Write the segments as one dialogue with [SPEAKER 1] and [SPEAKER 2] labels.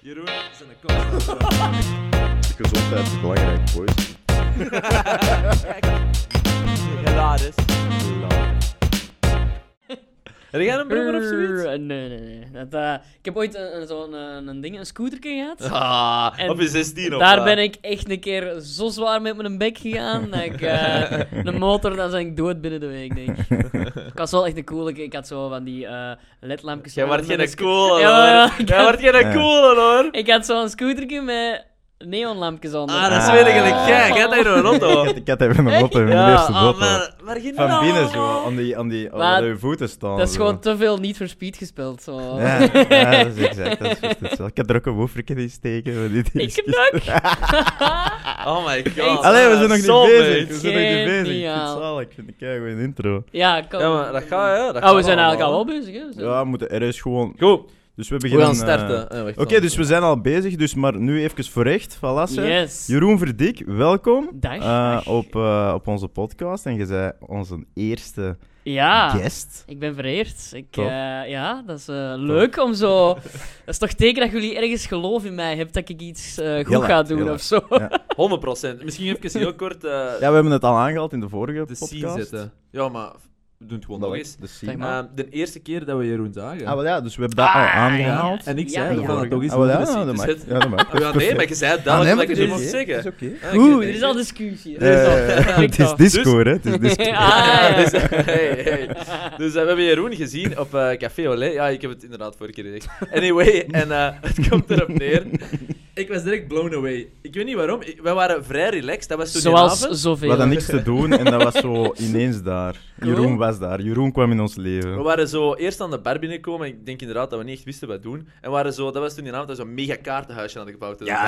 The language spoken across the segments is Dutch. [SPEAKER 1] Jeroen, zijn een kans.
[SPEAKER 2] Gezondheid is belangrijk, boys.
[SPEAKER 3] Hilarisch.
[SPEAKER 4] Heb jij een brommer of zoiets?
[SPEAKER 5] Nee, nee, nee. Dat, eh, ik heb ooit een, een- zo'n eh, een ding, een scooterke gehad.
[SPEAKER 4] Ah,
[SPEAKER 5] En
[SPEAKER 4] op je 16 of
[SPEAKER 5] Daar
[SPEAKER 4] wat?
[SPEAKER 5] ben ik echt een keer zo zwaar met mijn bek gegaan. Dat ik, eh, een motor, dan zijn ik dood binnen de week, denk ik. Ik was wel echt een coole. Ik had zo van die eh ledlampjes.
[SPEAKER 4] Jij
[SPEAKER 5] met-
[SPEAKER 4] wordt
[SPEAKER 5] met een
[SPEAKER 4] geen
[SPEAKER 5] sc-
[SPEAKER 4] coole,
[SPEAKER 5] Ja, ja,
[SPEAKER 4] hoor.
[SPEAKER 5] ik
[SPEAKER 4] Jij
[SPEAKER 5] had-
[SPEAKER 4] wordt geen
[SPEAKER 2] Ja.
[SPEAKER 4] coole, hoor.
[SPEAKER 5] Ik had zo'n scooterke met neonlampjes onder.
[SPEAKER 4] Ah, dat is
[SPEAKER 2] Ah.
[SPEAKER 4] weer gelijk gek. Ga daar een
[SPEAKER 2] Ik
[SPEAKER 4] auto.
[SPEAKER 2] had- Ik had even een motto in mijn
[SPEAKER 4] Ja,
[SPEAKER 2] eerste
[SPEAKER 4] ah,
[SPEAKER 2] motto.
[SPEAKER 4] maar, maar geen
[SPEAKER 2] Van
[SPEAKER 4] naam.
[SPEAKER 2] binnen zo, aan die, aan die, aan
[SPEAKER 5] Maar
[SPEAKER 2] je voeten staan.
[SPEAKER 5] Dat is
[SPEAKER 2] zo.
[SPEAKER 5] gewoon te veel niet voor speed gespeeld. Zo.
[SPEAKER 2] Ja, ja, dat is exact. Dat is juist hetzelfde. Ik had er ook een woeferke in steken. maar dit
[SPEAKER 5] Ik
[SPEAKER 2] is-
[SPEAKER 5] heb dat.
[SPEAKER 4] Oh my god.
[SPEAKER 2] Allee, we zijn nog
[SPEAKER 4] Zo
[SPEAKER 2] niet bezig. We
[SPEAKER 4] bezig.
[SPEAKER 2] zijn nog niet bezig. Ik vind het
[SPEAKER 5] Geniaal.
[SPEAKER 2] zalig. Ik vind het een goede intro.
[SPEAKER 5] Ja, kom.
[SPEAKER 4] Ja, maar dat gaat, ja. Dat
[SPEAKER 5] Oh,
[SPEAKER 4] gaat
[SPEAKER 5] we zijn eigenlijk al
[SPEAKER 4] allemaal.
[SPEAKER 5] wel bezig, hè? We zijn-
[SPEAKER 2] Ja, we moeten er is gewoon...
[SPEAKER 4] Goed,
[SPEAKER 2] Dus we
[SPEAKER 4] we
[SPEAKER 2] beginnen...
[SPEAKER 4] gaan
[SPEAKER 2] eh,
[SPEAKER 4] starten. Eh, wacht,
[SPEAKER 2] Oké,
[SPEAKER 4] dan.
[SPEAKER 2] dus we zijn al bezig. Dus maar nu even voorrecht. Voilà, hè.
[SPEAKER 5] Yes.
[SPEAKER 2] Jeroen Verdik, welkom.
[SPEAKER 5] Dag,
[SPEAKER 2] eh,
[SPEAKER 5] dag.
[SPEAKER 2] op, eh, op onze podcast. En je bent onze eerste
[SPEAKER 5] Ja.
[SPEAKER 2] guest.
[SPEAKER 5] Ik ben vereerd. Ik,
[SPEAKER 2] Tof.
[SPEAKER 5] eh, ja, dat is eh, leuk om zo. Dat is toch teken dat jullie ergens geloof in mij hebben dat ik iets eh, goed
[SPEAKER 2] Heel
[SPEAKER 5] ga
[SPEAKER 2] hard,
[SPEAKER 5] doen
[SPEAKER 2] heel
[SPEAKER 5] of zo.
[SPEAKER 4] 100%. Misschien even heel kort eh,
[SPEAKER 2] Ja, we hebben het al aangehaald in de vorige
[SPEAKER 4] de scene
[SPEAKER 2] podcast.
[SPEAKER 4] zetten. Ja, maar we doen het gewoon
[SPEAKER 2] Dat
[SPEAKER 4] nog
[SPEAKER 2] we-
[SPEAKER 4] eens.
[SPEAKER 2] De
[SPEAKER 5] Zeg
[SPEAKER 2] scene.
[SPEAKER 5] maar.
[SPEAKER 4] Eh, de eerste keer dat we Jeroen zagen.
[SPEAKER 2] Ah, wel ja, dus we hebben dat al aangehaald.
[SPEAKER 4] En ik
[SPEAKER 5] Ja,
[SPEAKER 4] zei,
[SPEAKER 5] ja.
[SPEAKER 4] we gaan het toch eens
[SPEAKER 2] Ah, wel
[SPEAKER 4] doen.
[SPEAKER 2] ja,
[SPEAKER 4] de scene
[SPEAKER 2] dat mag.
[SPEAKER 4] te zetten.
[SPEAKER 2] Ja, dat mag.
[SPEAKER 4] Ah, ja, nee, maar je zei het
[SPEAKER 2] Ah, nee,
[SPEAKER 4] duidelijk
[SPEAKER 2] maar
[SPEAKER 4] dat
[SPEAKER 2] dat
[SPEAKER 4] je
[SPEAKER 2] is
[SPEAKER 4] het moest
[SPEAKER 2] oké. Dat
[SPEAKER 4] dus zeggen. Dus-
[SPEAKER 2] is oké.
[SPEAKER 4] Ah,
[SPEAKER 5] Oeh,
[SPEAKER 4] oké.
[SPEAKER 5] er is al discussie.
[SPEAKER 2] Eh, Het is Discord, hè? Het is
[SPEAKER 5] Ah,
[SPEAKER 2] Discord.
[SPEAKER 5] ja, ja.
[SPEAKER 4] Dus, hey, hey. Dus eh, we hebben Jeroen gezien op eh, Café Olé. Ja, ik heb het inderdaad vorige keer gezegd. Anyway, en eh, het komt erop neer. Ik was direct blown away. Ik weet niet waarom. Ik- wij waren vrij relaxed. Dat was toen
[SPEAKER 5] Zoals
[SPEAKER 4] die avond.
[SPEAKER 2] We
[SPEAKER 5] zoveel.
[SPEAKER 2] hadden niks te doen en dat was zo ineens daar.
[SPEAKER 5] Cool.
[SPEAKER 2] Jeroen was daar. Jeroen kwam in ons
[SPEAKER 4] We
[SPEAKER 2] leven.
[SPEAKER 4] waren zo eerst aan de bar binnengekomen. Ik denk inderdaad dat we niet echt wisten wat doen. En we waren zo, dat was toen die avond dat we zo'n mega kaartenhuisje hadden gebouwd. Dat was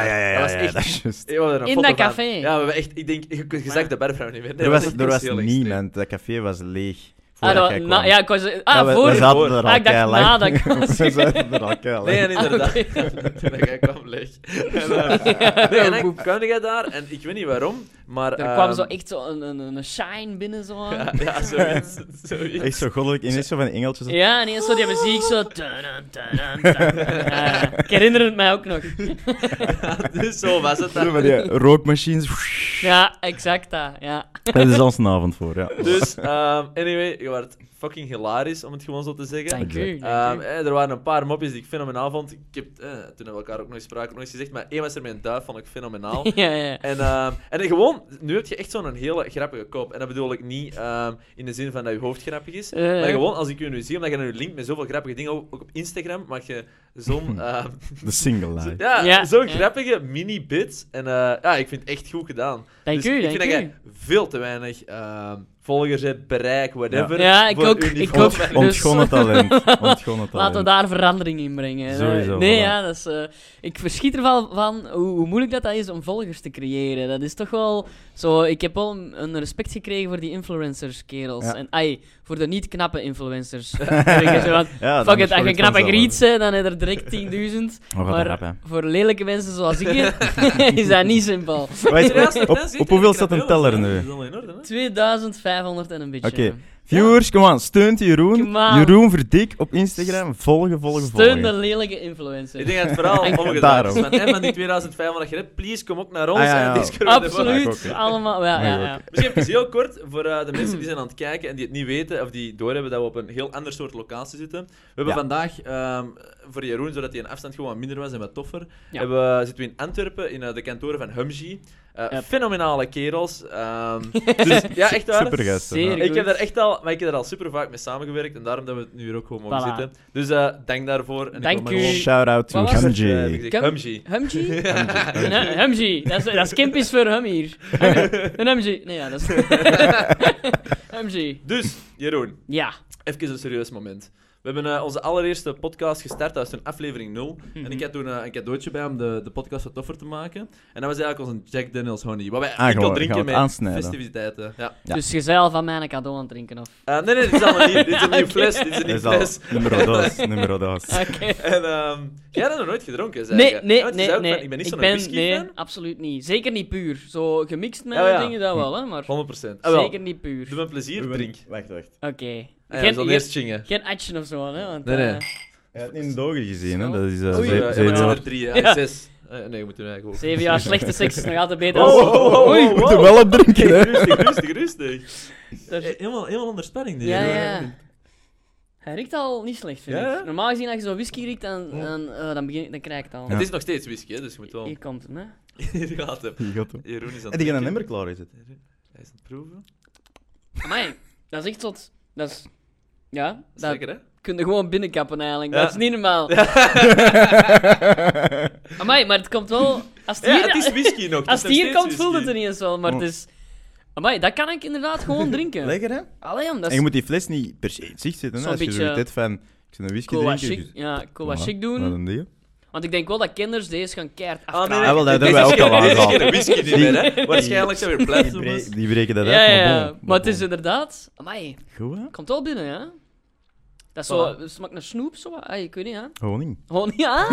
[SPEAKER 4] echt...
[SPEAKER 2] dat is juist.
[SPEAKER 4] we hadden er een
[SPEAKER 5] In
[SPEAKER 4] foto
[SPEAKER 5] dat
[SPEAKER 4] van.
[SPEAKER 5] café.
[SPEAKER 4] Ja, we hebben echt... Ik denk, je, je zag de barvrouw niet meer. Nee,
[SPEAKER 2] er
[SPEAKER 4] dat
[SPEAKER 2] was,
[SPEAKER 4] echt
[SPEAKER 2] er was
[SPEAKER 4] heel extreem.
[SPEAKER 2] niemand. Dat café was leeg.
[SPEAKER 5] Ah,
[SPEAKER 2] voordat
[SPEAKER 5] dat-
[SPEAKER 2] jij
[SPEAKER 5] na-
[SPEAKER 2] kwam.
[SPEAKER 5] ja, ik was, ah,
[SPEAKER 2] Ja, we, we
[SPEAKER 5] voor.
[SPEAKER 2] zaten er al
[SPEAKER 5] Ah, ik dacht
[SPEAKER 2] keilang.
[SPEAKER 5] na dat ik kwam.
[SPEAKER 2] We zaten er al keilang.
[SPEAKER 4] Nee, en
[SPEAKER 5] Ah,
[SPEAKER 4] inderdaad.
[SPEAKER 5] oké.
[SPEAKER 4] Toen ik kwam leeg. En, eh, nee, en dan kwam jij daar en ik weet niet waarom, maar...
[SPEAKER 5] Er kwam
[SPEAKER 2] Ehm.
[SPEAKER 5] zo echt zo een, een, een shine binnen. Zo.
[SPEAKER 4] Ja,
[SPEAKER 5] Ja,
[SPEAKER 4] ja zoiets. zoiets.
[SPEAKER 2] Echt zo goddelijk. Ineens zo van die engeltjes.
[SPEAKER 5] en ineens zo die muziek zo. tadam, tadam, tadam. Ja, ik herinner het mij ook nog.
[SPEAKER 4] dus zo was het
[SPEAKER 2] Zo
[SPEAKER 4] dan.
[SPEAKER 2] van die rookmachines.
[SPEAKER 5] Ja, exact dat. Ja.
[SPEAKER 2] Dat is ons een avond voor, ja.
[SPEAKER 4] Dus, ehm, anyway, je werd fucking hilarisch, om het gewoon zo te zeggen.
[SPEAKER 5] Dank u.
[SPEAKER 4] Ehm,
[SPEAKER 5] dank u.
[SPEAKER 4] eh, er waren een paar mopjes die ik fenomenaal vond. Ik heb, eh, toen hebben we elkaar ook nog eens spraken, nog eens gezegd, maar één was er met een duif, vond ik fenomenaal.
[SPEAKER 5] Ja, ja.
[SPEAKER 4] En, ehm, en gewoon, nu heb je echt zo'n hele grappige kop. En dat bedoel ik niet ehm, in de zin van dat je hoofd grappig is.
[SPEAKER 5] Ja, ja.
[SPEAKER 4] Maar gewoon, als ik je nu zie, omdat je nu linkt met zoveel grappige dingen, ook ook op Instagram, maak je zo'n... ehm,
[SPEAKER 2] De single
[SPEAKER 4] zo-
[SPEAKER 2] life.
[SPEAKER 4] ja,
[SPEAKER 5] Ja,
[SPEAKER 4] zo'n
[SPEAKER 5] ja.
[SPEAKER 4] grappige mini-bit. En eh, ja, ik vind het echt goed gedaan.
[SPEAKER 5] Dank
[SPEAKER 4] Dus
[SPEAKER 5] u,
[SPEAKER 4] ik
[SPEAKER 5] dank
[SPEAKER 4] vind dat
[SPEAKER 5] u.
[SPEAKER 4] je veel te weinig ehm, volgers hebt, bereik, whatever.
[SPEAKER 5] Ja, ik
[SPEAKER 4] voor
[SPEAKER 5] ook,
[SPEAKER 4] uniform.
[SPEAKER 5] ik ook.
[SPEAKER 4] En-
[SPEAKER 5] Dus-
[SPEAKER 2] Ontgonnen talent. Ontgonnen
[SPEAKER 5] Laten we
[SPEAKER 2] talent.
[SPEAKER 5] daar verandering in brengen.
[SPEAKER 2] Sowieso,
[SPEAKER 5] nee,
[SPEAKER 2] voilà.
[SPEAKER 5] ja, dat is, eh, ik verschiet er wel van hoe, hoe moeilijk dat, dat is om volgers te creëren. Dat is toch wel zo. Ik heb wel een een respect gekregen voor die influencers, kerels.
[SPEAKER 2] Ja.
[SPEAKER 5] En ai, voor de niet-knappe influencers. Ik zo van,
[SPEAKER 2] Ja, dan
[SPEAKER 5] Fuck
[SPEAKER 2] is
[SPEAKER 5] it, als je
[SPEAKER 2] zoiets
[SPEAKER 5] knappe
[SPEAKER 2] vanzelf.
[SPEAKER 5] griet bent, dan heb je er direct 10.000.
[SPEAKER 2] Oh, wat een
[SPEAKER 5] Maar
[SPEAKER 2] rap, hè.
[SPEAKER 5] voor lelijke mensen zoals ik is dat niet simpel.
[SPEAKER 2] Wacht,
[SPEAKER 4] Ja, als-
[SPEAKER 2] op,
[SPEAKER 4] dan zit
[SPEAKER 2] op
[SPEAKER 4] je
[SPEAKER 2] hoeveel
[SPEAKER 4] er
[SPEAKER 2] staat een
[SPEAKER 4] knap bij,
[SPEAKER 2] teller
[SPEAKER 4] want
[SPEAKER 2] nu?
[SPEAKER 4] Dat is allemaal in orde, hè?
[SPEAKER 5] 2500 en een beetje.
[SPEAKER 2] Oké. Viewers, kom aan, steunt Jeroen.
[SPEAKER 5] Come on.
[SPEAKER 2] Jeroen Verdik op Instagram. Volgen, volgen,
[SPEAKER 5] Steun de
[SPEAKER 2] volgen.
[SPEAKER 5] lelijke influencer.
[SPEAKER 4] Ik denk dat het vooral omgedraaid
[SPEAKER 2] Daarom.
[SPEAKER 4] is. Van, en van die 2500 je hebt, please kom ook naar ons.
[SPEAKER 2] Ah, ja, ja.
[SPEAKER 4] En discover de bar.
[SPEAKER 2] Ja, ik
[SPEAKER 5] Absoluut.
[SPEAKER 2] ook, hè.
[SPEAKER 5] Allemaal. Ja, ja,
[SPEAKER 2] Mij
[SPEAKER 5] ja.
[SPEAKER 4] Misschien even heel kort voor eh, de mensen die zijn aan het kijken en die het niet weten of die doorhebben dat we op een heel ander soort locatie zitten. We hebben
[SPEAKER 2] Ja.
[SPEAKER 4] vandaag ehm, voor Jeroen, zodat hij een afstand gewoon wat minder was en wat toffer,
[SPEAKER 5] Ja.
[SPEAKER 4] hebben, we- zitten we in Antwerpen in eh, de kantoren van Humji. Eh,
[SPEAKER 5] Yep.
[SPEAKER 4] Fenomenale kerels. ehm, dus ja, echt waar.
[SPEAKER 2] Super gasten. ja.
[SPEAKER 5] Zeer
[SPEAKER 4] Ik heb
[SPEAKER 5] goed.
[SPEAKER 4] daar echt al, maar ik heb daar al super vaak mee samengewerkt en daarom dat we het nu hier ook gewoon mogen
[SPEAKER 5] Voilà.
[SPEAKER 4] zitten. Dus eh, dank daarvoor. En
[SPEAKER 5] Dank
[SPEAKER 4] ik wil
[SPEAKER 5] u.
[SPEAKER 4] maar gewoon-
[SPEAKER 2] Shout out to
[SPEAKER 5] Wat was het?
[SPEAKER 2] Hamji.
[SPEAKER 4] Eh, heb ik gezegd,
[SPEAKER 5] Kan-
[SPEAKER 4] Humji.
[SPEAKER 5] Humji? Een hu- Humji. Dat is, dat is Kempis voor hem hier. Een Humji. Nee, ja, dat is... Humji.
[SPEAKER 4] Dus, Jeroen,
[SPEAKER 5] Ja.
[SPEAKER 4] even een serieus moment. We hebben eh, onze allereerste podcast gestart, dat was toen aflevering 0.
[SPEAKER 2] Mhm.
[SPEAKER 4] En ik had toen eh, een cadeautje bij om de, de podcast wat toffer te maken. En dat was eigenlijk onze Jack Daniels Honey, wat wij
[SPEAKER 2] gaan
[SPEAKER 4] enkel
[SPEAKER 2] we-
[SPEAKER 4] drinken
[SPEAKER 2] Ah, gaan we
[SPEAKER 4] met
[SPEAKER 2] het aansnijden?
[SPEAKER 4] festiviteiten. Ja.
[SPEAKER 2] Ja.
[SPEAKER 5] Dus gezellig van mij een cadeau aan het drinken, of...
[SPEAKER 4] Eh, nee, nee, dit is allemaal niet. Dit is een nieuw fles, dit is een
[SPEAKER 2] Dat
[SPEAKER 4] nieuw
[SPEAKER 2] is al
[SPEAKER 4] fles.
[SPEAKER 2] nummer dos, nummer dos.
[SPEAKER 4] Ah,
[SPEAKER 5] Oké.
[SPEAKER 4] En ehm, jij had dat nog nooit gedronken, zei
[SPEAKER 5] Nee,
[SPEAKER 4] jij.
[SPEAKER 5] nee,
[SPEAKER 4] Ja, want je
[SPEAKER 5] nee,
[SPEAKER 4] zei ook
[SPEAKER 5] nee.
[SPEAKER 4] van, Ik ben niet zo'n whisky
[SPEAKER 5] Nee, absoluut niet. Zeker niet puur. Zo gemixt met
[SPEAKER 4] Ja, ja.
[SPEAKER 5] dingen, dat wel, hè. Maar
[SPEAKER 4] 100%. Ah, wel,
[SPEAKER 5] zeker niet puur.
[SPEAKER 4] Doe me een plezier, drink.
[SPEAKER 2] Wacht, wacht.
[SPEAKER 5] Oké.
[SPEAKER 4] Ah, ja, we
[SPEAKER 5] geen,
[SPEAKER 4] zullen
[SPEAKER 5] geen,
[SPEAKER 4] eerst chingen.
[SPEAKER 5] geen action of zo, hè. Want,
[SPEAKER 4] Nee, nee.
[SPEAKER 5] eh,
[SPEAKER 2] Hij had niet in de ogen gezien, hè?
[SPEAKER 5] Snel.
[SPEAKER 2] Dat is eh,
[SPEAKER 5] Oei.
[SPEAKER 2] ze-
[SPEAKER 4] Ja, maar
[SPEAKER 2] ze-
[SPEAKER 4] het zijn
[SPEAKER 2] ze-
[SPEAKER 4] er drie, hè.
[SPEAKER 5] Ja.
[SPEAKER 4] zes. Eh, nee, we moeten eigenlijk ook.
[SPEAKER 5] Zeven jaar slechte seks is nog altijd beter
[SPEAKER 4] Oh,
[SPEAKER 5] dan...
[SPEAKER 4] oh, oh, oh,
[SPEAKER 5] Oei.
[SPEAKER 2] Je moet er wel op drinken, hè?
[SPEAKER 4] Rustig, rustig, rustig.
[SPEAKER 5] Daar-
[SPEAKER 4] Eh, Helemaal, helemaal onder spanning. dit.
[SPEAKER 5] Ja, ja. Hij riekt al niet slecht, vind
[SPEAKER 4] Ja, ja.
[SPEAKER 5] ik. Normaal gezien, als je zo whisky riekt, dan, dan, eh, dan, begin, dan krijg ik het al.
[SPEAKER 4] Het is nog steeds whisky, hè, dus je moet wel...
[SPEAKER 5] Hier komt het, hè.
[SPEAKER 4] Hier gaat hem.
[SPEAKER 2] Die gaat hem.
[SPEAKER 4] Jeroen is aan het
[SPEAKER 2] En die gaan een
[SPEAKER 4] drinken.
[SPEAKER 2] emmer klaar is het.
[SPEAKER 4] Hij is aan het proeven.
[SPEAKER 5] Amai, dat is echt tot... Dat is... Ja,
[SPEAKER 4] Dat is
[SPEAKER 5] dat
[SPEAKER 4] lekker, hè?
[SPEAKER 5] kun je gewoon binnenkappen eigenlijk.
[SPEAKER 4] Ja.
[SPEAKER 5] Dat is niet normaal. Amai, maar het komt wel... Als het
[SPEAKER 4] Ja,
[SPEAKER 5] hier,
[SPEAKER 4] het is whisky nog.
[SPEAKER 5] als het hier komt, voelt het er
[SPEAKER 4] niet.
[SPEAKER 5] ineens wel, maar het is... Amai, dat kan ik inderdaad gewoon drinken.
[SPEAKER 2] Lekker, hè?
[SPEAKER 5] Allee, om, dat
[SPEAKER 2] En
[SPEAKER 5] is
[SPEAKER 2] je moet die fles niet per se in het zicht zetten. Hè?
[SPEAKER 5] Zo'n
[SPEAKER 2] Als je
[SPEAKER 5] beetje-
[SPEAKER 2] zoiets hebt van, ik zit een whisky
[SPEAKER 5] cool wat
[SPEAKER 2] drinken. dus-
[SPEAKER 5] chic. Ja, cool wat chic doen.
[SPEAKER 2] Wat een ding.
[SPEAKER 5] Want ik denk wel dat kinders deze gaan keihard
[SPEAKER 4] Ah, nee,
[SPEAKER 5] afkraken.
[SPEAKER 4] nee.
[SPEAKER 2] Ah, wel, dat
[SPEAKER 4] Dit
[SPEAKER 2] hebben wij
[SPEAKER 4] is
[SPEAKER 2] ook al
[SPEAKER 4] geen- Dit is
[SPEAKER 2] aangehaald.
[SPEAKER 4] geen whisky niet
[SPEAKER 2] Die-
[SPEAKER 4] meer, hè? Waarschijnlijk zijn weer
[SPEAKER 2] Die,
[SPEAKER 4] platinums.
[SPEAKER 2] bre- die breken dat
[SPEAKER 5] ja,
[SPEAKER 2] uit.
[SPEAKER 5] ja,
[SPEAKER 2] maar
[SPEAKER 5] ja.
[SPEAKER 2] bon,
[SPEAKER 5] Maar, het is inderdaad... Amai,
[SPEAKER 2] bon. Goed, hè?
[SPEAKER 5] komt wel binnen, hè? Dat is zo... Smaakt naar snoep, zo? Ah, ik weet niet, hè?
[SPEAKER 2] Honing.
[SPEAKER 5] Gewoon niet... Ah!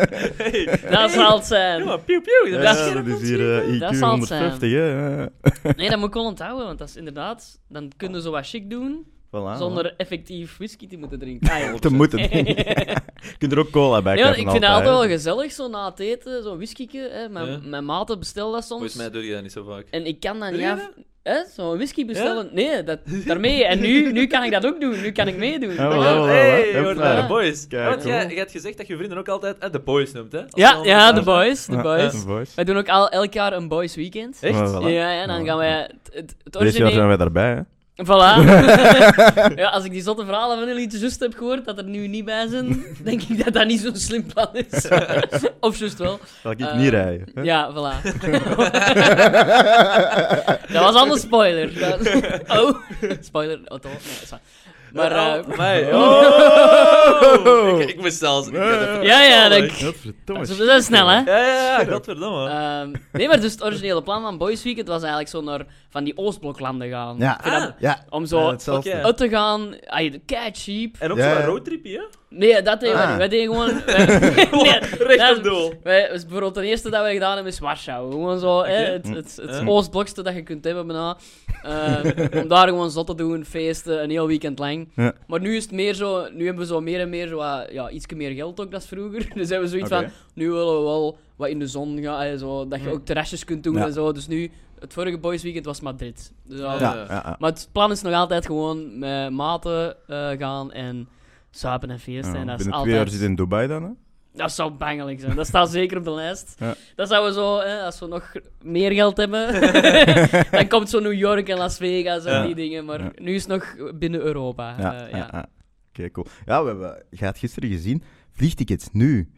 [SPEAKER 5] Dat zal het zijn.
[SPEAKER 4] Ja, piu, piu.
[SPEAKER 5] Ja,
[SPEAKER 4] Dat is
[SPEAKER 5] dat
[SPEAKER 4] geen-
[SPEAKER 2] dat is hier eh,
[SPEAKER 5] Dat
[SPEAKER 2] IQ
[SPEAKER 5] zal het
[SPEAKER 2] 150, hè? eh.
[SPEAKER 5] Nee, dat moet ik wel onthouden, want dat is inderdaad... Dan kunnen ze wat chic doen,
[SPEAKER 2] Voilà.
[SPEAKER 5] zonder effectief whisky te moeten drinken. Ah, ja.
[SPEAKER 2] eh, te moeten. je kunt er ook cola bij
[SPEAKER 5] Nee, want
[SPEAKER 2] krijgen.
[SPEAKER 5] ik vind het altijd
[SPEAKER 2] hè.
[SPEAKER 5] wel gezellig, zo na het eten, zo'n whiskyke. Hè. Mijn,
[SPEAKER 4] Ja.
[SPEAKER 5] mijn maten bestellen dat soms.
[SPEAKER 4] Volgens mij doe je dat niet zo vaak.
[SPEAKER 5] En ik kan dat
[SPEAKER 4] Doe
[SPEAKER 5] niet
[SPEAKER 4] je
[SPEAKER 5] af... Hè? Zo'n whisky bestellen? Nee, dat, daarmee. En nu, nu kan ik dat ook doen. Nu kan ik meedoen.
[SPEAKER 2] Ja,
[SPEAKER 5] Ja,
[SPEAKER 2] voilà. wel, wel,
[SPEAKER 4] Hey,
[SPEAKER 2] wel.
[SPEAKER 4] je hoort
[SPEAKER 2] Hopla.
[SPEAKER 4] bij de boys.
[SPEAKER 2] Kijk,
[SPEAKER 4] Ja, want
[SPEAKER 2] cool.
[SPEAKER 4] jij, jij hebt gezegd dat je vrienden ook altijd eh, de boys noemt, hè? Als ze
[SPEAKER 5] ja,
[SPEAKER 4] allemaal
[SPEAKER 5] ja, de
[SPEAKER 4] samen-
[SPEAKER 5] boys. De
[SPEAKER 2] Ja,
[SPEAKER 5] boys.
[SPEAKER 2] de boys.
[SPEAKER 5] Wij doen ook al, elk jaar een boys weekend.
[SPEAKER 4] Echt?
[SPEAKER 2] Voilà.
[SPEAKER 5] Ja, en dan gaan wij het, het, het
[SPEAKER 2] Dit jaar zijn
[SPEAKER 5] origineel...
[SPEAKER 2] wij daarbij, hè?
[SPEAKER 5] Voilà. ja, als ik die zotte verhalen van jullie juist heb gehoord, dat er nu niet bij zijn, denk ik dat dat niet zo'n slim plan is. of juist wel.
[SPEAKER 2] Zal ik
[SPEAKER 5] Eh,
[SPEAKER 2] niet rijden? hè?
[SPEAKER 5] Ja, voilà. dat was allemaal spoiler. Dat- Oh, spoiler. Oh, toch. Nee, dat is waar. maar, eh,
[SPEAKER 4] Oh, mij. Oh! Ik, ik moest zelfs... Ik had even-
[SPEAKER 5] ja, ja, dat,
[SPEAKER 2] Godverdomme,
[SPEAKER 5] dat is dat is snel, hè?
[SPEAKER 4] Ja, ja, ja, godverdomme.
[SPEAKER 5] Ehm, nee, maar dus het originele plan van Boys Weekend was eigenlijk zo naar van die Oostbloklanden gaan.
[SPEAKER 2] Ja.
[SPEAKER 5] Ik vind dat-
[SPEAKER 4] Ah.
[SPEAKER 2] Ja.
[SPEAKER 5] om
[SPEAKER 2] Ja,
[SPEAKER 5] zo
[SPEAKER 2] hetzelfde.
[SPEAKER 4] oké.
[SPEAKER 5] uit te gaan. Ay, kei cheap.
[SPEAKER 4] en ook
[SPEAKER 2] Ja,
[SPEAKER 4] zo'n
[SPEAKER 2] ja.
[SPEAKER 4] roadtripje, hè?
[SPEAKER 5] Nee, dat deden we
[SPEAKER 2] Ah.
[SPEAKER 5] niet. Wij deden gewoon... wij- nee,
[SPEAKER 4] Recht
[SPEAKER 5] dat-
[SPEAKER 4] op doel.
[SPEAKER 5] Wij, dus bijvoorbeeld het eerste dat wij gedaan hebben is Warschau. Gewoon zo, hè, het, het, het
[SPEAKER 4] Ja.
[SPEAKER 5] oostblokste dat je kunt hebben bijna. Eh, om daar gewoon zot te doen, feesten, een heel weekend lang.
[SPEAKER 2] Ja.
[SPEAKER 5] Maar nu is het meer zo, nu hebben we zo meer en meer zo wat, ja, iets meer geld ook dan vroeger. Dus hebben we zoiets
[SPEAKER 2] Oké.
[SPEAKER 5] van, nu willen we wel wat in de zon gaan, hè, zo, dat je ook terrasjes kunt doen
[SPEAKER 2] Ja.
[SPEAKER 5] en zo. Dus nu, het vorige boys weekend was Madrid. Dus ja,
[SPEAKER 2] Ja, ja, ja.
[SPEAKER 5] Maar het plan is nog altijd gewoon met maten eh, gaan en zuipen en feesten. en
[SPEAKER 2] Ja,
[SPEAKER 5] dat is
[SPEAKER 2] Binnen
[SPEAKER 5] altijd... Eh,
[SPEAKER 2] twee jaar zit in Dubai dan, hè?
[SPEAKER 5] Dat zou bangelijk zijn. Dat staat zeker op de lijst.
[SPEAKER 2] Ja.
[SPEAKER 5] Dat zouden we zo, hè, als we nog meer geld hebben, dan komt zo New York en Las Vegas en
[SPEAKER 2] Ja.
[SPEAKER 5] die dingen. Maar
[SPEAKER 2] Ja.
[SPEAKER 5] nu is het nog binnen Europa.
[SPEAKER 2] Ja,
[SPEAKER 5] Eh,
[SPEAKER 2] ja, ja. Oké, cool. Ja, we hebben, je had gisteren gezien, vliegtickets nu.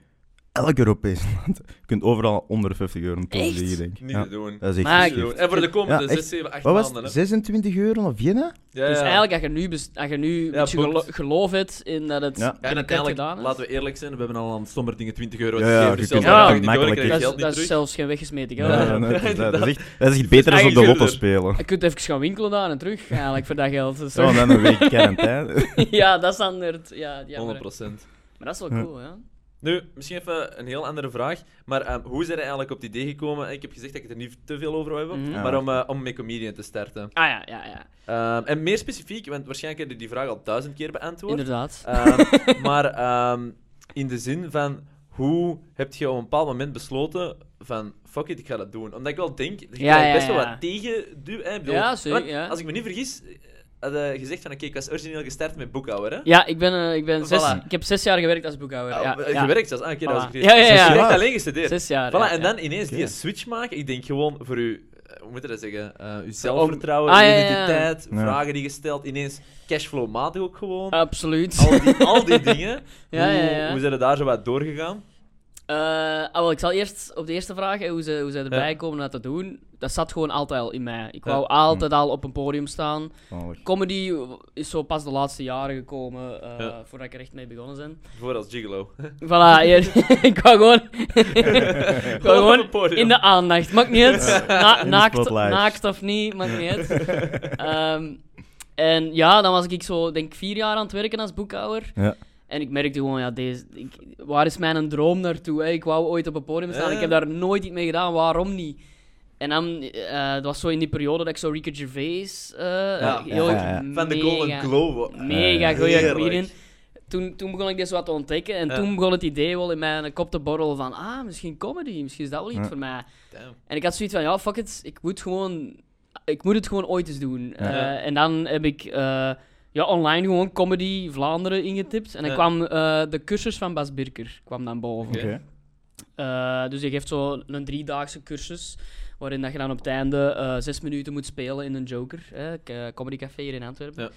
[SPEAKER 2] Elk Europees land. Je kunt overal onder de 50 euro een ton
[SPEAKER 5] Echt?
[SPEAKER 2] vliegen, denk ik.
[SPEAKER 4] Niet
[SPEAKER 2] Ja,
[SPEAKER 4] te doen.
[SPEAKER 2] dat is echt
[SPEAKER 5] Maar-
[SPEAKER 4] Niet te
[SPEAKER 2] geschikt.
[SPEAKER 4] doen. En voor de komende
[SPEAKER 2] Ja,
[SPEAKER 4] 6,
[SPEAKER 2] echt.
[SPEAKER 4] 7, 8
[SPEAKER 2] Wat was
[SPEAKER 4] maanden,
[SPEAKER 2] het?
[SPEAKER 4] hè?
[SPEAKER 2] 26 euro naar Vienna?
[SPEAKER 4] Ja,
[SPEAKER 5] Dus
[SPEAKER 4] ja.
[SPEAKER 5] eigenlijk, als je nu, bes- als je nu
[SPEAKER 4] Ja,
[SPEAKER 5] een beetje gelo-
[SPEAKER 4] boekt.
[SPEAKER 5] geloof hebt in dat het
[SPEAKER 2] Ja. Ja,
[SPEAKER 4] Ja,
[SPEAKER 2] en
[SPEAKER 4] en
[SPEAKER 5] binnenkort
[SPEAKER 4] uiteindelijk,
[SPEAKER 5] gedaan is,
[SPEAKER 4] laten we eerlijk zijn, we hebben al aan sommige dingen 20 euro
[SPEAKER 2] Ja, ja,
[SPEAKER 4] gegeven.
[SPEAKER 2] je
[SPEAKER 4] dus
[SPEAKER 2] kunt
[SPEAKER 4] zelfs
[SPEAKER 5] dat
[SPEAKER 4] als je
[SPEAKER 5] wel
[SPEAKER 4] niet door
[SPEAKER 2] makkelijk
[SPEAKER 4] krijg
[SPEAKER 5] dat,
[SPEAKER 4] je
[SPEAKER 5] is-
[SPEAKER 4] geld niet
[SPEAKER 5] dat is
[SPEAKER 4] terug.
[SPEAKER 5] zelfs geen weggesmeten
[SPEAKER 2] Ja,
[SPEAKER 5] geld.
[SPEAKER 2] ja, nee, dat, is, dat, is echt, dat is echt beter dan op de
[SPEAKER 4] Eigenlijk
[SPEAKER 2] lotto
[SPEAKER 4] duurder.
[SPEAKER 2] spelen.
[SPEAKER 5] Je kunt even gaan winkelen daar en terug, eigenlijk, voor dat geld. Dus-
[SPEAKER 2] Zo, en dan een week quarantaine.
[SPEAKER 5] ja, dat is dan het- Ja, ja, maar,
[SPEAKER 4] 100%.
[SPEAKER 5] maar dat is wel cool, Ah, ja.
[SPEAKER 4] Nu, misschien even een heel andere vraag. Maar ehm, hoe zijn er eigenlijk op het idee gekomen? Ik heb gezegd dat ik het er niet te veel over wil hebben.
[SPEAKER 5] Mhm.
[SPEAKER 2] Ja.
[SPEAKER 4] Maar om, eh, om mee comedian te starten.
[SPEAKER 5] Ah ja, ja, ja.
[SPEAKER 4] Ehm, en meer specifiek, want waarschijnlijk heb je die vraag al duizend keer beantwoord.
[SPEAKER 5] Inderdaad.
[SPEAKER 4] Ehm, maar ehm, in de zin van hoe heb je op een bepaald moment besloten van fuck it, ik ga dat doen? Omdat ik wel denk, je
[SPEAKER 5] Ja,
[SPEAKER 4] krijgt
[SPEAKER 5] ja,
[SPEAKER 4] best wel
[SPEAKER 5] ja.
[SPEAKER 4] wat tegen du hè, ik bedoel,
[SPEAKER 5] Ja, zeker,
[SPEAKER 4] want
[SPEAKER 5] ja.
[SPEAKER 4] Als ik me niet vergis, eh, had je gezegd van oké, ik was origineel gestart met boekhouder. Hè?
[SPEAKER 5] Ja, ik ben, eh, ik ben zes...
[SPEAKER 4] Voilà.
[SPEAKER 5] Ik heb zes jaar gewerkt als boekhouder. Ja,
[SPEAKER 4] Oh,
[SPEAKER 5] ja.
[SPEAKER 4] Gewerkt zelfs, ah, oké, dat
[SPEAKER 5] Voilà.
[SPEAKER 4] was ik
[SPEAKER 5] Ja, ja,
[SPEAKER 4] Dus je
[SPEAKER 5] ja.
[SPEAKER 4] hebt alleen gestudeerd.
[SPEAKER 5] Zes jaar.
[SPEAKER 4] Voilà,
[SPEAKER 5] Ah, ja,
[SPEAKER 4] en
[SPEAKER 5] ja.
[SPEAKER 4] dan ineens die
[SPEAKER 2] Oké.
[SPEAKER 4] switch maken, ik denk gewoon voor u, hoe moet je dat zeggen? Eh uw zelfvertrouwen,
[SPEAKER 5] Ah,
[SPEAKER 4] uw
[SPEAKER 5] ja, ja, ja.
[SPEAKER 4] identiteit,
[SPEAKER 2] Ja.
[SPEAKER 4] vragen die gesteld, ineens cashflow-matig ook gewoon.
[SPEAKER 5] Absoluut.
[SPEAKER 4] Al die, al die dingen.
[SPEAKER 5] Ah. Ja,
[SPEAKER 4] hoe,
[SPEAKER 5] ja, ja.
[SPEAKER 4] hoe zijn er daar zo wat doorgegaan?
[SPEAKER 5] Eh, ah, wel, ik zal eerst op de eerste vraag, eh, hoe ze, hoe ze erbij komen om dat te doen. Dat zat gewoon altijd al in mij. Ik wou
[SPEAKER 4] Ja.
[SPEAKER 5] altijd al op een podium staan.
[SPEAKER 2] Zalig.
[SPEAKER 5] Comedy is zo pas de laatste jaren gekomen, eh,
[SPEAKER 4] Ja.
[SPEAKER 5] voordat ik er echt mee begonnen ben.
[SPEAKER 4] Bijvoorbeeld als gigolo.
[SPEAKER 5] Voilà, hier- ik wou gewoon, ik wou
[SPEAKER 4] Gewoon op het
[SPEAKER 5] gewoon
[SPEAKER 4] podium.
[SPEAKER 5] in de aandacht. Maakt niet uit. Na-
[SPEAKER 2] In de
[SPEAKER 5] naakt,
[SPEAKER 2] spotlight.
[SPEAKER 5] naakt of niet, maakt niet uit. Ehm, en ja, dan was ik zo, denk ik, vier jaar aan het werken als boekhouder.
[SPEAKER 2] Ja.
[SPEAKER 5] En ik merkte gewoon, ja, deze, ik- waar is mijn droom naartoe? Hè? Ik wou ooit op een podium staan.
[SPEAKER 4] Ja.
[SPEAKER 5] Ik heb daar nooit iets mee gedaan. Waarom niet? En dan, eh, dat was zo in die periode dat ik zo Ricky Gervais... eh,
[SPEAKER 4] Ja.
[SPEAKER 5] heel-
[SPEAKER 2] Ja, ja, ja.
[SPEAKER 4] Van de Golden
[SPEAKER 5] mega-
[SPEAKER 4] Globe. Ah,
[SPEAKER 5] Mega goede
[SPEAKER 4] Heerlijk.
[SPEAKER 5] comedian. toen, toen begon ik dit wat te ontdekken. En
[SPEAKER 4] Ja.
[SPEAKER 5] toen begon het idee wel in mijn kop te borrelen van... Ah, misschien comedy. Misschien is dat wel iets
[SPEAKER 2] Ja.
[SPEAKER 5] voor mij.
[SPEAKER 4] Damn.
[SPEAKER 5] En ik had zoiets van, ja, fuck it, ik moet, gewoon, ik moet het gewoon ooit eens doen.
[SPEAKER 4] Ja.
[SPEAKER 5] Eh, en dan heb ik eh, ja, online gewoon Comedy Vlaanderen ingetipt. En dan
[SPEAKER 4] Ja.
[SPEAKER 5] kwam eh, de cursus van Bas Birker kwam dan boven.
[SPEAKER 4] Oké.
[SPEAKER 5] Eh, dus je geeft zo een driedaagse cursus, waarin dat je dan op het einde eh, zes minuten moet spelen in een Joker, eh, k- Comedy Café hier in Antwerpen.
[SPEAKER 4] Ja.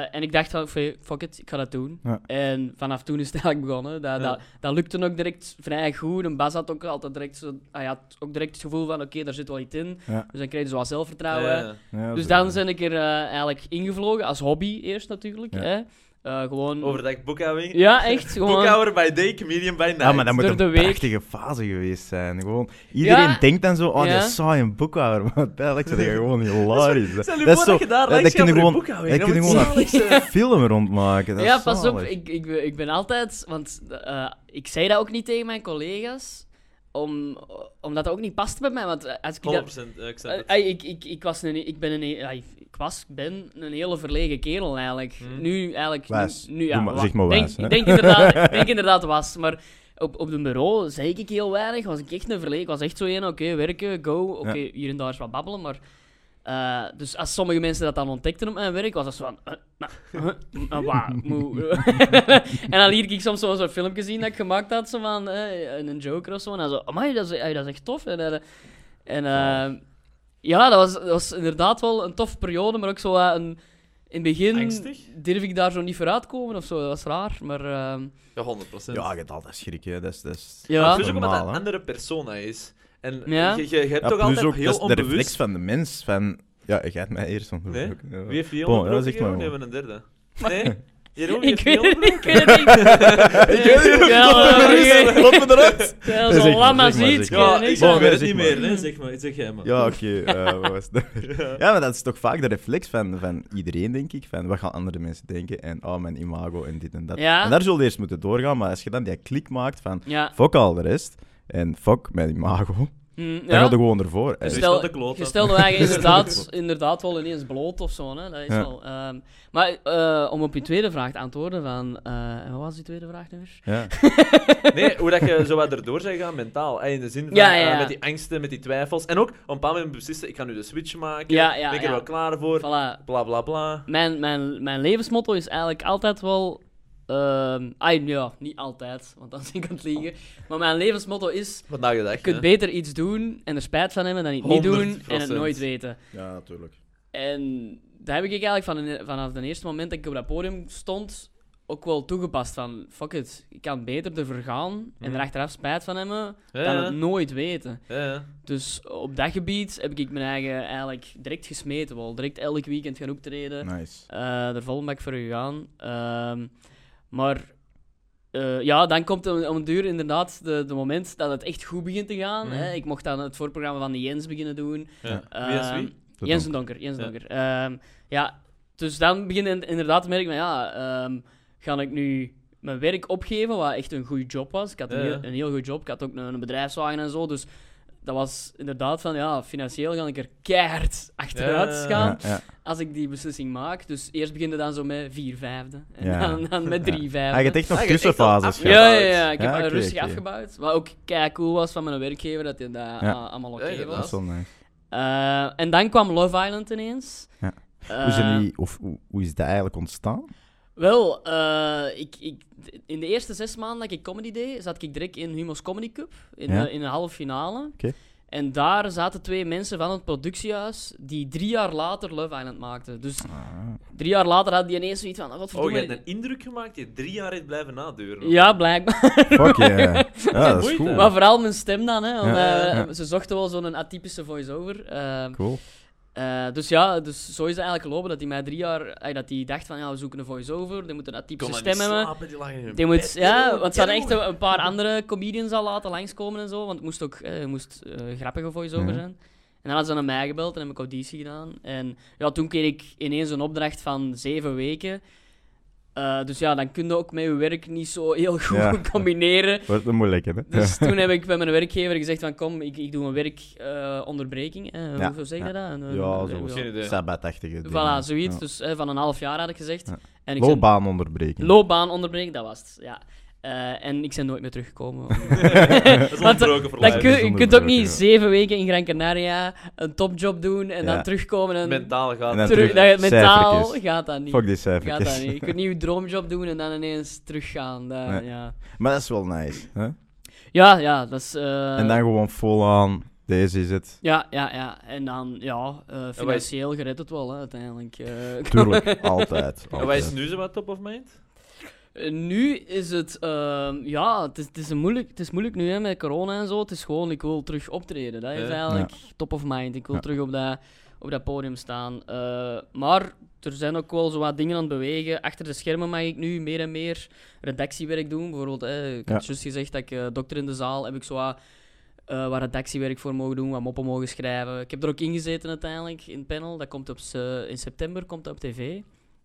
[SPEAKER 5] Eh, en ik dacht van, "Fuck- fuck it, ik ga dat doen.
[SPEAKER 2] Ja.
[SPEAKER 5] En vanaf toen is het eigenlijk begonnen. Dat,
[SPEAKER 4] Ja.
[SPEAKER 5] dat, dat lukte ook direct vrij goed. En Bas had ook altijd direct, zo, hij had ook direct het gevoel van, oké, daar zit wel iets in.
[SPEAKER 2] Ja.
[SPEAKER 5] Dus dan kreeg je zo wat zelfvertrouwen.
[SPEAKER 4] Ja.
[SPEAKER 2] Ja,
[SPEAKER 5] Dus
[SPEAKER 2] zo.
[SPEAKER 5] dan ben ik er eh, eigenlijk ingevlogen, als hobby eerst natuurlijk.
[SPEAKER 2] Ja.
[SPEAKER 5] Hè? Eh, gewoon...
[SPEAKER 4] Overdag boekhouding.
[SPEAKER 5] Ja, echt. Gewoon...
[SPEAKER 4] Boekhouder by day, comedian by night.
[SPEAKER 2] Ja, maar dat moet
[SPEAKER 5] Door
[SPEAKER 2] een
[SPEAKER 5] de week.
[SPEAKER 2] prachtige fase geweest zijn. Gewoon, iedereen
[SPEAKER 5] Ja.
[SPEAKER 2] denkt dan zo, oh,
[SPEAKER 5] Ja.
[SPEAKER 2] dat is saai een boekhouder. Maar uiteindelijk zijn die gewoon hilarisch.
[SPEAKER 4] Stel je voor dat je daar langs gaat
[SPEAKER 2] kunnen
[SPEAKER 4] voor je
[SPEAKER 2] gewoon,
[SPEAKER 4] boekhouding.
[SPEAKER 2] dat
[SPEAKER 4] Dat
[SPEAKER 2] kunnen
[SPEAKER 4] moet
[SPEAKER 2] gewoon
[SPEAKER 4] zalig zijn.
[SPEAKER 2] een film rondmaken. Dat
[SPEAKER 5] ja,
[SPEAKER 2] is
[SPEAKER 5] pas op.
[SPEAKER 2] zalig.
[SPEAKER 5] Ik, ik, ben- ik ben altijd... Want eh, ik zei dat ook niet tegen mijn collega's. Om, omdat dat ook niet paste bij mij. Want eh, als ik dat...
[SPEAKER 4] 100% eh, ik snap
[SPEAKER 5] Eh,
[SPEAKER 4] het.
[SPEAKER 5] ey, ik, ik, ik, was een, ik, ben een, ey, ik was, ik ben een hele verlegen kerel eigenlijk.
[SPEAKER 4] Hmm.
[SPEAKER 5] Nu eigenlijk... nu-
[SPEAKER 2] Wijs.
[SPEAKER 5] Nu, ja,
[SPEAKER 2] Doe maar-
[SPEAKER 5] wa-
[SPEAKER 2] zeg maar
[SPEAKER 5] denk,
[SPEAKER 2] wijs, hè.
[SPEAKER 5] Ik denk inderdaad, ik denk inderdaad was. Maar op, op de bureau zei ik heel weinig. Was ik echt een verlegen. Ik was echt zo een, oké, werken, go. Oké, hier en daar is wat babbelen, maar... eh, dus als sommige mensen dat dan ontdekten op mijn werk, was dat zo van... eh, nou, eh, eh, waar, moe, eh. en dan liet ik soms zo'n soort filmpje zien dat ik gemaakt had, zo van eh, een joker of zo. En dan zo, amai, dat is, ey, dat is echt tof. En, eh, en eh, ja, dat was, dat was inderdaad wel een toffe periode, maar ook zo wat een... In het begin
[SPEAKER 4] Angstig?
[SPEAKER 5] durf ik daar zo niet vooruit komen of zo, dat was raar, maar... ehm,
[SPEAKER 4] Ja, 100%.
[SPEAKER 2] Ja, je hebt altijd schrik, hè. Dat is, dat is
[SPEAKER 5] Ja.
[SPEAKER 4] Maar
[SPEAKER 5] Dat
[SPEAKER 4] plus ook omdat
[SPEAKER 2] normaal,
[SPEAKER 4] dat een
[SPEAKER 2] hè.
[SPEAKER 4] andere persona is. En
[SPEAKER 5] Ja.
[SPEAKER 4] je, je, je hebt
[SPEAKER 2] Ja,
[SPEAKER 4] toch
[SPEAKER 2] plus
[SPEAKER 4] altijd
[SPEAKER 2] ook,
[SPEAKER 4] heel
[SPEAKER 2] dat is de reflex
[SPEAKER 4] onbewust...
[SPEAKER 2] van de mens. Van, ja, ik ga het mij eerst onderzoeken. Ja.
[SPEAKER 4] Wie heeft die
[SPEAKER 2] Bon, ja,
[SPEAKER 4] onderbroken,
[SPEAKER 2] zeg maar
[SPEAKER 4] Jeroen?
[SPEAKER 2] wel.
[SPEAKER 4] Nee, we hebben een derde. Nee? Jeroen, wie
[SPEAKER 5] ik,
[SPEAKER 4] heeft die
[SPEAKER 5] weet,
[SPEAKER 4] onderbroken?
[SPEAKER 5] ik weet het niet.
[SPEAKER 2] Ik weet het niet,
[SPEAKER 5] Ja,
[SPEAKER 2] laat me
[SPEAKER 5] maar
[SPEAKER 2] met rust,
[SPEAKER 5] oké.
[SPEAKER 2] laat me eruit.
[SPEAKER 5] Dat
[SPEAKER 2] Zeg
[SPEAKER 5] is
[SPEAKER 2] maar,
[SPEAKER 5] een lama
[SPEAKER 2] zeg maar,
[SPEAKER 5] ziet,
[SPEAKER 2] zeg
[SPEAKER 5] ik
[SPEAKER 4] Ja,
[SPEAKER 5] weet niks
[SPEAKER 4] ik
[SPEAKER 2] aan.
[SPEAKER 4] weet het
[SPEAKER 2] Zeg
[SPEAKER 4] niet
[SPEAKER 2] maar.
[SPEAKER 4] meer. hè. Zeg maar, zeg jij maar.
[SPEAKER 2] Ja, oké. eh, wat was dat? Ja, maar dat is toch vaak de reflex van, van iedereen, denk ik. Van, wat gaan andere mensen denken? En, oh, mijn imago en dit en dat.
[SPEAKER 5] Ja.
[SPEAKER 2] En daar zul je eerst moeten doorgaan. Maar als je dan die klik maakt van,
[SPEAKER 5] Ja.
[SPEAKER 2] fuck al de rest. En fuck mijn imago. Dan
[SPEAKER 5] Mm,
[SPEAKER 2] gaat
[SPEAKER 5] ja.
[SPEAKER 2] het gewoon ervoor.
[SPEAKER 4] Dus
[SPEAKER 2] Eh,
[SPEAKER 4] dat
[SPEAKER 5] Stel,
[SPEAKER 4] de klote.
[SPEAKER 5] je stelde eigenlijk inderdaad, inderdaad wel ineens bloot of zo. Hè? Dat is
[SPEAKER 2] Ja.
[SPEAKER 5] wel, ehm, maar eh, om op je tweede vraag te antwoorden: van, eh, wat was die tweede vraag nu weer?
[SPEAKER 2] ja.
[SPEAKER 4] Nee, hoe dat je zo wat erdoor zou gaan mentaal. Eh, In de zin van
[SPEAKER 5] Ja, ja,
[SPEAKER 4] eh,
[SPEAKER 5] ja.
[SPEAKER 4] met die angsten, met die twijfels. En ook op een bepaald moment beslissen, ik ga nu de switch maken.
[SPEAKER 5] Ja, ja,
[SPEAKER 4] ben ik er
[SPEAKER 5] ja.
[SPEAKER 4] wel klaar voor?
[SPEAKER 5] Voilà.
[SPEAKER 4] Bla bla bla.
[SPEAKER 5] Mijn, mijn, mijn levensmotto is eigenlijk altijd wel. ehm ah, ja, niet altijd, want dan zit ik aan het liegen. Maar mijn levensmotto is:
[SPEAKER 4] Vandaag de dag.
[SPEAKER 5] je kunt beter iets doen en er spijt van hebben dan het niet doen en het
[SPEAKER 4] 100%.
[SPEAKER 5] nooit weten.
[SPEAKER 2] ja, natuurlijk.
[SPEAKER 5] En dat heb ik eigenlijk van in- vanaf het eerste moment dat ik op dat podium stond ook wel toegepast van, fuck it, ik kan beter ervoor gaan en
[SPEAKER 4] Mhm.
[SPEAKER 5] er achteraf spijt van hebben
[SPEAKER 4] Ja,
[SPEAKER 5] dan
[SPEAKER 4] ja.
[SPEAKER 5] het nooit weten.
[SPEAKER 4] Ja, ja.
[SPEAKER 5] Dus op dat gebied heb ik mijn eigen eigenlijk direct gesmeten wel. Direct elk weekend gaan optreden,
[SPEAKER 2] Nice.
[SPEAKER 5] eh er vol bak voor gegaan. Ehm, maar eh, ja, dan komt om, om het duur inderdaad de, de moment dat het echt goed begint te gaan.
[SPEAKER 4] Mhm.
[SPEAKER 5] Hè? Ik mocht dan het voorprogramma van de Jens beginnen doen.
[SPEAKER 4] Ja.
[SPEAKER 5] Ehm,
[SPEAKER 4] Wie is wie?
[SPEAKER 2] De
[SPEAKER 5] Jens en Donker. Jens
[SPEAKER 4] Ja.
[SPEAKER 5] Donker. Ehm, ja, dus dan begin je in- inderdaad te merken van ja, ehm, ga ik nu mijn werk opgeven, wat echt een goede job was. Ik had een,
[SPEAKER 4] Ja, ja.
[SPEAKER 5] heel, een heel goede job, ik had ook een, een bedrijfswagen en zo, dus dat was inderdaad van ja, financieel ga ik er keihard achteruit
[SPEAKER 4] Ja, ja, ja.
[SPEAKER 5] gaan
[SPEAKER 2] Ja, ja.
[SPEAKER 5] als ik die beslissing maak. Dus eerst begin je dan zo met vier vijfde en
[SPEAKER 2] Ja.
[SPEAKER 5] dan, dan met drie
[SPEAKER 2] Ah, je
[SPEAKER 5] vijfde.
[SPEAKER 2] hebt echt nog
[SPEAKER 4] Ah, je hebt echt al
[SPEAKER 2] tussenfases
[SPEAKER 4] af-
[SPEAKER 2] gehad.
[SPEAKER 5] ja, ja, ja, ik heb
[SPEAKER 2] Ja,
[SPEAKER 5] eh,
[SPEAKER 2] oké,
[SPEAKER 5] rustig
[SPEAKER 2] oké.
[SPEAKER 5] afgebouwd. Wat ook kei cool was van mijn werkgever, dat hij dat ah, allemaal oké
[SPEAKER 4] Ja, inderdaad.
[SPEAKER 5] was.
[SPEAKER 2] Dat is wel nice.
[SPEAKER 5] Eh, en dan kwam Love Island ineens.
[SPEAKER 2] Ja.
[SPEAKER 5] Eh,
[SPEAKER 2] Hoe, is er niet, of, hoe, hoe is dat eigenlijk ontstaan?
[SPEAKER 5] Wel, eh, ik, ik, in de eerste zes maanden dat ik comedy deed, zat ik direct in Humo's Comedy Cup, in,
[SPEAKER 2] Ja.
[SPEAKER 5] de, in de halve finale.
[SPEAKER 2] Oké.
[SPEAKER 5] En daar zaten twee mensen van het productiehuis die drie jaar later Love Island maakten. Dus
[SPEAKER 2] Ah.
[SPEAKER 5] drie jaar later had die ineens zoiets van, oh,
[SPEAKER 4] Oh, je
[SPEAKER 5] godverdomme.
[SPEAKER 4] hebt een indruk gemaakt die je drie jaar heeft blijven naduren.
[SPEAKER 5] ja, blijkbaar.
[SPEAKER 2] Fuck yeah. Ja, dat is
[SPEAKER 4] moeite.
[SPEAKER 2] cool.
[SPEAKER 5] Maar vooral mijn stem dan, hè. want,
[SPEAKER 2] Ja.
[SPEAKER 5] eh,
[SPEAKER 2] Ja.
[SPEAKER 5] Ze zochten wel zo'n atypische voice-over. ehm,
[SPEAKER 2] Cool.
[SPEAKER 5] Eh, dus ja, dus zo is het eigenlijk gelopen dat hij mij drie jaar, eh, dat hij dacht van ja, we zoeken een voice-over, die moet een
[SPEAKER 4] Ik kon
[SPEAKER 5] atypische
[SPEAKER 4] maar
[SPEAKER 5] stem
[SPEAKER 4] niet
[SPEAKER 5] hebben.
[SPEAKER 4] slapen, die lagen in hun
[SPEAKER 5] Die moet,
[SPEAKER 4] bed.
[SPEAKER 5] ja,
[SPEAKER 4] Jeroen,
[SPEAKER 5] want ze hadden echt
[SPEAKER 4] Jeroen.
[SPEAKER 5] een, een paar andere comedians al laten langskomen en zo, want het moest ook eh, het moest, eh, grappige voice-over
[SPEAKER 2] Ja.
[SPEAKER 5] zijn. En dan hadden ze naar mij gebeld en heb ik auditie gedaan. En ja, toen kreeg ik ineens een opdracht van zeven weken. Eh, dus ja, dan kun je ook met je werk niet zo heel goed
[SPEAKER 2] Ja.
[SPEAKER 5] combineren.
[SPEAKER 2] Wordt het moeilijk, hè?
[SPEAKER 5] Dus toen heb ik bij mijn werkgever gezegd van kom, ik, ik doe een werkonderbreking. eh
[SPEAKER 2] Ja,
[SPEAKER 5] Hoeveel zeg je
[SPEAKER 2] ja.
[SPEAKER 5] dat? Een-
[SPEAKER 2] Ja,
[SPEAKER 5] een-
[SPEAKER 2] zo
[SPEAKER 5] een-
[SPEAKER 2] was
[SPEAKER 4] Geen idee.
[SPEAKER 2] Sabbatachtige
[SPEAKER 5] Voilà, zoiets.
[SPEAKER 2] Ja.
[SPEAKER 5] Dus eh, van een half jaar had ik gezegd.
[SPEAKER 2] Ja.
[SPEAKER 5] En ik ben
[SPEAKER 2] Loopbaan onderbreken.
[SPEAKER 5] loopbaan onderbreken, dat was het. Ja. Eh, en ik ben nooit meer teruggekomen.
[SPEAKER 4] dat is
[SPEAKER 5] Want, eh,
[SPEAKER 4] onbroken voor
[SPEAKER 5] Dat
[SPEAKER 2] Blijven
[SPEAKER 5] kun, je
[SPEAKER 2] zonder
[SPEAKER 5] kunt ook
[SPEAKER 2] werk,
[SPEAKER 5] niet
[SPEAKER 2] ja.
[SPEAKER 5] zeven weken in Gran Canaria een topjob doen en
[SPEAKER 2] Ja.
[SPEAKER 5] dan terugkomen en
[SPEAKER 4] Mentaal gaat
[SPEAKER 2] En dan
[SPEAKER 4] het.
[SPEAKER 5] terug,
[SPEAKER 2] terug-
[SPEAKER 5] dat je- mentaal
[SPEAKER 2] cijfertjes.
[SPEAKER 5] gaat dat niet.
[SPEAKER 2] Fuck die
[SPEAKER 5] gaat dat
[SPEAKER 2] cijfertjes.
[SPEAKER 5] niet. Je kunt niet je droomjob doen en dan ineens teruggaan. Dat,
[SPEAKER 2] Nee.
[SPEAKER 5] ja.
[SPEAKER 2] Maar dat is wel nice. Hè?
[SPEAKER 5] ja, ja, dat is... eh,
[SPEAKER 2] en dan gewoon vol aan. Deze is het.
[SPEAKER 5] Ja, ja, ja. En dan, ja, eh, financieel gered het wel, hè, uiteindelijk. eh.
[SPEAKER 2] Tuurlijk, altijd.
[SPEAKER 4] En wat is
[SPEAKER 2] altijd.
[SPEAKER 4] nu zo wat top of mind?
[SPEAKER 5] Eh, Nu is het, ehm, ja, het is, het, is een moeilijk, het is moeilijk nu hè, met corona en zo. Het is gewoon, ik wil terug optreden. Dat is
[SPEAKER 4] Ja.
[SPEAKER 5] eigenlijk top of mind. Ik wil
[SPEAKER 2] Ja.
[SPEAKER 5] terug op dat, op dat podium staan. Eh, maar er zijn ook wel zo wat dingen aan het bewegen. Achter de schermen mag ik nu meer en meer redactiewerk doen. Bijvoorbeeld, eh, ik had
[SPEAKER 2] Ja.
[SPEAKER 5] juist gezegd dat ik eh, dokter in de zaal heb ik zo wat, eh, wat redactiewerk voor mogen doen, wat moppen mogen schrijven. Ik heb er ook ingezeten uiteindelijk in het panel. Dat komt op, se- in september komt dat op tv.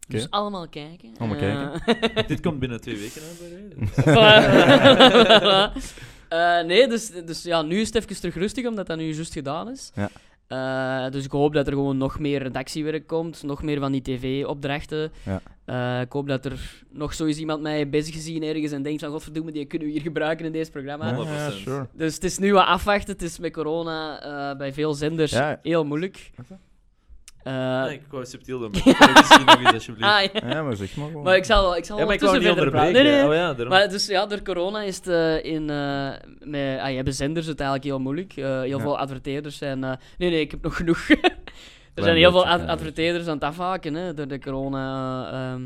[SPEAKER 5] Dus
[SPEAKER 2] Oké.
[SPEAKER 5] allemaal kijken.
[SPEAKER 2] Allemaal kijken.
[SPEAKER 5] Eh,
[SPEAKER 4] Dit komt binnen twee weken uit bij reden.
[SPEAKER 5] Voilà. Eh, nee, dus, dus ja, nu is het even terug rustig, omdat dat nu juist gedaan is.
[SPEAKER 2] Ja.
[SPEAKER 5] Eh, dus ik hoop dat er gewoon nog meer redactiewerk komt, nog meer van die tv-opdrachten.
[SPEAKER 2] Ja.
[SPEAKER 5] Eh, ik hoop dat er nog zo is iemand mij bezig gezien ergens en denkt van, godverdomme, die kunnen we hier gebruiken in deze programma.
[SPEAKER 2] Ja, ja,
[SPEAKER 4] 100%.
[SPEAKER 2] sure.
[SPEAKER 5] Dus het is nu wat afwachten. Het is met corona eh, bij veel zenders
[SPEAKER 2] Ja.
[SPEAKER 5] heel moeilijk. Eh,
[SPEAKER 4] Nee, ik wou subtiel doen. maar ik kan het Misschien nog eens, alsjeblieft.
[SPEAKER 5] ah, ja.
[SPEAKER 2] Ja, maar zeg maar gewoon.
[SPEAKER 5] Maar ik zal, ik zal
[SPEAKER 4] Ja, maar ik wou
[SPEAKER 5] ondertussen
[SPEAKER 4] niet
[SPEAKER 5] verder praten. Nee,
[SPEAKER 4] onderbreken.
[SPEAKER 5] nee, nee.
[SPEAKER 4] Oh ja,
[SPEAKER 2] Ehm,
[SPEAKER 4] daarom.
[SPEAKER 5] Maar dus ja, door corona is het eh, in, eh met, ah, je hebt zenders het eigenlijk heel moeilijk. Eh, heel
[SPEAKER 2] Ja.
[SPEAKER 5] veel adverteerders zijn... eh, nee, nee, ik heb nog genoeg. er zijn heel veel
[SPEAKER 2] beetje,
[SPEAKER 5] ad-
[SPEAKER 2] ja.
[SPEAKER 5] adverteerders aan het afhaken hè, door de corona. eh, ehm.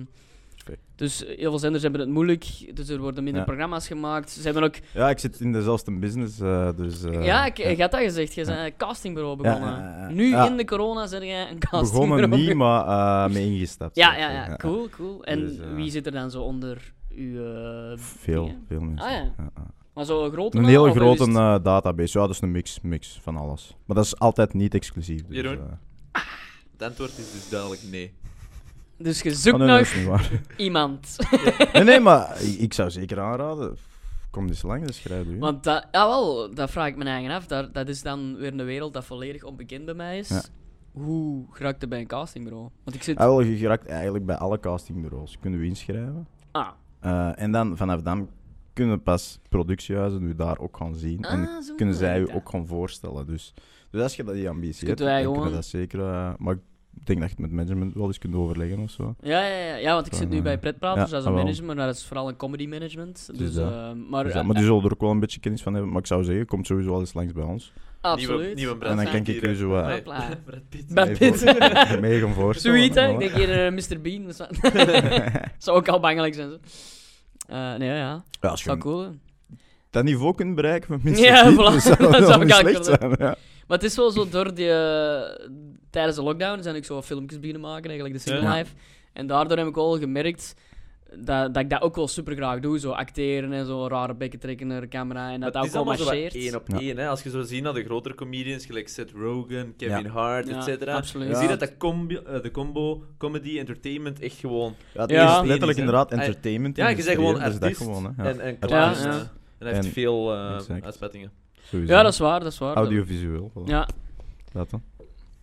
[SPEAKER 2] Perfect.
[SPEAKER 5] dus heel veel zenders hebben het moeilijk. Dus er worden minder
[SPEAKER 2] Ja.
[SPEAKER 5] programma's gemaakt. Ze hebben ook...
[SPEAKER 2] Ja, ik zit in dezelfde business, eh, dus... eh,
[SPEAKER 5] ja, ik, je had dat gezegd. Je bent een castingbureau
[SPEAKER 2] Ja,
[SPEAKER 5] begonnen.
[SPEAKER 2] ja, ja, ja.
[SPEAKER 5] Nu
[SPEAKER 2] Ja.
[SPEAKER 5] in de corona zijn jij een castingbureau
[SPEAKER 2] Begonnen niet,
[SPEAKER 5] begonnen.
[SPEAKER 2] maar eh, mee ingestapt.
[SPEAKER 5] Ja,
[SPEAKER 2] zeg
[SPEAKER 5] ja,
[SPEAKER 2] maar.
[SPEAKER 5] ja. Cool, cool. En
[SPEAKER 2] Dus, eh,
[SPEAKER 5] wie zit er dan zo onder uw... eh,
[SPEAKER 2] Veel,
[SPEAKER 5] dingen?
[SPEAKER 2] veel mensen.
[SPEAKER 5] Ah, ja.
[SPEAKER 2] ja.
[SPEAKER 5] Maar zo'n grote
[SPEAKER 2] Een
[SPEAKER 5] naam,
[SPEAKER 2] heel
[SPEAKER 5] of is
[SPEAKER 2] grote
[SPEAKER 5] het-
[SPEAKER 2] eh, database. Ja, dat is een mix, mix van alles. Maar dat is altijd niet exclusief. Dus,
[SPEAKER 4] Jeroen?
[SPEAKER 2] eh, ah,
[SPEAKER 4] Het antwoord is dus duidelijk nee.
[SPEAKER 5] Dus je zoekt
[SPEAKER 2] oh, nee,
[SPEAKER 5] nog
[SPEAKER 2] dat is niet waar.
[SPEAKER 5] iemand.
[SPEAKER 2] nee, nee, maar ik ik zou zeker aanraden. Kom eens lang, dat schrijf je.
[SPEAKER 5] Want dat, ja wel, dat vraag ik me eigen af. Daar, dat is dan weer een wereld dat volledig onbekend bij mij is.
[SPEAKER 2] Ja.
[SPEAKER 5] Hoe geraakt het bij een castingbureau? Want ik zit...
[SPEAKER 2] Ah, wel, je geraakt eigenlijk bij alle castingbureaus. Kunnen we inschrijven.
[SPEAKER 5] Ah,
[SPEAKER 2] Eh, en dan vanaf dan kunnen pas productiehuizen u daar ook gaan zien. en
[SPEAKER 5] Ah, zo
[SPEAKER 2] kunnen zij u
[SPEAKER 5] werkt dat.
[SPEAKER 2] ook gaan voorstellen. Dus, dus als je dat die ambitie
[SPEAKER 5] Dus
[SPEAKER 2] hebt,
[SPEAKER 5] kunnen
[SPEAKER 2] dan
[SPEAKER 5] wij
[SPEAKER 2] kunnen we
[SPEAKER 5] gewoon-
[SPEAKER 2] dat zeker. eh, maar ik denk dat je het met management wel eens kunt overleggen of zo.
[SPEAKER 5] Ja, ja, ja, ja, want ik zit nu
[SPEAKER 2] Eh,
[SPEAKER 5] bij Pretpraters
[SPEAKER 2] ja,
[SPEAKER 5] als een
[SPEAKER 2] ah, wel.
[SPEAKER 5] manager, maar dat is vooral een comedy management. Dus,
[SPEAKER 2] dat.
[SPEAKER 5] eh, maar,
[SPEAKER 2] Dus ja, maar die zullen er ook wel een beetje kennis van hebben. Maar ik zou zeggen, komt sowieso wel eens langs bij ons.
[SPEAKER 5] absoluut.
[SPEAKER 4] Nieuwe, nieuwe Brad
[SPEAKER 2] En dan kan
[SPEAKER 4] Pitt
[SPEAKER 2] ik
[SPEAKER 4] hier,
[SPEAKER 2] u zo wat-
[SPEAKER 4] hè. Nee,
[SPEAKER 5] Hopla.
[SPEAKER 4] Brad Pitt.
[SPEAKER 5] Brad
[SPEAKER 2] mee
[SPEAKER 5] Pitt.
[SPEAKER 2] voor- mee gaan voorstellen.
[SPEAKER 5] Zoiets, hè? Ik
[SPEAKER 2] Voilà.
[SPEAKER 5] denk hier eh, Mr. Bean. of zo. Zou ook al bangelijk zijn. zo. Eh, nee, ja.
[SPEAKER 2] Ja, als
[SPEAKER 5] Zou
[SPEAKER 2] je
[SPEAKER 5] cool. hè.
[SPEAKER 2] dat niveau kunt bereiken met mensen
[SPEAKER 5] Ja,
[SPEAKER 2] die,
[SPEAKER 5] voilà.
[SPEAKER 2] dan zou
[SPEAKER 5] Dat
[SPEAKER 2] dat
[SPEAKER 5] zou
[SPEAKER 2] wel
[SPEAKER 5] ik
[SPEAKER 2] niet slecht
[SPEAKER 5] eigenlijk
[SPEAKER 2] zijn. Ja.
[SPEAKER 5] Maar het is wel zo door die... eh, tijdens de lockdown zijn ik zo wat filmpjes beginnen maken, eigenlijk, de single
[SPEAKER 4] Ja.
[SPEAKER 5] life. En daardoor heb ik wel gemerkt dat, dat ik dat ook wel super graag doe. Zo acteren en zo rare bekken trekken naar de camera. En dat
[SPEAKER 4] Maar
[SPEAKER 5] dat
[SPEAKER 4] het
[SPEAKER 5] ook
[SPEAKER 4] is
[SPEAKER 5] wel
[SPEAKER 4] allemaal zo wat
[SPEAKER 5] marcheert.
[SPEAKER 4] één op
[SPEAKER 2] Ja.
[SPEAKER 4] één. Hè. Als je zo ziet naar de grotere comedians, gelijk Seth Rogen, Kevin
[SPEAKER 2] Ja.
[SPEAKER 4] Hart,
[SPEAKER 5] Ja,
[SPEAKER 4] et cetera.
[SPEAKER 5] absoluut.
[SPEAKER 4] Je
[SPEAKER 2] Ja.
[SPEAKER 4] ziet dat dat combi- eh, de combo, comedy, entertainment echt gewoon...
[SPEAKER 2] Ja, het
[SPEAKER 5] Ja.
[SPEAKER 2] is letterlijk
[SPEAKER 4] Ja.
[SPEAKER 2] inderdaad entertainment.
[SPEAKER 4] Ja, je bent gewoon
[SPEAKER 2] industrieel,
[SPEAKER 4] artiest
[SPEAKER 2] Dus dat gewoon, hè. Ja,
[SPEAKER 4] en, en
[SPEAKER 5] Ja,
[SPEAKER 4] klaar. is,
[SPEAKER 5] ja.
[SPEAKER 4] eh, En hij heeft
[SPEAKER 2] En-
[SPEAKER 4] veel eh,
[SPEAKER 2] exact.
[SPEAKER 4] uitspettingen.
[SPEAKER 2] sowieso.
[SPEAKER 5] Ja, dat is waar, dat is waar.
[SPEAKER 2] Audiovisueel. voilà.
[SPEAKER 5] Ja,
[SPEAKER 2] Dat dan.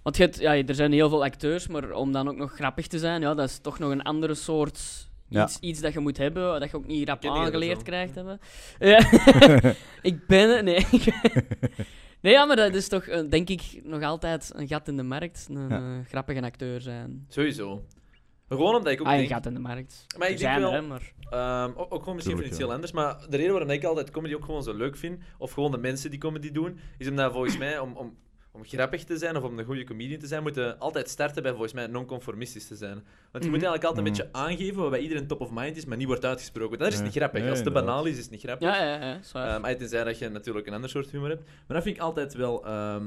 [SPEAKER 5] want je hebt, ja, er zijn heel veel acteurs, maar om dan ook nog grappig te zijn, ja, dat is toch nog een andere soort...
[SPEAKER 2] Ja.
[SPEAKER 5] Iets, iets dat je moet hebben, dat je ook niet rap
[SPEAKER 4] Ken je dat
[SPEAKER 5] aangeleerd
[SPEAKER 4] zo?
[SPEAKER 5] krijgt hebben. Ja. ik ben... Nee. nee, ja, maar dat is toch, eh, denk ik, nog altijd een gat in de markt. Een
[SPEAKER 2] Ja.
[SPEAKER 5] eh, grappige acteur zijn.
[SPEAKER 4] Sowieso. Maar gewoon omdat ik ook
[SPEAKER 5] Ah, je
[SPEAKER 4] denk...
[SPEAKER 5] gaat in de markt.
[SPEAKER 4] Maar ik
[SPEAKER 5] Er
[SPEAKER 4] denk
[SPEAKER 5] zijn er,
[SPEAKER 4] wel-
[SPEAKER 5] hè, maar...
[SPEAKER 4] Ehm, ook, ook gewoon misschien voor
[SPEAKER 2] Tuurlijk,
[SPEAKER 4] iets
[SPEAKER 2] ja.
[SPEAKER 4] heel anders, maar de reden waarom ik altijd comedy ook gewoon zo leuk vind, of gewoon de mensen die comedy doen, is omdat volgens mij, om, om, om grappig te zijn of om een goede comedian te zijn, moeten altijd starten bij volgens mij non-conformistisch te zijn. Want je
[SPEAKER 5] Mhm.
[SPEAKER 4] moet eigenlijk altijd
[SPEAKER 2] Mhm.
[SPEAKER 4] een beetje aangeven wat bij iedereen top of mind is, maar niet wordt uitgesproken. Want Dat is het
[SPEAKER 2] Nee.
[SPEAKER 4] niet grappig.
[SPEAKER 2] Nee,
[SPEAKER 4] Als het te
[SPEAKER 2] inderdaad.
[SPEAKER 4] banaal is, is het niet grappig.
[SPEAKER 5] Ja, ja, ja, is waar.
[SPEAKER 4] Ehm, uit tenzij dat je natuurlijk een ander soort humor hebt. Maar dat vind ik altijd wel ehm,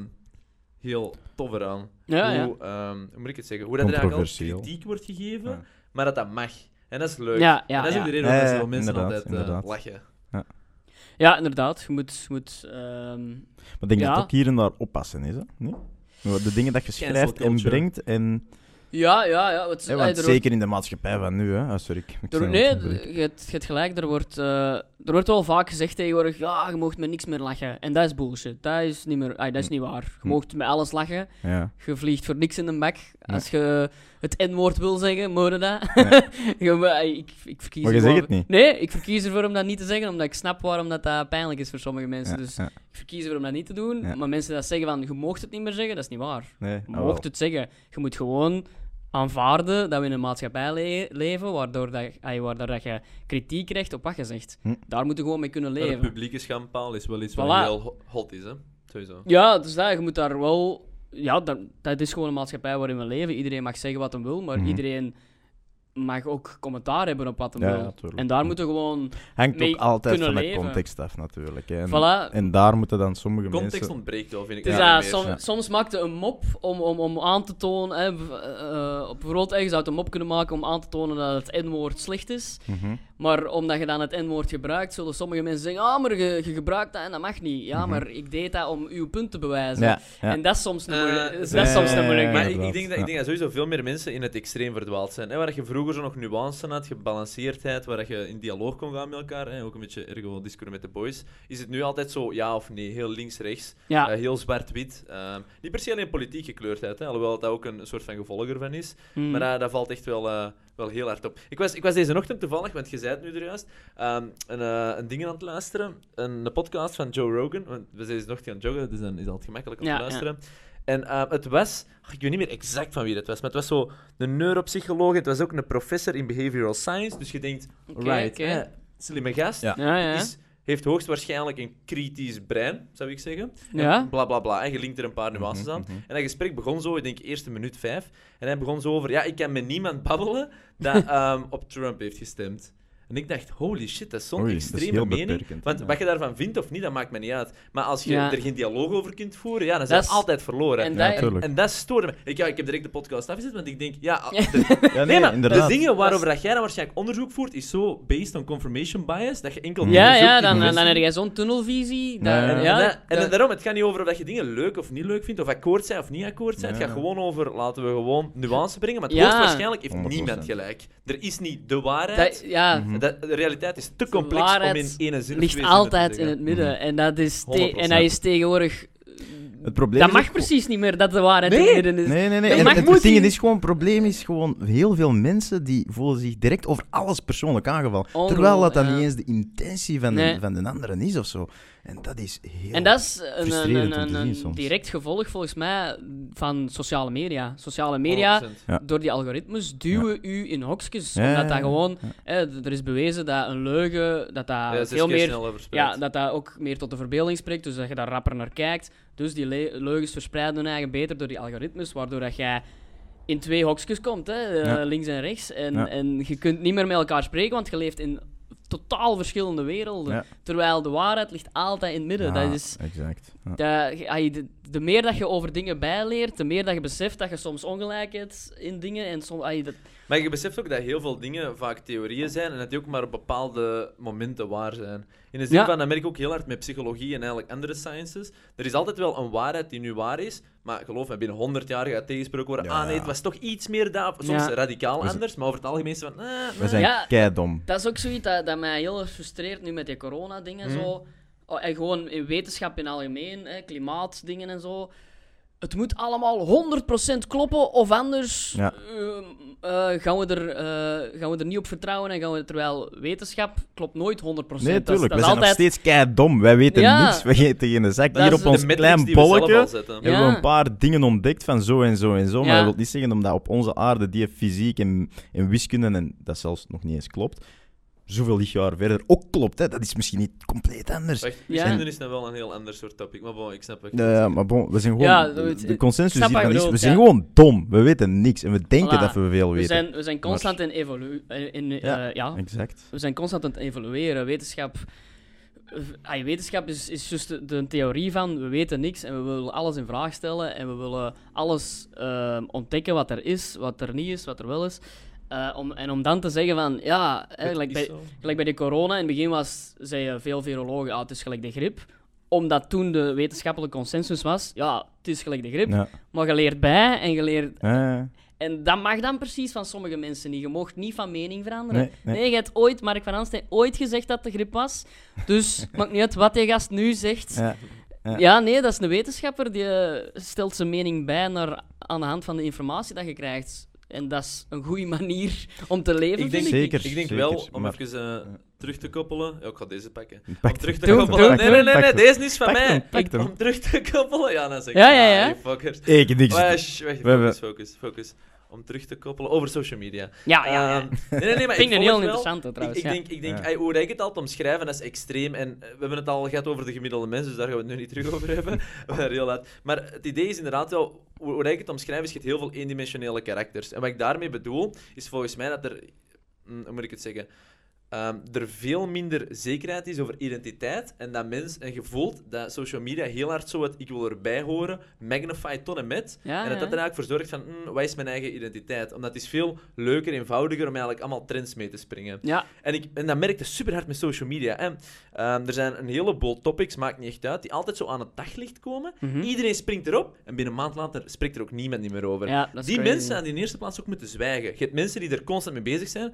[SPEAKER 4] heel tof eraan.
[SPEAKER 5] ja, ja.
[SPEAKER 4] hoe, ehm, hoe moet ik het zeggen? Hoe dat er eigenlijk al
[SPEAKER 2] Controversieel.
[SPEAKER 4] kritiek wordt gegeven,
[SPEAKER 2] Ja.
[SPEAKER 4] maar dat dat mag. En dat is leuk.
[SPEAKER 5] Ja,
[SPEAKER 4] en
[SPEAKER 5] ja,
[SPEAKER 4] dat is ook
[SPEAKER 5] ja.
[SPEAKER 4] de reden waarom
[SPEAKER 2] Ja,
[SPEAKER 4] dat zoveel mensen
[SPEAKER 2] inderdaad,
[SPEAKER 4] altijd eh,
[SPEAKER 2] inderdaad.
[SPEAKER 4] lachen.
[SPEAKER 5] ja, inderdaad. Je moet... Je moet ehm,
[SPEAKER 2] Maar ik denk dat
[SPEAKER 5] Ja.
[SPEAKER 2] het ook hier en daar oppassen is, hè? Nee? De dingen dat je
[SPEAKER 4] Cancel
[SPEAKER 2] schrijft en
[SPEAKER 4] culture.
[SPEAKER 2] brengt en...
[SPEAKER 5] Ja, ja, ja. Het,
[SPEAKER 2] Hè,
[SPEAKER 5] eh,
[SPEAKER 2] want
[SPEAKER 5] er
[SPEAKER 2] zeker in de maatschappij van nu, hè. Ah, sorry. ik- ik
[SPEAKER 5] wordt- er-
[SPEAKER 2] zei
[SPEAKER 5] nee,
[SPEAKER 2] het, sorry.
[SPEAKER 5] je hebt, je hebt gelijk. Er wordt, eh, er wordt wel vaak gezegd tegenwoordig, ja, je mag met niks meer lachen. En dat is bullshit. Dat is niet, meer, ai, dat is niet waar. Je
[SPEAKER 2] Hm.
[SPEAKER 5] mag met alles lachen.
[SPEAKER 2] Ja.
[SPEAKER 5] Je vliegt voor niks in de bek. Als je het N-woord wil zeggen, moet je dat.
[SPEAKER 2] Ja.
[SPEAKER 5] Je- maar ik, ik verkies
[SPEAKER 2] Maar je
[SPEAKER 5] ervoor-
[SPEAKER 2] zegt het niet.
[SPEAKER 5] Nee, ik verkies ervoor om dat niet te zeggen, omdat ik snap waarom dat, dat pijnlijk is voor sommige mensen.
[SPEAKER 2] Ja,
[SPEAKER 5] Dus
[SPEAKER 2] ja.
[SPEAKER 5] ik verkies ervoor om dat niet te doen.
[SPEAKER 2] Ja.
[SPEAKER 5] Maar mensen dat zeggen van, je mocht het niet meer zeggen, dat is niet waar.
[SPEAKER 2] Nee,
[SPEAKER 5] Je
[SPEAKER 2] ah, wel.
[SPEAKER 5] mocht het zeggen. Je moet gewoon aanvaarden dat we in een maatschappij le- leven waardoor dat, ay, waardoor dat je kritiek krijgt op wat je zegt.
[SPEAKER 2] Hm.
[SPEAKER 5] Daar moeten we gewoon mee kunnen
[SPEAKER 4] Maar de
[SPEAKER 5] leven.
[SPEAKER 4] publieke schandpaal is wel iets
[SPEAKER 5] Voilà.
[SPEAKER 4] wat heel ho- hot is, hè? Sowieso.
[SPEAKER 5] Ja, dus dat, je moet daar wel... Ja, dat, dat is gewoon een maatschappij waarin we leven. Iedereen mag zeggen wat hij wil, maar
[SPEAKER 2] Mhm.
[SPEAKER 5] iedereen mag ook commentaar hebben op wat hij
[SPEAKER 2] Ja,
[SPEAKER 5] wil.
[SPEAKER 2] ja, tuurlijk.
[SPEAKER 5] en daar moeten we gewoon...
[SPEAKER 2] Hangt
[SPEAKER 5] mee
[SPEAKER 2] ook altijd
[SPEAKER 5] kunnen
[SPEAKER 2] van de
[SPEAKER 5] leven.
[SPEAKER 2] context af, natuurlijk. Hè. En,
[SPEAKER 5] Voilà.
[SPEAKER 2] en daar moeten dan sommige
[SPEAKER 4] Context
[SPEAKER 2] mensen...
[SPEAKER 4] ontbreekt wel, vind ik.
[SPEAKER 5] Dus
[SPEAKER 4] daar
[SPEAKER 5] ja,
[SPEAKER 4] meer.
[SPEAKER 5] som-
[SPEAKER 2] ja.
[SPEAKER 5] soms maakte een mop om, om, om aan te tonen... Hè, b- eh, op bijvoorbeeld, eh, je zou het een mop kunnen maken om aan te tonen dat het N-woord slecht is.
[SPEAKER 2] Mhm.
[SPEAKER 5] Maar omdat je dan het N-woord gebruikt, zullen sommige mensen zeggen... Ah, maar je, je gebruikt dat en dat mag niet. Ja,
[SPEAKER 2] Mhm.
[SPEAKER 5] maar ik deed dat om uw punt te bewijzen.
[SPEAKER 2] Ja, ja.
[SPEAKER 5] En dat is soms een
[SPEAKER 4] Eh,
[SPEAKER 5] moeilijk. dat is
[SPEAKER 4] ja,
[SPEAKER 5] soms
[SPEAKER 2] ja,
[SPEAKER 5] een
[SPEAKER 2] ja,
[SPEAKER 5] moeilijk.
[SPEAKER 2] ja,
[SPEAKER 4] Maar ik, ik,
[SPEAKER 2] inderdaad.
[SPEAKER 4] denk dat,
[SPEAKER 2] Ja.
[SPEAKER 4] ik denk dat sowieso veel meer mensen in het extreem verdwaald zijn. Hè? Waar je vroeger zo nog nuance had, gebalanceerdheid, waar je in dialoog kon gaan met elkaar. Hè? Ook een beetje ergo discours met de boys. Is het nu altijd zo ja of nee? Heel links-rechts,
[SPEAKER 5] Ja.
[SPEAKER 4] eh, heel zwart-wit. Ehm, niet per se alleen politiek gekleurdheid, hè? alhoewel dat ook een soort van gevolg ervan is.
[SPEAKER 5] Mm.
[SPEAKER 4] Maar dat, dat valt echt wel, eh, wel heel hard op. Ik was, ik was deze ochtend toevallig, want je zei het nu er juist, ehm, een, eh, een ding aan het luisteren. Een, een podcast van Joe Rogan. Want we zijn deze ochtend aan het joggen, dus dan is het altijd gemakkelijk om
[SPEAKER 5] Ja,
[SPEAKER 4] te luisteren. En ehm, het was, ach, ik weet niet meer exact van wie het was, maar het was zo een neuropsycholoog. Het was ook een professor in behavioral science. Dus je denkt,
[SPEAKER 5] Oké,
[SPEAKER 4] right,
[SPEAKER 5] oké.
[SPEAKER 4] eh, slimme gast.
[SPEAKER 2] Ja.
[SPEAKER 5] Ja, ja.
[SPEAKER 4] eh, Is, heeft hoogstwaarschijnlijk een kritisch brein, zou ik zeggen.
[SPEAKER 5] Ja.
[SPEAKER 4] En bla bla bla. En je linkt er een paar nuances aan.
[SPEAKER 2] Mhm, mhm.
[SPEAKER 4] En dat gesprek begon zo, ik denk eerste minuut vijf. En hij begon zo over, ja, ik kan met niemand babbelen dat ehm, op Trump heeft gestemd. En ik dacht, holy shit, dat is zo'n
[SPEAKER 2] Oei, dat is
[SPEAKER 4] extreme
[SPEAKER 2] heel
[SPEAKER 4] mening.
[SPEAKER 2] beperkend,
[SPEAKER 4] Want
[SPEAKER 2] ja.
[SPEAKER 4] wat je daarvan vindt of niet, dat maakt me niet uit. Maar als je
[SPEAKER 5] Ja.
[SPEAKER 4] er geen dialoog over kunt voeren, ja, dan
[SPEAKER 5] Dat
[SPEAKER 4] zijn we
[SPEAKER 5] is-
[SPEAKER 4] altijd verloren.
[SPEAKER 5] en
[SPEAKER 4] En,
[SPEAKER 5] dat-
[SPEAKER 2] Ja, tuurlijk.
[SPEAKER 4] dat stoorde me. Ik, ja, ik heb direct de podcast afgezet, want ik denk, ja, a- de-
[SPEAKER 2] Ja, nee,
[SPEAKER 4] nee, maar
[SPEAKER 2] inderdaad.
[SPEAKER 4] de dingen waarover dat jij dan waarschijnlijk onderzoek voert, is zo based on confirmation bias, dat je enkel...
[SPEAKER 5] Ja,
[SPEAKER 4] onderzoekt
[SPEAKER 5] ja,
[SPEAKER 4] in
[SPEAKER 5] dan, dan, dan
[SPEAKER 4] mensen-
[SPEAKER 5] heb jij zo'n tunnelvisie. Dat,
[SPEAKER 2] Ja, ja,
[SPEAKER 4] en,
[SPEAKER 5] ja,
[SPEAKER 4] en, dat- en
[SPEAKER 5] dat-
[SPEAKER 4] daarom, het gaat niet over of dat je dingen leuk of niet leuk vindt, of akkoord zijn of niet akkoord zijn. Het
[SPEAKER 2] Ja.
[SPEAKER 4] gaat gewoon over, laten we gewoon nuance brengen. Maar het
[SPEAKER 5] Ja.
[SPEAKER 4] hoogstwaarschijnlijk heeft
[SPEAKER 2] 100%.
[SPEAKER 4] niemand gelijk. Er is niet de
[SPEAKER 5] dat-
[SPEAKER 4] waarheid.
[SPEAKER 5] ja,
[SPEAKER 2] Mhm.
[SPEAKER 4] Dat- de realiteit is te complex
[SPEAKER 5] waarheid
[SPEAKER 4] om in ene zin of twee
[SPEAKER 5] ligt
[SPEAKER 4] zinnen te
[SPEAKER 5] altijd in
[SPEAKER 4] zeggen.
[SPEAKER 5] het midden.
[SPEAKER 2] Mhm.
[SPEAKER 5] En, dat is te-
[SPEAKER 4] 100%.
[SPEAKER 5] en dat is tegenwoordig.
[SPEAKER 2] Het probleem
[SPEAKER 5] Dat
[SPEAKER 2] is ook
[SPEAKER 5] mag
[SPEAKER 2] gewoon-
[SPEAKER 5] precies niet meer dat de waarheid in
[SPEAKER 4] Nee.
[SPEAKER 5] het midden is.
[SPEAKER 2] Nee, nee, nee.
[SPEAKER 5] Dus Dat
[SPEAKER 2] En
[SPEAKER 5] mag-
[SPEAKER 2] het
[SPEAKER 5] moet
[SPEAKER 2] ding
[SPEAKER 5] niet.
[SPEAKER 2] is gewoon, het probleem is gewoon, heel veel mensen die voelen zich direct over alles persoonlijk aangevallen. terwijl dat dan
[SPEAKER 5] ja.
[SPEAKER 2] niet eens de intentie van,
[SPEAKER 5] Nee.
[SPEAKER 2] de, van de anderen is of zo. En dat is heel...
[SPEAKER 5] En dat is een, een,
[SPEAKER 2] frustrerend
[SPEAKER 5] een,
[SPEAKER 2] om te
[SPEAKER 5] een,
[SPEAKER 2] zien soms.
[SPEAKER 5] direct gevolg volgens mij van sociale media. Sociale media,
[SPEAKER 4] 100%.
[SPEAKER 2] Ja.
[SPEAKER 5] door die algoritmes, duwen u in hokjes.
[SPEAKER 2] Ja,
[SPEAKER 5] omdat dat
[SPEAKER 2] ja,
[SPEAKER 5] gewoon, hè, d- er is bewezen dat een leugen, dat dat
[SPEAKER 4] Ja, zes
[SPEAKER 5] veel
[SPEAKER 4] keer
[SPEAKER 5] meer
[SPEAKER 4] sneller verspreid.
[SPEAKER 5] Ja, dat dat ook meer tot de verbeelding spreekt, dus dat je daar rapper naar kijkt. Dus die le- leugens verspreiden hun eigen beter door die algoritmes, waardoor dat jij in twee hokjes komt, hè, eh,
[SPEAKER 2] Ja.
[SPEAKER 5] links en rechts. En,
[SPEAKER 2] Ja.
[SPEAKER 5] en je kunt niet meer met elkaar spreken, want je leeft in totaal verschillende werelden.
[SPEAKER 2] Ja. Ah.
[SPEAKER 5] Terwijl de waarheid ligt altijd in het midden.
[SPEAKER 2] Ja,
[SPEAKER 5] Dat is,
[SPEAKER 2] Exact. Ja.
[SPEAKER 5] dat, je- ai, de, de meer dat je over dingen bijleert, de meer dat je beseft dat je soms ongelijk hebt in dingen. En soms, ai, dat,
[SPEAKER 4] Maar je beseft ook dat heel veel dingen vaak theorieën zijn en dat die ook maar op bepaalde momenten waar zijn. In de zin
[SPEAKER 5] Ja.
[SPEAKER 4] van, dat merk ik ook heel hard met psychologie en eigenlijk andere sciences. Er is altijd wel een waarheid die nu waar is, maar geloof me, binnen 100 jaar gaat tegengesproken worden.
[SPEAKER 2] Ja.
[SPEAKER 4] Ah nee, het was toch iets meer daar, soms
[SPEAKER 5] Ja.
[SPEAKER 4] radicaal
[SPEAKER 2] We zijn-
[SPEAKER 4] anders, maar over het algemeen is het van. eh,
[SPEAKER 2] We
[SPEAKER 4] eh.
[SPEAKER 2] zijn
[SPEAKER 5] Ja.
[SPEAKER 2] keidom.
[SPEAKER 5] Dat is ook zoiets dat, dat mij heel erg frustreert nu met die corona-dingen.
[SPEAKER 4] Mhm.
[SPEAKER 5] Zo. Oh, En gewoon in wetenschap in algemeen, hè, klimaatdingen en zo. Het moet allemaal 100% kloppen, of anders
[SPEAKER 2] Ja.
[SPEAKER 5] ehm, eh, gaan, we er, eh, gaan we er niet op vertrouwen. En gaan we, terwijl wetenschap klopt nooit 100%.
[SPEAKER 2] Nee,
[SPEAKER 5] Dat is-
[SPEAKER 2] tuurlijk.
[SPEAKER 5] dat
[SPEAKER 2] We
[SPEAKER 5] is
[SPEAKER 2] zijn nog
[SPEAKER 5] altijd-
[SPEAKER 2] steeds keidom. Wij weten
[SPEAKER 5] Ja.
[SPEAKER 2] niks. We weten geen zak.
[SPEAKER 5] Dat
[SPEAKER 2] Hier
[SPEAKER 5] is
[SPEAKER 2] op
[SPEAKER 5] de
[SPEAKER 2] ons
[SPEAKER 4] matrix
[SPEAKER 2] klein
[SPEAKER 4] die we zelf al
[SPEAKER 2] bolletje
[SPEAKER 4] zetten.
[SPEAKER 5] Ja.
[SPEAKER 2] hebben we een paar dingen ontdekt van zo en zo en zo. Maar
[SPEAKER 5] Ja.
[SPEAKER 2] dat wil niet zeggen omdat op onze aarde die fysiek en, en wiskunde, en dat zelfs nog niet eens klopt, zoveel lichtjaar verder ook klopt. Hè. Dat is misschien niet compleet anders.
[SPEAKER 4] Wacht,
[SPEAKER 5] Ja.
[SPEAKER 4] wiskunde is dan wel een heel ander soort topic, maar bon, ik snap wat je
[SPEAKER 2] Ja,
[SPEAKER 4] bedoelt.
[SPEAKER 2] ja, maar bon, we zijn gewoon...
[SPEAKER 5] Ja,
[SPEAKER 2] de-
[SPEAKER 5] het-
[SPEAKER 2] de consensus
[SPEAKER 5] snap wat
[SPEAKER 2] hiervan
[SPEAKER 5] je
[SPEAKER 2] is, we
[SPEAKER 5] bedoelt,
[SPEAKER 2] zijn
[SPEAKER 5] ja.
[SPEAKER 2] gewoon dom. We weten niks. En we denken
[SPEAKER 5] Voilà.
[SPEAKER 2] dat we veel
[SPEAKER 5] we
[SPEAKER 2] weten.
[SPEAKER 5] zijn, we zijn constant in evolu eh, in, eh,
[SPEAKER 2] Ja.
[SPEAKER 5] ja,
[SPEAKER 2] Exact.
[SPEAKER 5] We zijn constant aan het evolueren. Wetenschap, eh, ah, wetenschap is, is juist de, de theorie van we weten niks en we willen alles in vraag stellen en we willen alles ehm, ontdekken wat er is, wat er niet is, wat er wel is. Eh, om, en om dan te zeggen van ja, hè,
[SPEAKER 4] Het
[SPEAKER 5] gelijk
[SPEAKER 4] is
[SPEAKER 5] Eh, bij,
[SPEAKER 4] zo.
[SPEAKER 5] gelijk bij de corona, in het begin was, zeiden veel virologen, ah, het is gelijk de griep. Omdat toen de wetenschappelijke consensus was, ja, het is gelijk de griep.
[SPEAKER 2] Ja. Ah,
[SPEAKER 5] Maar je leert bij en je leert
[SPEAKER 2] Ja, ja.
[SPEAKER 5] En dat mag dan precies van sommige mensen niet. Je mag niet van mening veranderen.
[SPEAKER 2] Nee,
[SPEAKER 5] Nee,
[SPEAKER 2] nee.
[SPEAKER 5] je hebt ooit, Mark van Aansteen, ooit gezegd dat de griep was. Dus maakt niet uit wat die gast nu zegt.
[SPEAKER 2] Ja. ja.
[SPEAKER 5] Ja, nee, dat is een wetenschapper die eh, stelt zijn mening bij naar, aan de hand van de informatie dat je krijgt. En dat is een goede manier om te leven,
[SPEAKER 4] Ik denk,
[SPEAKER 5] vind ik.
[SPEAKER 2] Zeker,
[SPEAKER 4] ik denk
[SPEAKER 2] zeker,
[SPEAKER 4] wel, om
[SPEAKER 2] maar-
[SPEAKER 4] even eh, terug te koppelen. Ja, ik ga deze pakken.
[SPEAKER 2] Pak
[SPEAKER 4] Om terug te
[SPEAKER 5] Doe,
[SPEAKER 4] koppelen.
[SPEAKER 5] doe,
[SPEAKER 4] nee,
[SPEAKER 5] doe.
[SPEAKER 4] nee, nee, nee,
[SPEAKER 2] Pak
[SPEAKER 4] deze is van
[SPEAKER 2] pak
[SPEAKER 4] mij.
[SPEAKER 2] hem, pak
[SPEAKER 4] Ik-
[SPEAKER 2] hem.
[SPEAKER 4] om terug te koppelen. Ja, dan zeg ik.
[SPEAKER 5] Ja, ja,
[SPEAKER 4] ah, Oh,
[SPEAKER 5] ja.
[SPEAKER 4] die fuckers.
[SPEAKER 2] Ik niks.
[SPEAKER 4] Wesh, weg,
[SPEAKER 2] We hebben-
[SPEAKER 4] focus, focus, focus. Om terug te koppelen over social media.
[SPEAKER 5] Ah, Ja, ja, ja.
[SPEAKER 4] Ehm, nee, nee, nee, maar
[SPEAKER 5] vind
[SPEAKER 4] ik
[SPEAKER 5] een
[SPEAKER 4] volg
[SPEAKER 5] heel
[SPEAKER 4] wel-
[SPEAKER 5] interessante trouwens.
[SPEAKER 4] Ik, ik
[SPEAKER 5] ja.
[SPEAKER 4] denk, ik denk
[SPEAKER 2] Ja.
[SPEAKER 4] ey, hoe dat ik het altijd omschrijven, dat is extreem. En eh, we hebben het al gehad over de gemiddelde mens, dus daar gaan we het nu niet terug over hebben. We zijn heel laat. Maar het idee is inderdaad wel, hoe, hoe dat ik het omschrijf, is je hebt heel veel eendimensionele karakters. En wat ik daarmee bedoel, is volgens mij dat er, hm, hoe moet ik het zeggen, ehm, er veel minder zekerheid is over identiteit. En dat mens, en je voelt dat social media heel hard zo het ik wil erbij horen, magnify ton en met.
[SPEAKER 5] Ja,
[SPEAKER 4] en dat
[SPEAKER 5] ja.
[SPEAKER 4] dat er eigenlijk voor zorgt van, hm, wat is mijn eigen identiteit? Omdat het is veel leuker, eenvoudiger om eigenlijk allemaal trends mee te springen.
[SPEAKER 5] Ja,
[SPEAKER 4] En, ik, en dat merkte super hard met social media. Hè. Ehm, er zijn een heleboel topics, maakt niet echt uit, die altijd zo aan het daglicht komen.
[SPEAKER 5] Mhm.
[SPEAKER 4] Iedereen springt erop en binnen een maand later spreekt er ook niemand niet meer over.
[SPEAKER 5] ja, dat is
[SPEAKER 4] die
[SPEAKER 5] crazy.
[SPEAKER 4] mensen aan die in eerste plaats ook moeten zwijgen. Je hebt mensen die er constant mee bezig zijn.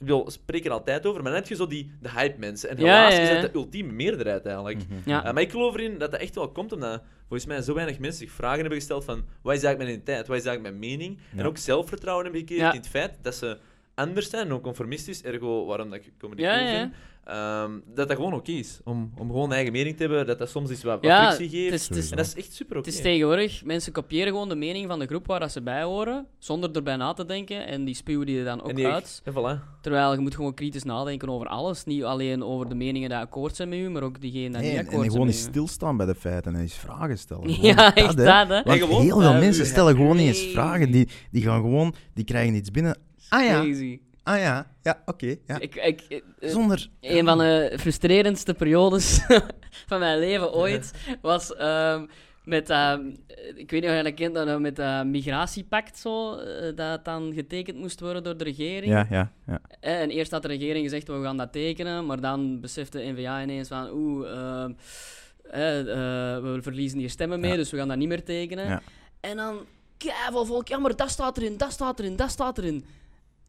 [SPEAKER 4] Ik bedoel, spreken er altijd over, maar dan heb je zo die de hype mensen. En
[SPEAKER 5] Ja,
[SPEAKER 4] helaas
[SPEAKER 5] ja, ja. Mhm.
[SPEAKER 4] is dat de ultieme meerderheid eigenlijk.
[SPEAKER 5] Ja.
[SPEAKER 4] Uh, maar ik geloof erin dat dat echt wel komt omdat volgens mij zo weinig mensen zich vragen hebben gesteld van wat is eigenlijk mijn identiteit, wat is eigenlijk mijn mening. En
[SPEAKER 2] Ja.
[SPEAKER 4] ook zelfvertrouwen hebben gekregen
[SPEAKER 5] Ja.
[SPEAKER 4] in het feit dat ze anders zijn, non-conformistisch, ergo waarom dat ik comedy
[SPEAKER 5] Ja,
[SPEAKER 4] cool
[SPEAKER 5] ja.
[SPEAKER 4] vind. Ehm, dat dat gewoon oké is. Om, om gewoon een eigen mening te hebben, dat dat soms iets wat, wat
[SPEAKER 5] Ja,
[SPEAKER 4] frictie geeft.
[SPEAKER 5] het is, het is-
[SPEAKER 4] En dat is echt super
[SPEAKER 5] het
[SPEAKER 4] oké.
[SPEAKER 5] is tegenwoordig. Mensen kopiëren gewoon de mening van de groep waar dat ze bij horen, zonder erbij na te denken. En die spuwen die er dan ook
[SPEAKER 4] en die,
[SPEAKER 5] uit.
[SPEAKER 4] Ja, voilà.
[SPEAKER 5] Terwijl je moet gewoon kritisch nadenken over alles. Niet alleen over de meningen die akkoord zijn met u, maar ook diegenen die
[SPEAKER 2] Nee,
[SPEAKER 5] niet
[SPEAKER 2] en,
[SPEAKER 5] akkoord
[SPEAKER 2] en
[SPEAKER 5] zijn
[SPEAKER 2] gewoon
[SPEAKER 5] met
[SPEAKER 2] eens
[SPEAKER 5] u.
[SPEAKER 2] stilstaan bij de feiten en eens vragen stellen. Gewoon
[SPEAKER 5] Ja, echt
[SPEAKER 2] hè.
[SPEAKER 5] dat, hè.
[SPEAKER 2] Want
[SPEAKER 4] En gewoon-
[SPEAKER 2] heel veel
[SPEAKER 5] Eh,
[SPEAKER 2] mensen
[SPEAKER 5] ja,
[SPEAKER 2] stellen gewoon niet eens
[SPEAKER 5] crazy.
[SPEAKER 2] vragen. Die, die gaan gewoon, die krijgen iets binnen. Ah ja,
[SPEAKER 5] Crazy.
[SPEAKER 2] ah ja, ja, oké. ja.
[SPEAKER 5] Ik, ik, eh, eh,
[SPEAKER 2] Zonder.
[SPEAKER 5] Een van de frustrerendste periodes van mijn leven ooit was ehm, met, ehm, ik weet niet of je dat kent, dat, eh, met dat migratiepact zo, eh, dat dan getekend moest worden door de regering.
[SPEAKER 2] Ja, ja, ja.
[SPEAKER 5] Eh, En eerst had de regering gezegd, we gaan dat tekenen, maar dan besefte N-VA ineens van, oeh, ehm, eh, eh, we verliezen hier stemmen mee,
[SPEAKER 2] Ja.
[SPEAKER 5] dus we gaan dat niet meer tekenen.
[SPEAKER 2] Ja.
[SPEAKER 5] En dan, keivel volk, ja, maar dat staat erin, dat staat erin, dat staat erin.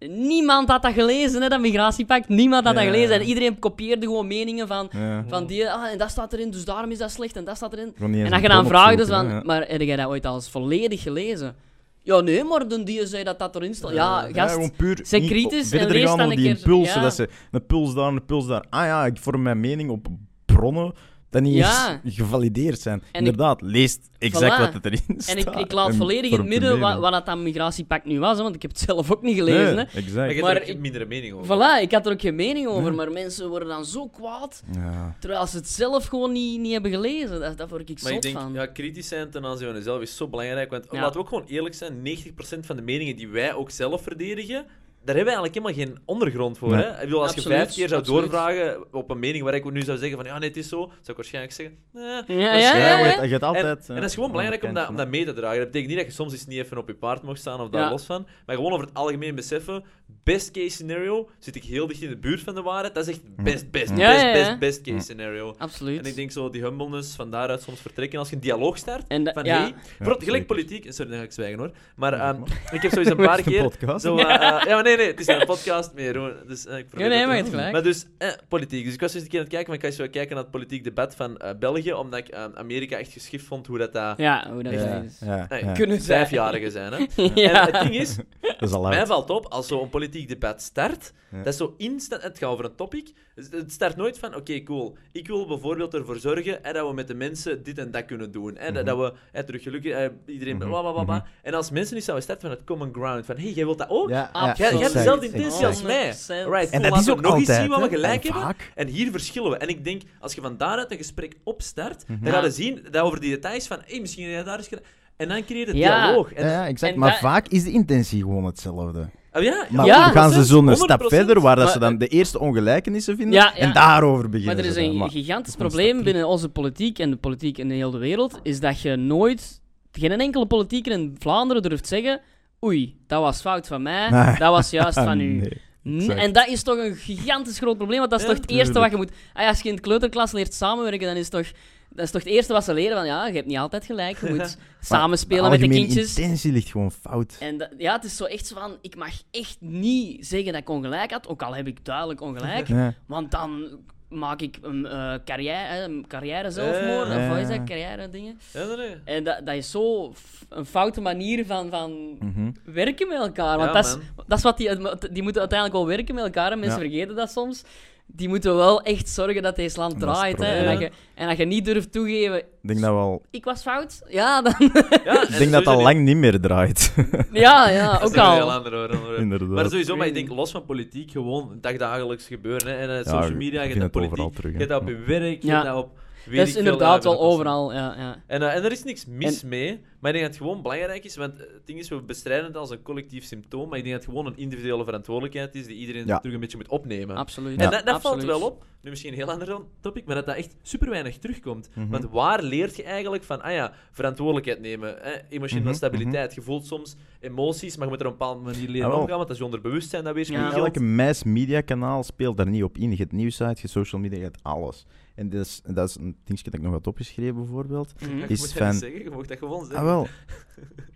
[SPEAKER 5] Niemand had dat gelezen, hè, dat migratiepact. Niemand had
[SPEAKER 2] Ja.
[SPEAKER 5] dat gelezen. En iedereen kopieerde gewoon meningen van,
[SPEAKER 2] ja.
[SPEAKER 5] van die, ah, en dat staat erin, dus daarom is dat slecht, en dat staat erin.
[SPEAKER 2] Gewoon niet eens
[SPEAKER 5] En als je
[SPEAKER 2] een
[SPEAKER 5] dan
[SPEAKER 2] bron
[SPEAKER 5] vraagt, dus
[SPEAKER 2] opzoeken,
[SPEAKER 5] van,
[SPEAKER 2] hè, ja.
[SPEAKER 5] maar heb jij dat ooit al eens volledig gelezen? Ja, nee, maar de die zei dat dat erin staat. Ja,
[SPEAKER 2] Ja,
[SPEAKER 5] gast,
[SPEAKER 2] gewoon puur
[SPEAKER 5] zijn
[SPEAKER 2] niet-
[SPEAKER 5] kritisch
[SPEAKER 2] verder
[SPEAKER 5] en lees
[SPEAKER 2] gaan
[SPEAKER 5] dan
[SPEAKER 2] op
[SPEAKER 5] een
[SPEAKER 2] die
[SPEAKER 5] keer-
[SPEAKER 2] impulsen.
[SPEAKER 5] ja.
[SPEAKER 2] Dat ze een puls daar, een puls daar. Ah ja, ik vorm mijn mening op bronnen dat niet
[SPEAKER 5] Ja.
[SPEAKER 2] eens gevalideerd zijn.
[SPEAKER 5] ik-
[SPEAKER 2] Inderdaad, lees exact
[SPEAKER 5] Voilà.
[SPEAKER 2] wat het erin staat.
[SPEAKER 5] En ik, ik laat
[SPEAKER 2] en
[SPEAKER 5] volledig in het
[SPEAKER 2] vormt je
[SPEAKER 5] midden wat,
[SPEAKER 2] mening.
[SPEAKER 5] wat dat aan migratiepact nu was, hè, want ik heb het zelf ook niet
[SPEAKER 2] Nee,
[SPEAKER 5] gelezen. Hè.
[SPEAKER 4] Maar
[SPEAKER 2] exact.
[SPEAKER 4] je hebt
[SPEAKER 5] Maar
[SPEAKER 4] er ook
[SPEAKER 5] ik-
[SPEAKER 4] mindere mening over.
[SPEAKER 5] Voilà, ik had er ook geen mening over, maar mensen worden dan zo kwaad,
[SPEAKER 2] Ja.
[SPEAKER 5] terwijl ze het zelf gewoon niet, niet hebben gelezen. Daar, daar word ik
[SPEAKER 4] Maar
[SPEAKER 5] zot
[SPEAKER 4] ik denk,
[SPEAKER 5] van.
[SPEAKER 4] ja, kritisch zijn ten aanzien van jezelf is zo belangrijk. Want
[SPEAKER 5] Ja.
[SPEAKER 4] laten we ook gewoon eerlijk zijn, 90% van de meningen die wij ook zelf verdedigen, daar hebben we eigenlijk helemaal geen ondergrond voor.
[SPEAKER 2] Nee.
[SPEAKER 4] Hè? Ik bedoel, als
[SPEAKER 5] Absoluut,
[SPEAKER 4] je vijf keer zou
[SPEAKER 5] absoluut.
[SPEAKER 4] doorvragen op een mening waar ik nu zou zeggen van ja, nee, het is zo, zou ik waarschijnlijk zeggen, nee,
[SPEAKER 5] Ja,
[SPEAKER 4] dat is
[SPEAKER 5] ja,
[SPEAKER 2] Ja,
[SPEAKER 4] raar,
[SPEAKER 5] ja,
[SPEAKER 2] je
[SPEAKER 4] want-
[SPEAKER 2] hebt- je hebt
[SPEAKER 4] En,
[SPEAKER 2] altijd... eh,
[SPEAKER 4] en dat is gewoon belangrijk om dat, om dat mee te dragen. Dat betekent niet dat je soms eens niet even op je paard mag staan of daar
[SPEAKER 5] Ja.
[SPEAKER 4] los van. Maar gewoon over het algemeen beseffen, best case scenario, zit ik heel dicht in de buurt van de waarheid. Dat is echt best, best,
[SPEAKER 5] Ja,
[SPEAKER 4] best,
[SPEAKER 5] ja, ja.
[SPEAKER 4] best, best case scenario.
[SPEAKER 5] Absoluut.
[SPEAKER 4] En ik denk zo, die humbleness van daaruit soms vertrekken als je een dialoog start.
[SPEAKER 5] En dat-
[SPEAKER 4] van
[SPEAKER 5] ja.
[SPEAKER 4] hey, bijvoorbeeld gelijk
[SPEAKER 2] zeker.
[SPEAKER 4] politiek. Sorry, dan ga ik zwijgen hoor. Maar ehm, ik heb sowieso een paar
[SPEAKER 2] Het is
[SPEAKER 4] keer.
[SPEAKER 2] een podcast.
[SPEAKER 4] Zo, eh, eh, ja, maar nee, nee, het is een podcast meer hoor. Dus, eh, ik probeer
[SPEAKER 5] Nee, nee,
[SPEAKER 4] dat te
[SPEAKER 5] maar je hebt
[SPEAKER 4] doen.
[SPEAKER 5] gelijk.
[SPEAKER 4] Maar dus, eh, politiek. Dus ik was eens een keer aan het kijken, maar ik was zo kijken naar het politiek debat van eh, België, omdat ik ehm, Amerika echt geschift vond hoe dat. dat
[SPEAKER 5] Ja, hoe dat
[SPEAKER 2] Ja,
[SPEAKER 5] is.
[SPEAKER 2] ja,
[SPEAKER 4] Nee,
[SPEAKER 2] ja.
[SPEAKER 5] Kunnen ze.
[SPEAKER 4] Vijfjarigen zijn, hè?
[SPEAKER 5] Ja.
[SPEAKER 4] En het ding is,
[SPEAKER 2] Dat is al
[SPEAKER 4] mij
[SPEAKER 2] uit.
[SPEAKER 4] valt op, als zo'n politiek debat start,
[SPEAKER 2] Ja.
[SPEAKER 4] dat is zo instant, het gaat over een topic, het start nooit van, oké, cool, ik wil bijvoorbeeld ervoor zorgen hè, dat we met de mensen dit en dat kunnen doen. Hè,
[SPEAKER 2] Mhm.
[SPEAKER 4] dat, dat we hè, terug gelukkig, hè, iedereen, bla bla bla. bla. En als mensen niet zouden starten van het common ground, van, hé, hey, jij wilt dat ook?
[SPEAKER 2] Ja, ja,
[SPEAKER 5] Absoluut.
[SPEAKER 4] Jij, jij hebt
[SPEAKER 2] exact,
[SPEAKER 4] dezelfde
[SPEAKER 2] exact.
[SPEAKER 4] intentie als mij.
[SPEAKER 5] 100%.
[SPEAKER 4] Right,
[SPEAKER 2] En
[SPEAKER 4] cool,
[SPEAKER 2] dat is
[SPEAKER 4] laten
[SPEAKER 2] ook
[SPEAKER 4] we nog eens
[SPEAKER 2] altijd,
[SPEAKER 4] zien wat we
[SPEAKER 2] hè,
[SPEAKER 4] gelijk
[SPEAKER 2] en
[SPEAKER 4] hebben.
[SPEAKER 2] vaak.
[SPEAKER 4] En hier verschillen we. En ik denk, als je van daaruit een gesprek opstart,
[SPEAKER 2] Mhm.
[SPEAKER 4] dan
[SPEAKER 5] Ja.
[SPEAKER 4] ga je zien dat over die details van, hé, misschien heb jij daar eens... gera- En dan creëer je het
[SPEAKER 5] Ja.
[SPEAKER 4] dialoog. En,
[SPEAKER 2] Ja, ja, exact.
[SPEAKER 5] en
[SPEAKER 2] maar
[SPEAKER 5] dat-
[SPEAKER 2] vaak is de intentie gewoon hetzelfde.
[SPEAKER 4] Oh ja,
[SPEAKER 2] Maar
[SPEAKER 5] Ja,
[SPEAKER 2] dan gaan ze zo'n
[SPEAKER 4] 100%.
[SPEAKER 2] stap verder waar dat ze
[SPEAKER 5] Maar-
[SPEAKER 2] dan de eerste ongelijkenissen vinden
[SPEAKER 5] Ja, ja.
[SPEAKER 2] en daarover beginnen.
[SPEAKER 5] Maar er is
[SPEAKER 2] ze dan.
[SPEAKER 5] een
[SPEAKER 2] Maar-
[SPEAKER 5] gigantisch
[SPEAKER 2] dat is
[SPEAKER 5] probleem
[SPEAKER 2] niet.
[SPEAKER 5] binnen onze politiek en de politiek in de hele wereld, is dat je nooit, geen enkele politieker in Vlaanderen durft zeggen, oei, dat was fout van mij,
[SPEAKER 2] Nee.
[SPEAKER 5] dat was juist van u.
[SPEAKER 2] Ah, Nee.
[SPEAKER 5] N-
[SPEAKER 2] Exact.
[SPEAKER 5] En dat is toch een gigantisch groot probleem, want dat is
[SPEAKER 4] Ja,
[SPEAKER 5] toch het eerste wat
[SPEAKER 2] tuurlijk.
[SPEAKER 5] je moet... Ah ja, als je in de kleuterklas leert samenwerken, dan is toch Dat is toch het eerste wat ze leren, van ja, je hebt niet altijd gelijk, je moet samenspelen
[SPEAKER 2] Maar
[SPEAKER 5] met de
[SPEAKER 2] algemene
[SPEAKER 5] kindjes.
[SPEAKER 2] intentie ligt gewoon fout.
[SPEAKER 5] En dat- ja, het is zo echt zo van, ik mag echt niet zeggen dat ik ongelijk had, ook al heb ik duidelijk ongelijk,
[SPEAKER 2] Ja.
[SPEAKER 5] want dan maak ik een eh, carrière, een carrière zelfmoord, of wat is dat,
[SPEAKER 2] Eh, Ja.
[SPEAKER 5] carrière dingen.
[SPEAKER 4] Ja, nee, nee.
[SPEAKER 5] En dat, dat is zo f- een foute manier van, van
[SPEAKER 2] Mhm.
[SPEAKER 5] werken met elkaar. Want
[SPEAKER 4] Ja,
[SPEAKER 5] dat, is,
[SPEAKER 4] man.
[SPEAKER 5] dat is wat die, die moeten uiteindelijk wel werken met elkaar. En mensen
[SPEAKER 2] Ja.
[SPEAKER 5] vergeten dat soms. Die moeten wel echt zorgen dat deze land
[SPEAKER 2] En dat is het
[SPEAKER 5] draait. hè. En,
[SPEAKER 4] probleem.
[SPEAKER 5] dat je, en dat je niet durft toegeven,
[SPEAKER 2] Ik denk dat we al...
[SPEAKER 5] ik was fout. Ja, dan,
[SPEAKER 4] Ja,
[SPEAKER 2] Ik denk dat het al lang niet meer draait.
[SPEAKER 5] ja, ja
[SPEAKER 4] Dat
[SPEAKER 5] ook
[SPEAKER 4] is een heel
[SPEAKER 5] al.
[SPEAKER 4] ander hoor, ander hoor.
[SPEAKER 2] Inderdaad.
[SPEAKER 4] Maar sowieso, maar ik
[SPEAKER 5] Crazy.
[SPEAKER 4] denk los van politiek, gewoon het dagdagelijks gebeuren. Hè. En eh,
[SPEAKER 2] Ja,
[SPEAKER 4] social
[SPEAKER 2] ik
[SPEAKER 4] media, je
[SPEAKER 2] vind
[SPEAKER 4] hebt dat
[SPEAKER 2] het overal
[SPEAKER 4] politiek,
[SPEAKER 2] terug,
[SPEAKER 4] je
[SPEAKER 2] hè.
[SPEAKER 4] hebt dat op je werk, je
[SPEAKER 5] Ja.
[SPEAKER 4] hebt dat op... weet
[SPEAKER 5] Dat
[SPEAKER 4] ik
[SPEAKER 5] is
[SPEAKER 4] veel,
[SPEAKER 5] inderdaad
[SPEAKER 4] ja,
[SPEAKER 5] wel
[SPEAKER 4] dat is-
[SPEAKER 5] overal. Ja, ja.
[SPEAKER 4] En, eh, en er is niks mis mee, maar ik denk dat het gewoon belangrijk is, want eh, het ding is, we bestrijden het als een collectief symptoom, maar ik denk dat het gewoon een individuele verantwoordelijkheid is die iedereen
[SPEAKER 2] Ja.
[SPEAKER 4] terug een beetje moet opnemen.
[SPEAKER 5] Absoluut.
[SPEAKER 4] En dat, dat valt
[SPEAKER 5] Absoluut.
[SPEAKER 4] wel op, nu misschien een heel ander topic, maar dat dat echt super weinig terugkomt.
[SPEAKER 2] Mhm.
[SPEAKER 4] Want waar leert je eigenlijk van, ah ja, verantwoordelijkheid nemen, hè, emotionele
[SPEAKER 2] Mhm,
[SPEAKER 4] stabiliteit, je voelt soms emoties, maar je moet er op een bepaalde manier leren
[SPEAKER 2] Ah, wel.
[SPEAKER 4] omgaan, want dat is je onderbewustzijn dat weerspiegelt.
[SPEAKER 5] Ja.
[SPEAKER 2] Elke mass media kanaal speelt daar niet op in. Je hebt nieuwsite, je social media, je hebt alles. En dat is, dat is een dingetje dat ik nog had opgeschreven, bijvoorbeeld.
[SPEAKER 5] Mhm.
[SPEAKER 4] Je
[SPEAKER 2] Is
[SPEAKER 4] moet dat niet
[SPEAKER 2] fan-
[SPEAKER 4] zeggen, je mag dat gewoon zeggen.
[SPEAKER 2] Ah, wel.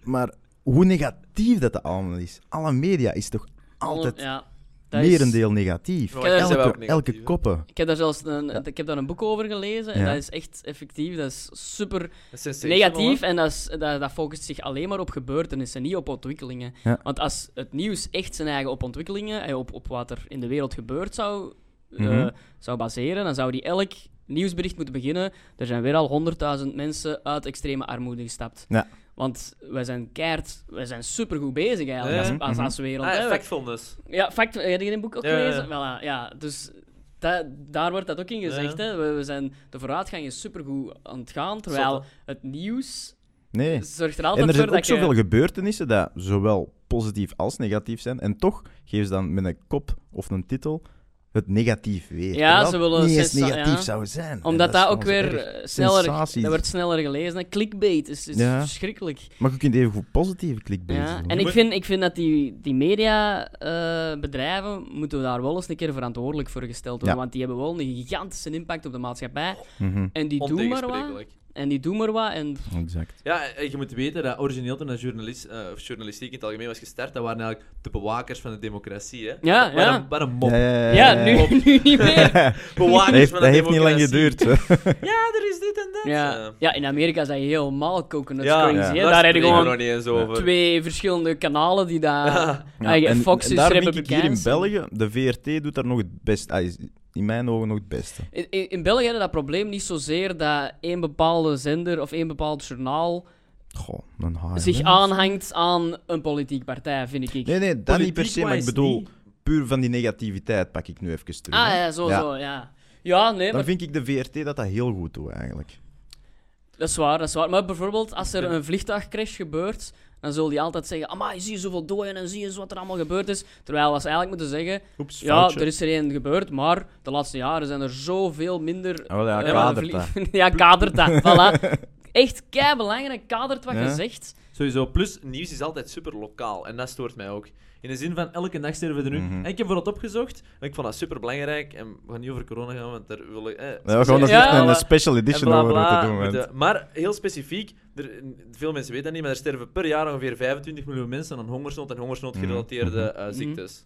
[SPEAKER 2] Maar hoe negatief dat dat allemaal is. Alle media is toch altijd
[SPEAKER 5] Ja, dat is-
[SPEAKER 2] merendeel negatief.
[SPEAKER 4] Maar
[SPEAKER 5] wij zijn
[SPEAKER 2] Elke,
[SPEAKER 4] wel ook negatief,
[SPEAKER 2] elke
[SPEAKER 4] hè?
[SPEAKER 2] koppen.
[SPEAKER 5] Ik heb daar zelfs een, ik heb daar een boek over gelezen. En
[SPEAKER 2] Ja.
[SPEAKER 5] dat is echt effectief. Dat is super
[SPEAKER 4] Dat is sensational,
[SPEAKER 5] negatief
[SPEAKER 4] hè.
[SPEAKER 5] en dat, is, dat, dat focust zich alleen maar op gebeurtenissen, niet op ontwikkelingen.
[SPEAKER 2] Ja.
[SPEAKER 5] Want als het nieuws echt zijn eigen op ontwikkelingen en op, op wat er in de wereld gebeurt zou, eh,
[SPEAKER 2] Mhm.
[SPEAKER 5] zou baseren, dan zou die elk nieuwsbericht moeten beginnen. Er zijn weer al honderdduizend mensen uit extreme armoede gestapt.
[SPEAKER 2] Ja.
[SPEAKER 5] Want wij zijn keihard, wij zijn supergoed bezig eigenlijk
[SPEAKER 4] Ja.
[SPEAKER 5] als, als,
[SPEAKER 2] Mhm.
[SPEAKER 5] als wereld.
[SPEAKER 4] Ah,
[SPEAKER 5] hè.
[SPEAKER 4] factfulness.
[SPEAKER 5] Ja, fact, heb je een boek ook
[SPEAKER 4] Ja, ja, ja.
[SPEAKER 5] gelezen? Voilà, ja. Dus da- daar wordt dat ook in gezegd.
[SPEAKER 4] Ja.
[SPEAKER 5] Hè. We, we zijn, de vooruitgang is supergoed aan het gaan, terwijl
[SPEAKER 4] Zot,
[SPEAKER 5] het nieuws
[SPEAKER 2] Nee.
[SPEAKER 5] zorgt er
[SPEAKER 2] En
[SPEAKER 5] altijd
[SPEAKER 2] er
[SPEAKER 5] voor
[SPEAKER 2] zijn ook
[SPEAKER 5] dat je...
[SPEAKER 2] zoveel gebeurtenissen dat zowel positief als negatief zijn. En toch geven ze dan met een kop of een titel het negatief weer.
[SPEAKER 5] Ja,
[SPEAKER 2] terwijl
[SPEAKER 5] ze
[SPEAKER 2] het
[SPEAKER 5] willen
[SPEAKER 2] niet eens
[SPEAKER 5] sensa-
[SPEAKER 2] negatief
[SPEAKER 5] ja.
[SPEAKER 2] zou zijn.
[SPEAKER 5] Omdat
[SPEAKER 2] En
[SPEAKER 5] dat,
[SPEAKER 2] is
[SPEAKER 5] ook
[SPEAKER 2] gewoon
[SPEAKER 5] weer
[SPEAKER 2] zo erg.
[SPEAKER 5] eh, sneller...
[SPEAKER 2] Sensatie.
[SPEAKER 5] Dat wordt sneller gelezen. hè. Clickbait is, is
[SPEAKER 2] Ja.
[SPEAKER 5] verschrikkelijk.
[SPEAKER 2] Maar je kunt even goed positieve clickbait
[SPEAKER 5] Ja.
[SPEAKER 2] doen.
[SPEAKER 5] En ik vind, ik vind dat die, die mediabedrijven... moeten we daar wel eens een keer verantwoordelijk voor gesteld worden.
[SPEAKER 2] Ja.
[SPEAKER 5] Want die hebben wel een gigantische impact op de maatschappij.
[SPEAKER 2] Mhm,
[SPEAKER 5] En die doen maar wat.
[SPEAKER 4] Ontegensprekelijk.
[SPEAKER 5] En die doen maar wat. En
[SPEAKER 2] Exact.
[SPEAKER 4] Ja, en je moet weten dat origineel toen dat journalist, eh, of journalistiek in het algemeen was gestart, dat waren eigenlijk de bewakers van de democratie. Hè?
[SPEAKER 5] Ja,
[SPEAKER 4] Wat
[SPEAKER 5] ja.
[SPEAKER 4] een- Wat een mop.
[SPEAKER 2] Eh,
[SPEAKER 5] ja, nu, nu niet meer.
[SPEAKER 4] Bewakers
[SPEAKER 2] Dat heeft,
[SPEAKER 4] van
[SPEAKER 2] dat
[SPEAKER 4] de
[SPEAKER 2] heeft niet lang
[SPEAKER 4] democratie.
[SPEAKER 2] geduurd. hè.
[SPEAKER 4] Ja, er is dit en dat.
[SPEAKER 5] Ja. ja, in Amerika zijn helemaal coconut
[SPEAKER 4] Ja,
[SPEAKER 5] crazy.
[SPEAKER 2] ja.
[SPEAKER 5] hè. Daar heb
[SPEAKER 4] spreken
[SPEAKER 5] je
[SPEAKER 4] we nog
[SPEAKER 5] gewoon
[SPEAKER 4] niet eens over.
[SPEAKER 5] twee verschillende kanalen die daar...
[SPEAKER 2] Ja,
[SPEAKER 5] Ah, Ja,
[SPEAKER 2] en,
[SPEAKER 5] Fox
[SPEAKER 2] en
[SPEAKER 5] is
[SPEAKER 2] daar vind ik
[SPEAKER 5] Republikeins
[SPEAKER 2] hier in België,
[SPEAKER 5] en-
[SPEAKER 2] de VRT doet daar nog het beste. Ah, is in mijn ogen nog het beste.
[SPEAKER 5] In, in- in België hebben we dat probleem niet zozeer dat één bepaalde zender of één bepaald journaal
[SPEAKER 2] Goh, een haar.
[SPEAKER 5] zich
[SPEAKER 2] hè.
[SPEAKER 5] aanhangt aan een politieke partij, vind ik.
[SPEAKER 2] Nee, nee, dat niet per se, maar ik bedoel, puur van die negativiteit pak ik nu even terug.
[SPEAKER 5] ah
[SPEAKER 2] hè.
[SPEAKER 5] ja, zo,
[SPEAKER 2] Ja.
[SPEAKER 5] zo, ja. Ja, nee,
[SPEAKER 2] Dan
[SPEAKER 5] maar
[SPEAKER 2] vind ik de VRT dat dat heel goed doet, eigenlijk.
[SPEAKER 5] dat is waar, dat is waar. Maar bijvoorbeeld, als er een vliegtuigcrash gebeurt, dan zullen die altijd zeggen, amai, zie je zoveel doden en zie je eens wat er allemaal gebeurd is. Terwijl wat ze eigenlijk moeten zeggen,
[SPEAKER 2] Oeps,
[SPEAKER 5] ja, er is er één gebeurd, maar de laatste jaren zijn er zoveel minder...
[SPEAKER 2] Ah, wel, ja,
[SPEAKER 5] eh,
[SPEAKER 2] kadert
[SPEAKER 5] vlie- ja, kadert dat, voilà. Echt keibelangrijk, kadert wat je
[SPEAKER 2] Ja.
[SPEAKER 5] zegt.
[SPEAKER 4] Sowieso, plus nieuws is altijd super lokaal en dat stoort mij ook. In de zin van elke dag sterven er nu.
[SPEAKER 2] Mhm.
[SPEAKER 4] En ik heb voor het opgezocht en ik vond dat super belangrijk. En we gaan niet over corona gaan, want daar wil ik. Eh,
[SPEAKER 2] Daar hebben we gewoon nog
[SPEAKER 5] Ja,
[SPEAKER 2] echt een,
[SPEAKER 5] maar-
[SPEAKER 2] een special edition
[SPEAKER 4] en bla,
[SPEAKER 2] over
[SPEAKER 4] bla,
[SPEAKER 2] moeten doen.
[SPEAKER 4] moeten-
[SPEAKER 2] want-
[SPEAKER 4] Maar heel specifiek, er, veel mensen weten dat niet, maar er sterven per jaar ongeveer 25 miljoen mensen aan hongersnood en hongersnoodgerelateerde
[SPEAKER 2] Mhm.
[SPEAKER 4] eh,
[SPEAKER 5] Mhm.
[SPEAKER 4] ziektes.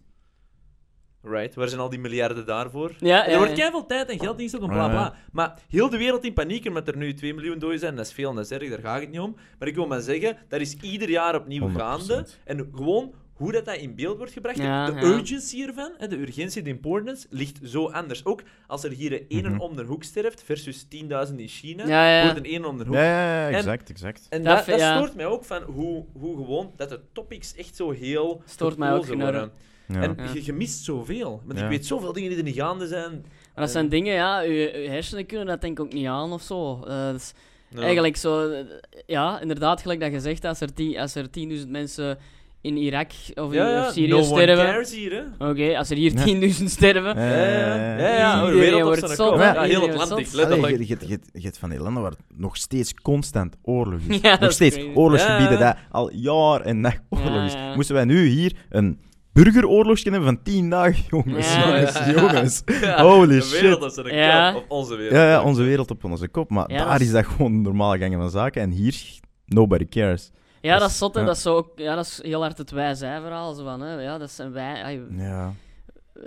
[SPEAKER 4] Right, waar zijn al die miljarden daarvoor?
[SPEAKER 5] Ja,
[SPEAKER 4] En
[SPEAKER 5] ja,
[SPEAKER 4] er wordt
[SPEAKER 5] ja.
[SPEAKER 4] keihard tijd en geld ingestoken,
[SPEAKER 2] Ja,
[SPEAKER 4] bla
[SPEAKER 2] ja.
[SPEAKER 4] bla. Maar heel de wereld in paniek omdat er nu 2 miljoen doden zijn. Dat is veel en dat is erg, daar gaat het niet om. Maar ik wil maar zeggen, dat is ieder jaar opnieuw
[SPEAKER 2] 100%.
[SPEAKER 4] gaande. En gewoon hoe dat, dat in beeld wordt gebracht,
[SPEAKER 5] Ja,
[SPEAKER 4] de
[SPEAKER 5] ja.
[SPEAKER 4] urgency ervan, hè, de urgentie, de importance, ligt zo anders. Ook als er hier een ene
[SPEAKER 2] Mhm.
[SPEAKER 4] om de hoek sterft versus 10.000 in China,
[SPEAKER 5] Ja, ja.
[SPEAKER 4] wordt een ene om de hoek.
[SPEAKER 2] Ja, ja, ja,
[SPEAKER 4] En-
[SPEAKER 2] exact, exact.
[SPEAKER 4] En
[SPEAKER 5] Dat
[SPEAKER 4] dat,
[SPEAKER 5] vi-
[SPEAKER 4] dat
[SPEAKER 5] ja.
[SPEAKER 4] stoort mij ook van hoe, hoe gewoon dat de topics echt zo heel
[SPEAKER 5] Stoort mij ook,
[SPEAKER 4] gekozen worden.
[SPEAKER 2] Ja.
[SPEAKER 4] En
[SPEAKER 5] Ja.
[SPEAKER 4] je, je mist zoveel. Want
[SPEAKER 2] Ja.
[SPEAKER 4] ik weet zoveel dingen die er niet gaande zijn.
[SPEAKER 5] Maar dat zijn dingen, ja, je, je hersenen kunnen dat denk ik ook niet aan of zo. Eh, dat is
[SPEAKER 4] Ja.
[SPEAKER 5] Eigenlijk zo, eh, ja, inderdaad, gelijk dat je zegt, als er, ti- als er 10.000 mensen in Irak of, in,
[SPEAKER 4] Ja, ja,
[SPEAKER 5] of Syrië
[SPEAKER 4] no one
[SPEAKER 5] sterven.
[SPEAKER 4] cares hier, hè.
[SPEAKER 5] Oké, als er hier
[SPEAKER 2] Ja.
[SPEAKER 5] 10.000 sterven.
[SPEAKER 2] Ja, ja, ja,
[SPEAKER 4] ja, ja,
[SPEAKER 5] Iedereen
[SPEAKER 4] de wereld
[SPEAKER 5] wordt
[SPEAKER 4] op zijn
[SPEAKER 5] zot,
[SPEAKER 4] kop.
[SPEAKER 2] hè?
[SPEAKER 4] Ja, heel
[SPEAKER 5] Iedereen
[SPEAKER 4] Atlantic,
[SPEAKER 5] wordt zot.
[SPEAKER 2] Allee,
[SPEAKER 4] letterlijk.
[SPEAKER 2] je- je- je- je hebt van die landen waar het nog steeds constant oorlog is.
[SPEAKER 5] Ja, dat
[SPEAKER 2] nog
[SPEAKER 5] is
[SPEAKER 2] steeds
[SPEAKER 5] crazy.
[SPEAKER 2] oorlogsgebieden
[SPEAKER 4] Ja, ja.
[SPEAKER 2] dat al jaar en nacht oorlog
[SPEAKER 5] Ja,
[SPEAKER 2] is.
[SPEAKER 5] ja.
[SPEAKER 2] Moesten wij nu hier een burgeroorlogsje hebben van 10 dagen, jongens.
[SPEAKER 5] Ja.
[SPEAKER 2] jongens,
[SPEAKER 4] Ja.
[SPEAKER 2] jongens.
[SPEAKER 4] Ja,
[SPEAKER 2] Holy
[SPEAKER 4] de
[SPEAKER 2] shit.
[SPEAKER 4] wereld is er een
[SPEAKER 5] Ja.
[SPEAKER 4] kop, op onze wereld.
[SPEAKER 2] Ja, ja, onze wereld op onze kop. Maar
[SPEAKER 5] Ja,
[SPEAKER 2] daar
[SPEAKER 5] dat is-
[SPEAKER 2] is dat gewoon normale gangen van zaken. En hier, nobody cares.
[SPEAKER 5] Ja, dat
[SPEAKER 2] Dat
[SPEAKER 5] is
[SPEAKER 2] is-
[SPEAKER 5] zot, hè.
[SPEAKER 2] ja.
[SPEAKER 5] Dat, is zo ook, ja, dat is heel hard het wij-zij-verhaal. Zo van, hè. Ja, dat zijn wij... ai,
[SPEAKER 2] Ja.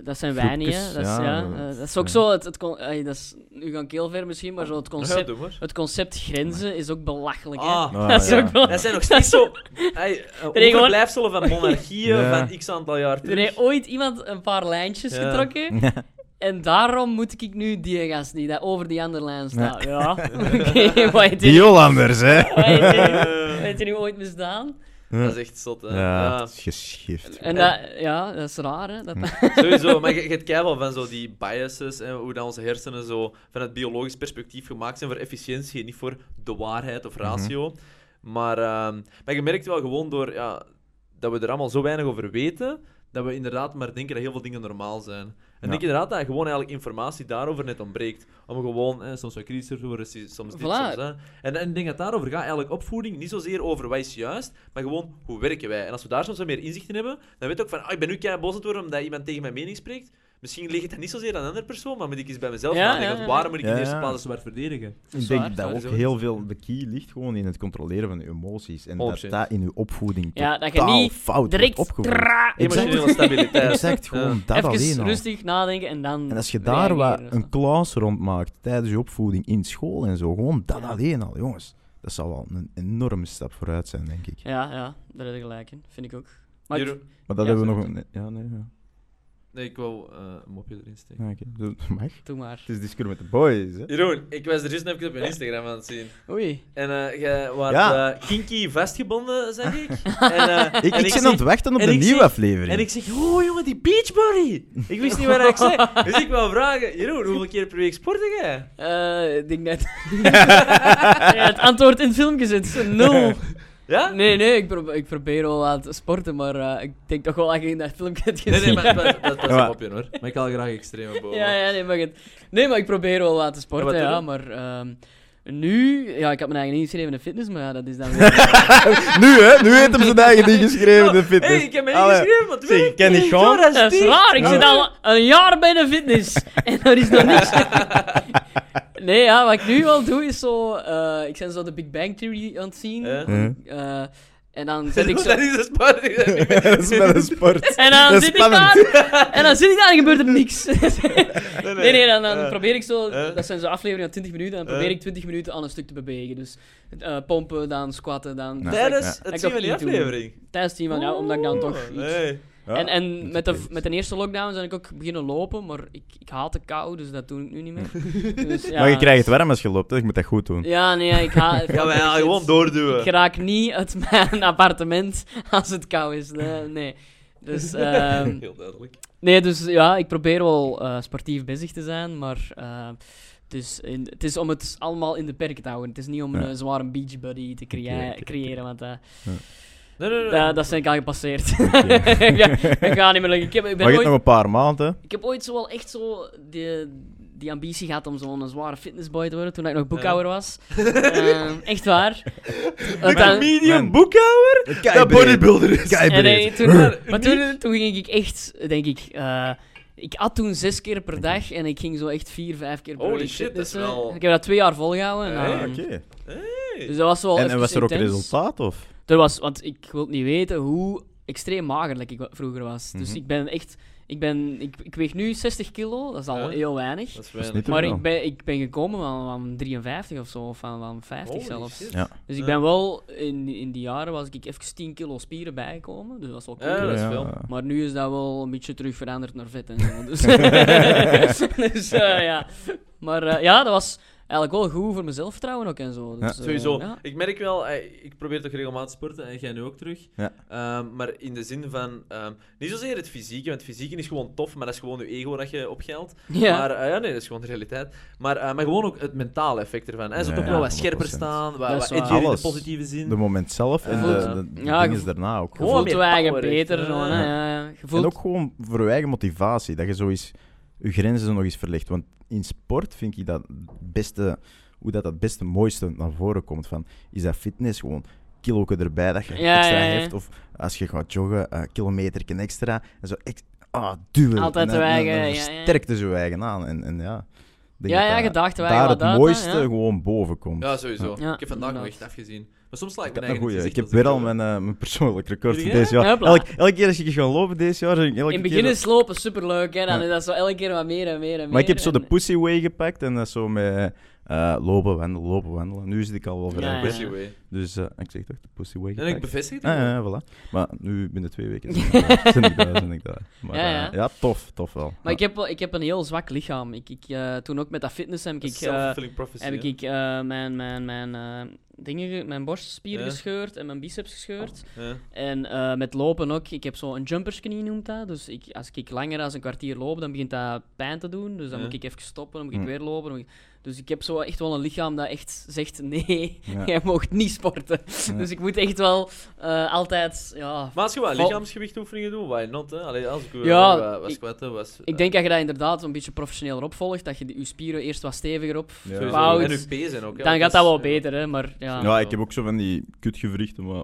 [SPEAKER 5] Dat zijn wij niet, hè.
[SPEAKER 2] Groepjes,
[SPEAKER 5] Dat is, ja,
[SPEAKER 2] ja,
[SPEAKER 5] eh,
[SPEAKER 2] dat-
[SPEAKER 5] dat is ook
[SPEAKER 2] ja.
[SPEAKER 5] zo... Het, het con- ai, dat is, nu gaan ik heel ver misschien, maar zo het
[SPEAKER 4] Ja,
[SPEAKER 5] concept,
[SPEAKER 4] doe maar.
[SPEAKER 5] het concept grenzen is ook belachelijk, hè.
[SPEAKER 4] Ah,
[SPEAKER 2] Ah,
[SPEAKER 5] dat is
[SPEAKER 2] ja.
[SPEAKER 5] ook wel...
[SPEAKER 4] Dat zijn nog steeds zo. Hey, eh,
[SPEAKER 5] gewoon- oh.
[SPEAKER 4] overblijfselen van monarchieën
[SPEAKER 2] Ja.
[SPEAKER 4] van x aantal jaar
[SPEAKER 5] Er
[SPEAKER 4] terug.
[SPEAKER 5] heeft ooit iemand een paar lijntjes
[SPEAKER 4] Ja.
[SPEAKER 5] getrokken. En daarom moet ik nu die gast niet, dat over die andere lijn staat. Ja, oké. wat heeft hij-
[SPEAKER 2] Die Hollanders, hè?
[SPEAKER 5] wat heeft hij-
[SPEAKER 4] Eh.
[SPEAKER 5] wat heeft hij nu ooit misdaan?
[SPEAKER 4] Dat is echt zot. Hè.
[SPEAKER 2] Ja,
[SPEAKER 4] Ja.
[SPEAKER 2] het is geschift.
[SPEAKER 5] En dat, ja, dat is raar, hè.
[SPEAKER 2] Mm. Oh,
[SPEAKER 5] Dat,
[SPEAKER 4] Sowieso, maar je, je hebt keihard van zo die biases en hoe dan onze hersenen zo van het biologisch perspectief gemaakt zijn voor efficiëntie en niet voor de waarheid of ratio.
[SPEAKER 2] Mhm.
[SPEAKER 4] Maar, ehm, maar je merkt wel gewoon door ja, dat we er allemaal zo weinig over weten, dat we inderdaad maar denken dat heel veel dingen normaal zijn. En
[SPEAKER 2] Ja.
[SPEAKER 4] denk inderdaad dat gewoon eigenlijk informatie daarover net ontbreekt. Om gewoon, eh, soms wat kritischer te worden, si- soms dit,
[SPEAKER 5] Voilà.
[SPEAKER 4] soms dat. En, en ik denk dat daarover gaat eigenlijk opvoeding niet zozeer over wat is juist, maar gewoon hoe werken wij. En als we daar soms wat meer inzicht in hebben, dan weet ik ook van, ah, ik ben nu kei boos aan het worden omdat iemand tegen mijn mening spreekt. Misschien ligt het niet zozeer aan een andere persoon, maar moet ik eens bij mezelf
[SPEAKER 5] Ja,
[SPEAKER 4] nadenken.
[SPEAKER 5] ja,
[SPEAKER 4] want
[SPEAKER 5] ja.
[SPEAKER 4] Waarom moet ik in de
[SPEAKER 2] Ja,
[SPEAKER 4] eerste
[SPEAKER 2] ja.
[SPEAKER 4] plaats zwart verdedigen?
[SPEAKER 2] Ik
[SPEAKER 5] Zwaar,
[SPEAKER 2] denk dat ook
[SPEAKER 4] sowieso.
[SPEAKER 2] heel veel... De key ligt gewoon in het controleren van je emoties. En dat
[SPEAKER 4] 100%.
[SPEAKER 2] dat in je opvoeding
[SPEAKER 5] ja, dat je
[SPEAKER 2] totaal
[SPEAKER 5] niet
[SPEAKER 2] fout
[SPEAKER 5] direct...
[SPEAKER 2] wordt opgevoed.
[SPEAKER 5] tra-
[SPEAKER 4] Emotionele stabiliteit.
[SPEAKER 2] Exact, gewoon dat alleen
[SPEAKER 5] Even
[SPEAKER 2] al.
[SPEAKER 5] rustig nadenken en dan...
[SPEAKER 2] En als je daar wat
[SPEAKER 5] reageren of zo.
[SPEAKER 2] een klas rond maakt tijdens je opvoeding in school en zo, gewoon dat alleen al, jongens. Dat zou wel een enorme stap vooruit zijn, denk ik.
[SPEAKER 5] Ja, ja, daar heb je gelijk in. Vind ik ook. Maar ik-
[SPEAKER 4] Jeroen-
[SPEAKER 2] Maar dat
[SPEAKER 5] Ja,
[SPEAKER 2] hebben we nog
[SPEAKER 4] zeker.
[SPEAKER 2] een... Ja, nee, ja.
[SPEAKER 4] Nee, ik wou eh, een mopje erin steken.
[SPEAKER 2] Ja, oké. Dat mag.
[SPEAKER 5] doe maar.
[SPEAKER 2] Het is discussie met de boys, hè.
[SPEAKER 4] Jeroen, ik was er juist even op je Instagram aan het zien.
[SPEAKER 5] Oei.
[SPEAKER 4] En eh jij was
[SPEAKER 2] Ja.
[SPEAKER 4] eh, kinky vastgebonden, zeg ik. En, eh, en
[SPEAKER 2] Ik, ik, zit aan
[SPEAKER 4] zeg-
[SPEAKER 2] het wachten op
[SPEAKER 4] en
[SPEAKER 2] de
[SPEAKER 4] ik
[SPEAKER 2] nieuwe
[SPEAKER 4] zeg-
[SPEAKER 2] aflevering.
[SPEAKER 4] En ik zeg, oh jongen, die Beachbody! Ik wist niet waar ik zei. Dus ik wou vragen, Jeroen, hoeveel keer per week sporten jij?
[SPEAKER 5] Eh, ik denk net. ja, het antwoord in het filmpje zit. Nul.
[SPEAKER 4] Ja?
[SPEAKER 5] Nee, nee, ik, probeer ik probeer wel aan te sporten, maar eh, ik denk toch wel dat je in dat filmpje hebt gezien.
[SPEAKER 4] Nee, nee, maar dat, dat was
[SPEAKER 2] Ja, maar-
[SPEAKER 4] een mopje hoor. Maar ik haal graag extreme boven.
[SPEAKER 5] Ja, ja, nee, maar het... Nee, maar ik probeer wel wat te sporten, ja,
[SPEAKER 4] Ja, wat doe je?
[SPEAKER 5] maar... ehm, nu... Ja, ik had mijn eigen ingeschreven in de fitness, maar ja, dat is dan weer...
[SPEAKER 2] nu, hè? Nu heeft hem zijn eigen ding geschreven, de fitness.
[SPEAKER 4] Oh, Hey, ik heb me
[SPEAKER 2] Allee.
[SPEAKER 4] ingeschreven, want
[SPEAKER 2] Zeg,
[SPEAKER 4] weet
[SPEAKER 2] ken ik gewoon.
[SPEAKER 4] Zo, dat
[SPEAKER 5] dat is
[SPEAKER 4] dicht.
[SPEAKER 5] raar, ik
[SPEAKER 2] Ja.
[SPEAKER 5] zit al een jaar bij de fitness en er is nog niks. nee, ja, wat ik nu wel doe is zo... eh, ik ben zo de Big Bang Theory aan het zien.
[SPEAKER 4] Ja.
[SPEAKER 2] Ja.
[SPEAKER 5] Eh, en dan zit ik zo...
[SPEAKER 4] Dat is een sport.
[SPEAKER 2] dat is wel een sport.
[SPEAKER 5] En dan
[SPEAKER 2] Dat is
[SPEAKER 5] zit
[SPEAKER 2] spannend.
[SPEAKER 5] ik daar en dan zit ik daar en gebeurt er niks. nee, nee, dan, dan
[SPEAKER 4] Eh.
[SPEAKER 5] probeer ik zo,
[SPEAKER 4] Eh.
[SPEAKER 5] dat zijn zo afleveringen van 20 minuten, dan probeer
[SPEAKER 4] Eh.
[SPEAKER 5] ik 20 minuten aan een stuk te bewegen. Dus eh, pompen, dan squatten, dan...
[SPEAKER 2] Ja.
[SPEAKER 4] Tijdens
[SPEAKER 5] Ik
[SPEAKER 4] het zien
[SPEAKER 5] ook
[SPEAKER 4] van die
[SPEAKER 5] niet doen.
[SPEAKER 4] aflevering.
[SPEAKER 5] Tijdens het team van ja, omdat ik dan toch iets...
[SPEAKER 4] Nee.
[SPEAKER 2] Ja,
[SPEAKER 5] en
[SPEAKER 2] dat
[SPEAKER 5] en
[SPEAKER 2] is
[SPEAKER 5] met, de,
[SPEAKER 2] oké.
[SPEAKER 5] met de eerste lockdown ben ik ook beginnen lopen, maar ik, ik haat de kou, dus dat doe ik nu niet meer. Dus, ja.
[SPEAKER 2] Maar je krijgt het warm als je loopt, hè. Ik moet dat goed doen.
[SPEAKER 5] Ja, nee, ik haat...
[SPEAKER 4] Ja, maar ja, gewoon doorduwen.
[SPEAKER 5] Ik raak niet uit mijn appartement als het koud is. Nee. nee. Dus, ehm,
[SPEAKER 4] Heel duidelijk.
[SPEAKER 5] Nee, dus ja, ik probeer wel eh, sportief bezig te zijn, maar eh, het, is in- het is om het allemaal in de perken te houden. Het is niet om een
[SPEAKER 2] Ja.
[SPEAKER 5] eh, zware beachbody te crea-
[SPEAKER 2] Oké, oké, oké.
[SPEAKER 5] creëren, want eh,
[SPEAKER 4] Nee, nee, nee.
[SPEAKER 5] da- dat zijn ik al gepasseerd.
[SPEAKER 2] Oké.
[SPEAKER 5] ik, ga, ik ga niet meer lukken. Ik heb,
[SPEAKER 2] maar
[SPEAKER 5] ik, ben
[SPEAKER 2] je hebt
[SPEAKER 5] ooit,
[SPEAKER 2] nog een paar maanden.
[SPEAKER 5] ik heb ooit zo wel echt zo die, die ambitie gehad om zo'n zware fitnessboy te worden, toen ik nog boekhouder was. Ehm, echt waar. Want
[SPEAKER 4] De
[SPEAKER 5] dan-
[SPEAKER 4] comedian
[SPEAKER 2] Man.
[SPEAKER 4] boekhouwer? Dat bodybuilder is.
[SPEAKER 5] En,
[SPEAKER 2] Keibreed.
[SPEAKER 5] eh, toen, maar toen, toen ging ik echt, denk ik, eh, ik at toen zes keer per dag en ik ging zo echt vier, vijf keer per
[SPEAKER 4] Holy
[SPEAKER 5] week
[SPEAKER 4] shit, dat is
[SPEAKER 5] fitnessen.
[SPEAKER 4] wel-
[SPEAKER 5] Ik heb dat twee jaar volgehouden. en,
[SPEAKER 4] Hey,
[SPEAKER 5] ehm,
[SPEAKER 2] Ah, Oké.
[SPEAKER 5] Dus dat was wel
[SPEAKER 2] En, en
[SPEAKER 5] even
[SPEAKER 2] was er ook
[SPEAKER 5] intens.
[SPEAKER 2] resultaat, of?
[SPEAKER 5] Er was, want ik wil niet weten hoe extreem magerlijk ik wa- vroeger was. Dus
[SPEAKER 2] Mhm.
[SPEAKER 5] ik ben echt, ik ben, ik, ik weeg nu 60 kilo, dat is al
[SPEAKER 4] Ja.
[SPEAKER 5] heel weinig.
[SPEAKER 4] Dat is
[SPEAKER 2] Dat is
[SPEAKER 4] weinig.
[SPEAKER 2] niet te
[SPEAKER 5] Maar
[SPEAKER 2] veel.
[SPEAKER 5] ik ben, ik ben gekomen van, van 53 of zo, of van, van 50
[SPEAKER 4] Holy
[SPEAKER 5] zelfs.
[SPEAKER 4] shit.
[SPEAKER 2] Ja.
[SPEAKER 5] Dus ik
[SPEAKER 4] Ja.
[SPEAKER 5] ben wel, in, in die jaren was ik even 10 kilo spieren bijgekomen, dus dat was wel cool.
[SPEAKER 4] Ja, dat is
[SPEAKER 2] Ja.
[SPEAKER 4] veel.
[SPEAKER 5] Maar nu is dat wel een beetje terug veranderd naar vet en zo. Dus, dus eh, ja. Maar eh, ja, dat was eigenlijk wel goed voor mijn zelfvertrouwen ook en zo. Dus, eh,
[SPEAKER 4] Sowieso.
[SPEAKER 5] ja.
[SPEAKER 4] Ik merk wel, eh, ik probeer toch regelmatig te sporten en jij nu ook terug.
[SPEAKER 2] Ja.
[SPEAKER 4] Ehm, maar in de zin van, ehm, niet zozeer het fysieke, want het fysieke is gewoon tof, maar dat is gewoon je ego dat je opgeilt.
[SPEAKER 5] Ja.
[SPEAKER 4] Maar eh, ja, nee, dat is gewoon de realiteit. Maar, eh, maar gewoon ook het mentale effect ervan. Hij zou
[SPEAKER 2] Ja,
[SPEAKER 4] toch wel wat
[SPEAKER 2] 100%.
[SPEAKER 4] scherper staan, wat,
[SPEAKER 5] Dat
[SPEAKER 4] wat
[SPEAKER 5] is waar.
[SPEAKER 4] edgier in de
[SPEAKER 2] Alles.
[SPEAKER 4] positieve zin.
[SPEAKER 2] De moment zelf en
[SPEAKER 4] Ja.
[SPEAKER 2] de, de, de
[SPEAKER 5] Ja,
[SPEAKER 2] dingen
[SPEAKER 5] gevo-
[SPEAKER 2] daarna ook.
[SPEAKER 5] je
[SPEAKER 4] Gewoon
[SPEAKER 5] voelt
[SPEAKER 4] meer
[SPEAKER 5] je eigen
[SPEAKER 4] power,
[SPEAKER 5] beter.
[SPEAKER 4] echt,
[SPEAKER 5] zo,
[SPEAKER 4] eh.
[SPEAKER 5] hè, ja, ja. Je voelt...
[SPEAKER 2] En ook gewoon voor je eigen motivatie. Dat je zoiets, je grenzen nog eens verlegt. Want in sport vind ik dat het beste, hoe dat het beste mooiste naar voren komt. Van, is dat fitness gewoon kilo erbij dat je
[SPEAKER 5] Ja,
[SPEAKER 2] extra
[SPEAKER 5] ja, ja.
[SPEAKER 2] hebt. Of als je gaat joggen, eh kilometer extra. En zo ex- ah, duwen.
[SPEAKER 5] Altijd
[SPEAKER 2] En dan-
[SPEAKER 5] uw eigen,
[SPEAKER 2] dan- dan
[SPEAKER 5] ja, ja.
[SPEAKER 2] Sterkte zo eigen aan. En, en ja, ik denk
[SPEAKER 5] Ja,
[SPEAKER 2] dat
[SPEAKER 5] ja,
[SPEAKER 2] dat-
[SPEAKER 5] gedaagd uw eigen
[SPEAKER 2] Daar
[SPEAKER 5] wat
[SPEAKER 2] het
[SPEAKER 5] uit, hè,
[SPEAKER 2] mooiste
[SPEAKER 5] ja.
[SPEAKER 2] gewoon boven komt.
[SPEAKER 4] Ja, sowieso.
[SPEAKER 5] Ja,
[SPEAKER 4] ik heb vandaag nog echt
[SPEAKER 5] inderdaad.
[SPEAKER 4] afgezien. Maar soms sla ik
[SPEAKER 2] Ik heb,
[SPEAKER 4] mijn
[SPEAKER 2] een
[SPEAKER 4] eigen dus in het
[SPEAKER 2] goeie. ik heb
[SPEAKER 4] gezicht
[SPEAKER 2] weer
[SPEAKER 4] als
[SPEAKER 2] al mijn, eh, mijn persoonlijk record
[SPEAKER 4] Wil
[SPEAKER 2] voor
[SPEAKER 4] jij?
[SPEAKER 2] deze jaar.
[SPEAKER 5] Hopla.
[SPEAKER 2] Elk, elke keer als ik ga lopen deze jaar, zeg ik elke
[SPEAKER 5] In het
[SPEAKER 2] keer
[SPEAKER 5] begin
[SPEAKER 2] dat-
[SPEAKER 5] is lopen superleuk, hè. Dan
[SPEAKER 2] Ja.
[SPEAKER 5] is dat zo elke keer wat meer en meer en
[SPEAKER 2] Maar ik heb
[SPEAKER 5] meer
[SPEAKER 2] zo de
[SPEAKER 5] en-
[SPEAKER 2] pussy way gepakt en dat zo met eh, lopen, wandelen, lopen, wandelen. Nu zit ik al wel
[SPEAKER 5] Ja,
[SPEAKER 2] vrij
[SPEAKER 5] ja.
[SPEAKER 2] goed.
[SPEAKER 4] Pussy way.
[SPEAKER 2] Dus eh, ik zeg toch, de pussy
[SPEAKER 4] En
[SPEAKER 2] way
[SPEAKER 4] ik
[SPEAKER 2] gepakt.
[SPEAKER 4] bevestig
[SPEAKER 2] Ah,
[SPEAKER 4] het.
[SPEAKER 2] ja, ja, voilà. Maar nu binnen twee weken ben ik daar, ben ik daar. ben ik daar. Maar,
[SPEAKER 5] Ja,
[SPEAKER 2] eh, ja,
[SPEAKER 5] ja.
[SPEAKER 2] tof, tof wel.
[SPEAKER 5] Maar ik
[SPEAKER 2] Ja.
[SPEAKER 5] heb, wel- ik heb een heel zwak lichaam. Ik, ik, eh, toen ook met dat fitness heb ik, eh,
[SPEAKER 4] Self-fulfilling prophecy.
[SPEAKER 5] heb
[SPEAKER 4] hè.
[SPEAKER 5] ik eh, mijn, mijn, mijn, eh, dingen, ge- mijn borstspier
[SPEAKER 4] Ja.
[SPEAKER 5] gescheurd en mijn biceps gescheurd.
[SPEAKER 4] Ja.
[SPEAKER 5] En eh, met lopen ook. Ik heb zo'n jumpersknie, noemt dat. Dus ik, als ik langer dan een kwartier loop, dan begint dat pijn te doen. Dus dan
[SPEAKER 4] Ja.
[SPEAKER 5] moet ik even stoppen, dan moet ik
[SPEAKER 2] Hm.
[SPEAKER 5] weer lopen. dan moet ik- Dus ik heb zo echt wel een lichaam dat echt zegt, nee,
[SPEAKER 2] Ja.
[SPEAKER 5] jij mocht niet sporten.
[SPEAKER 2] Ja.
[SPEAKER 5] Dus ik moet echt wel eh, altijd, ja...
[SPEAKER 4] Maar als je wat
[SPEAKER 5] Val-
[SPEAKER 4] lichaamsgewichtoefeningen doet, why not? Hè? Allee, als ik weer
[SPEAKER 5] Ja,
[SPEAKER 4] wat- wat
[SPEAKER 5] ik-
[SPEAKER 4] squatten was.
[SPEAKER 5] Ik denk dat je dat inderdaad een beetje professioneler opvolgt. Dat je die- je spieren eerst wat steviger
[SPEAKER 2] Ja.
[SPEAKER 5] opbouwt.
[SPEAKER 4] Sowieso.
[SPEAKER 2] Pauw.
[SPEAKER 4] En uw pezen ook. hè,
[SPEAKER 5] Dan
[SPEAKER 4] want
[SPEAKER 5] gaat
[SPEAKER 4] dat
[SPEAKER 5] dat
[SPEAKER 4] is- eh,
[SPEAKER 5] wel beter, hè. Maar ja,
[SPEAKER 2] Ja, ik heb ook zo van die kutgewrichten, maar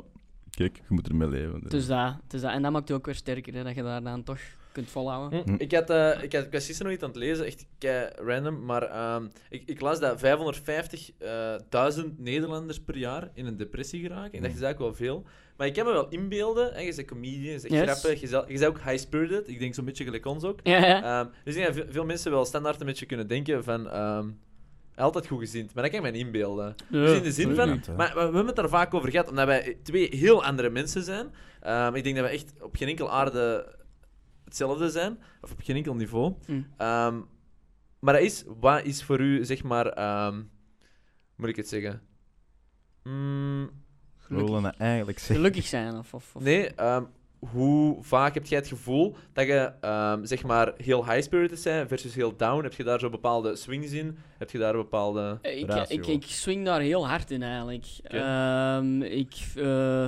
[SPEAKER 2] kijk, je moet ermee leven. Dus.
[SPEAKER 5] het is dat. Het is dat. En dat maakt je ook weer sterker, hè. Dat je daar dan toch kunt volhouden.
[SPEAKER 4] Hm, Ik, had, eh, ik, had, ik was gisteren nog iets aan het lezen, echt kei random, maar ehm, ik, ik las dat 550.000 Nederlanders per jaar in een depressie geraken. En dat is eigenlijk wel veel. Maar ik kan me wel inbeelden, hè, je bent comedian, je bent
[SPEAKER 5] Yes.
[SPEAKER 4] grappig, je bent, je bent ook high-spirited, ik denk zo'n beetje gelijk ons ook.
[SPEAKER 5] Ja, ja.
[SPEAKER 4] Ehm, dus ik denk dat ve- veel mensen wel standaard een beetje kunnen denken van... ehm, altijd goed gezind, maar dat kan ik mij niet inbeelden. Dus in de zin van...
[SPEAKER 2] tuurlijk niet, hè.
[SPEAKER 4] Maar we, we hebben het er vaak over gehad, omdat wij twee heel andere mensen zijn. Ehm, ik denk dat we echt op geen enkel aarde hetzelfde zijn. Of op geen enkel niveau.
[SPEAKER 5] Mm.
[SPEAKER 4] Ehm, maar dat is... Wat is voor u, zeg maar... ehm, moet ik het zeggen? Mm,
[SPEAKER 2] We willen dat eigenlijk zeggen.
[SPEAKER 5] Gelukkig zijn, of... of, of-
[SPEAKER 4] Nee, ehm, hoe vaak heb jij het gevoel dat je ehm, zeg maar heel high-spirited zijn versus heel down? Heb je daar zo bepaalde swings in? Heb je daar bepaalde...
[SPEAKER 5] Eh, Ik,
[SPEAKER 2] Ratio.
[SPEAKER 5] ik, ik swing daar heel hard in eigenlijk.
[SPEAKER 4] Oké.
[SPEAKER 5] Ehm, ik, eh,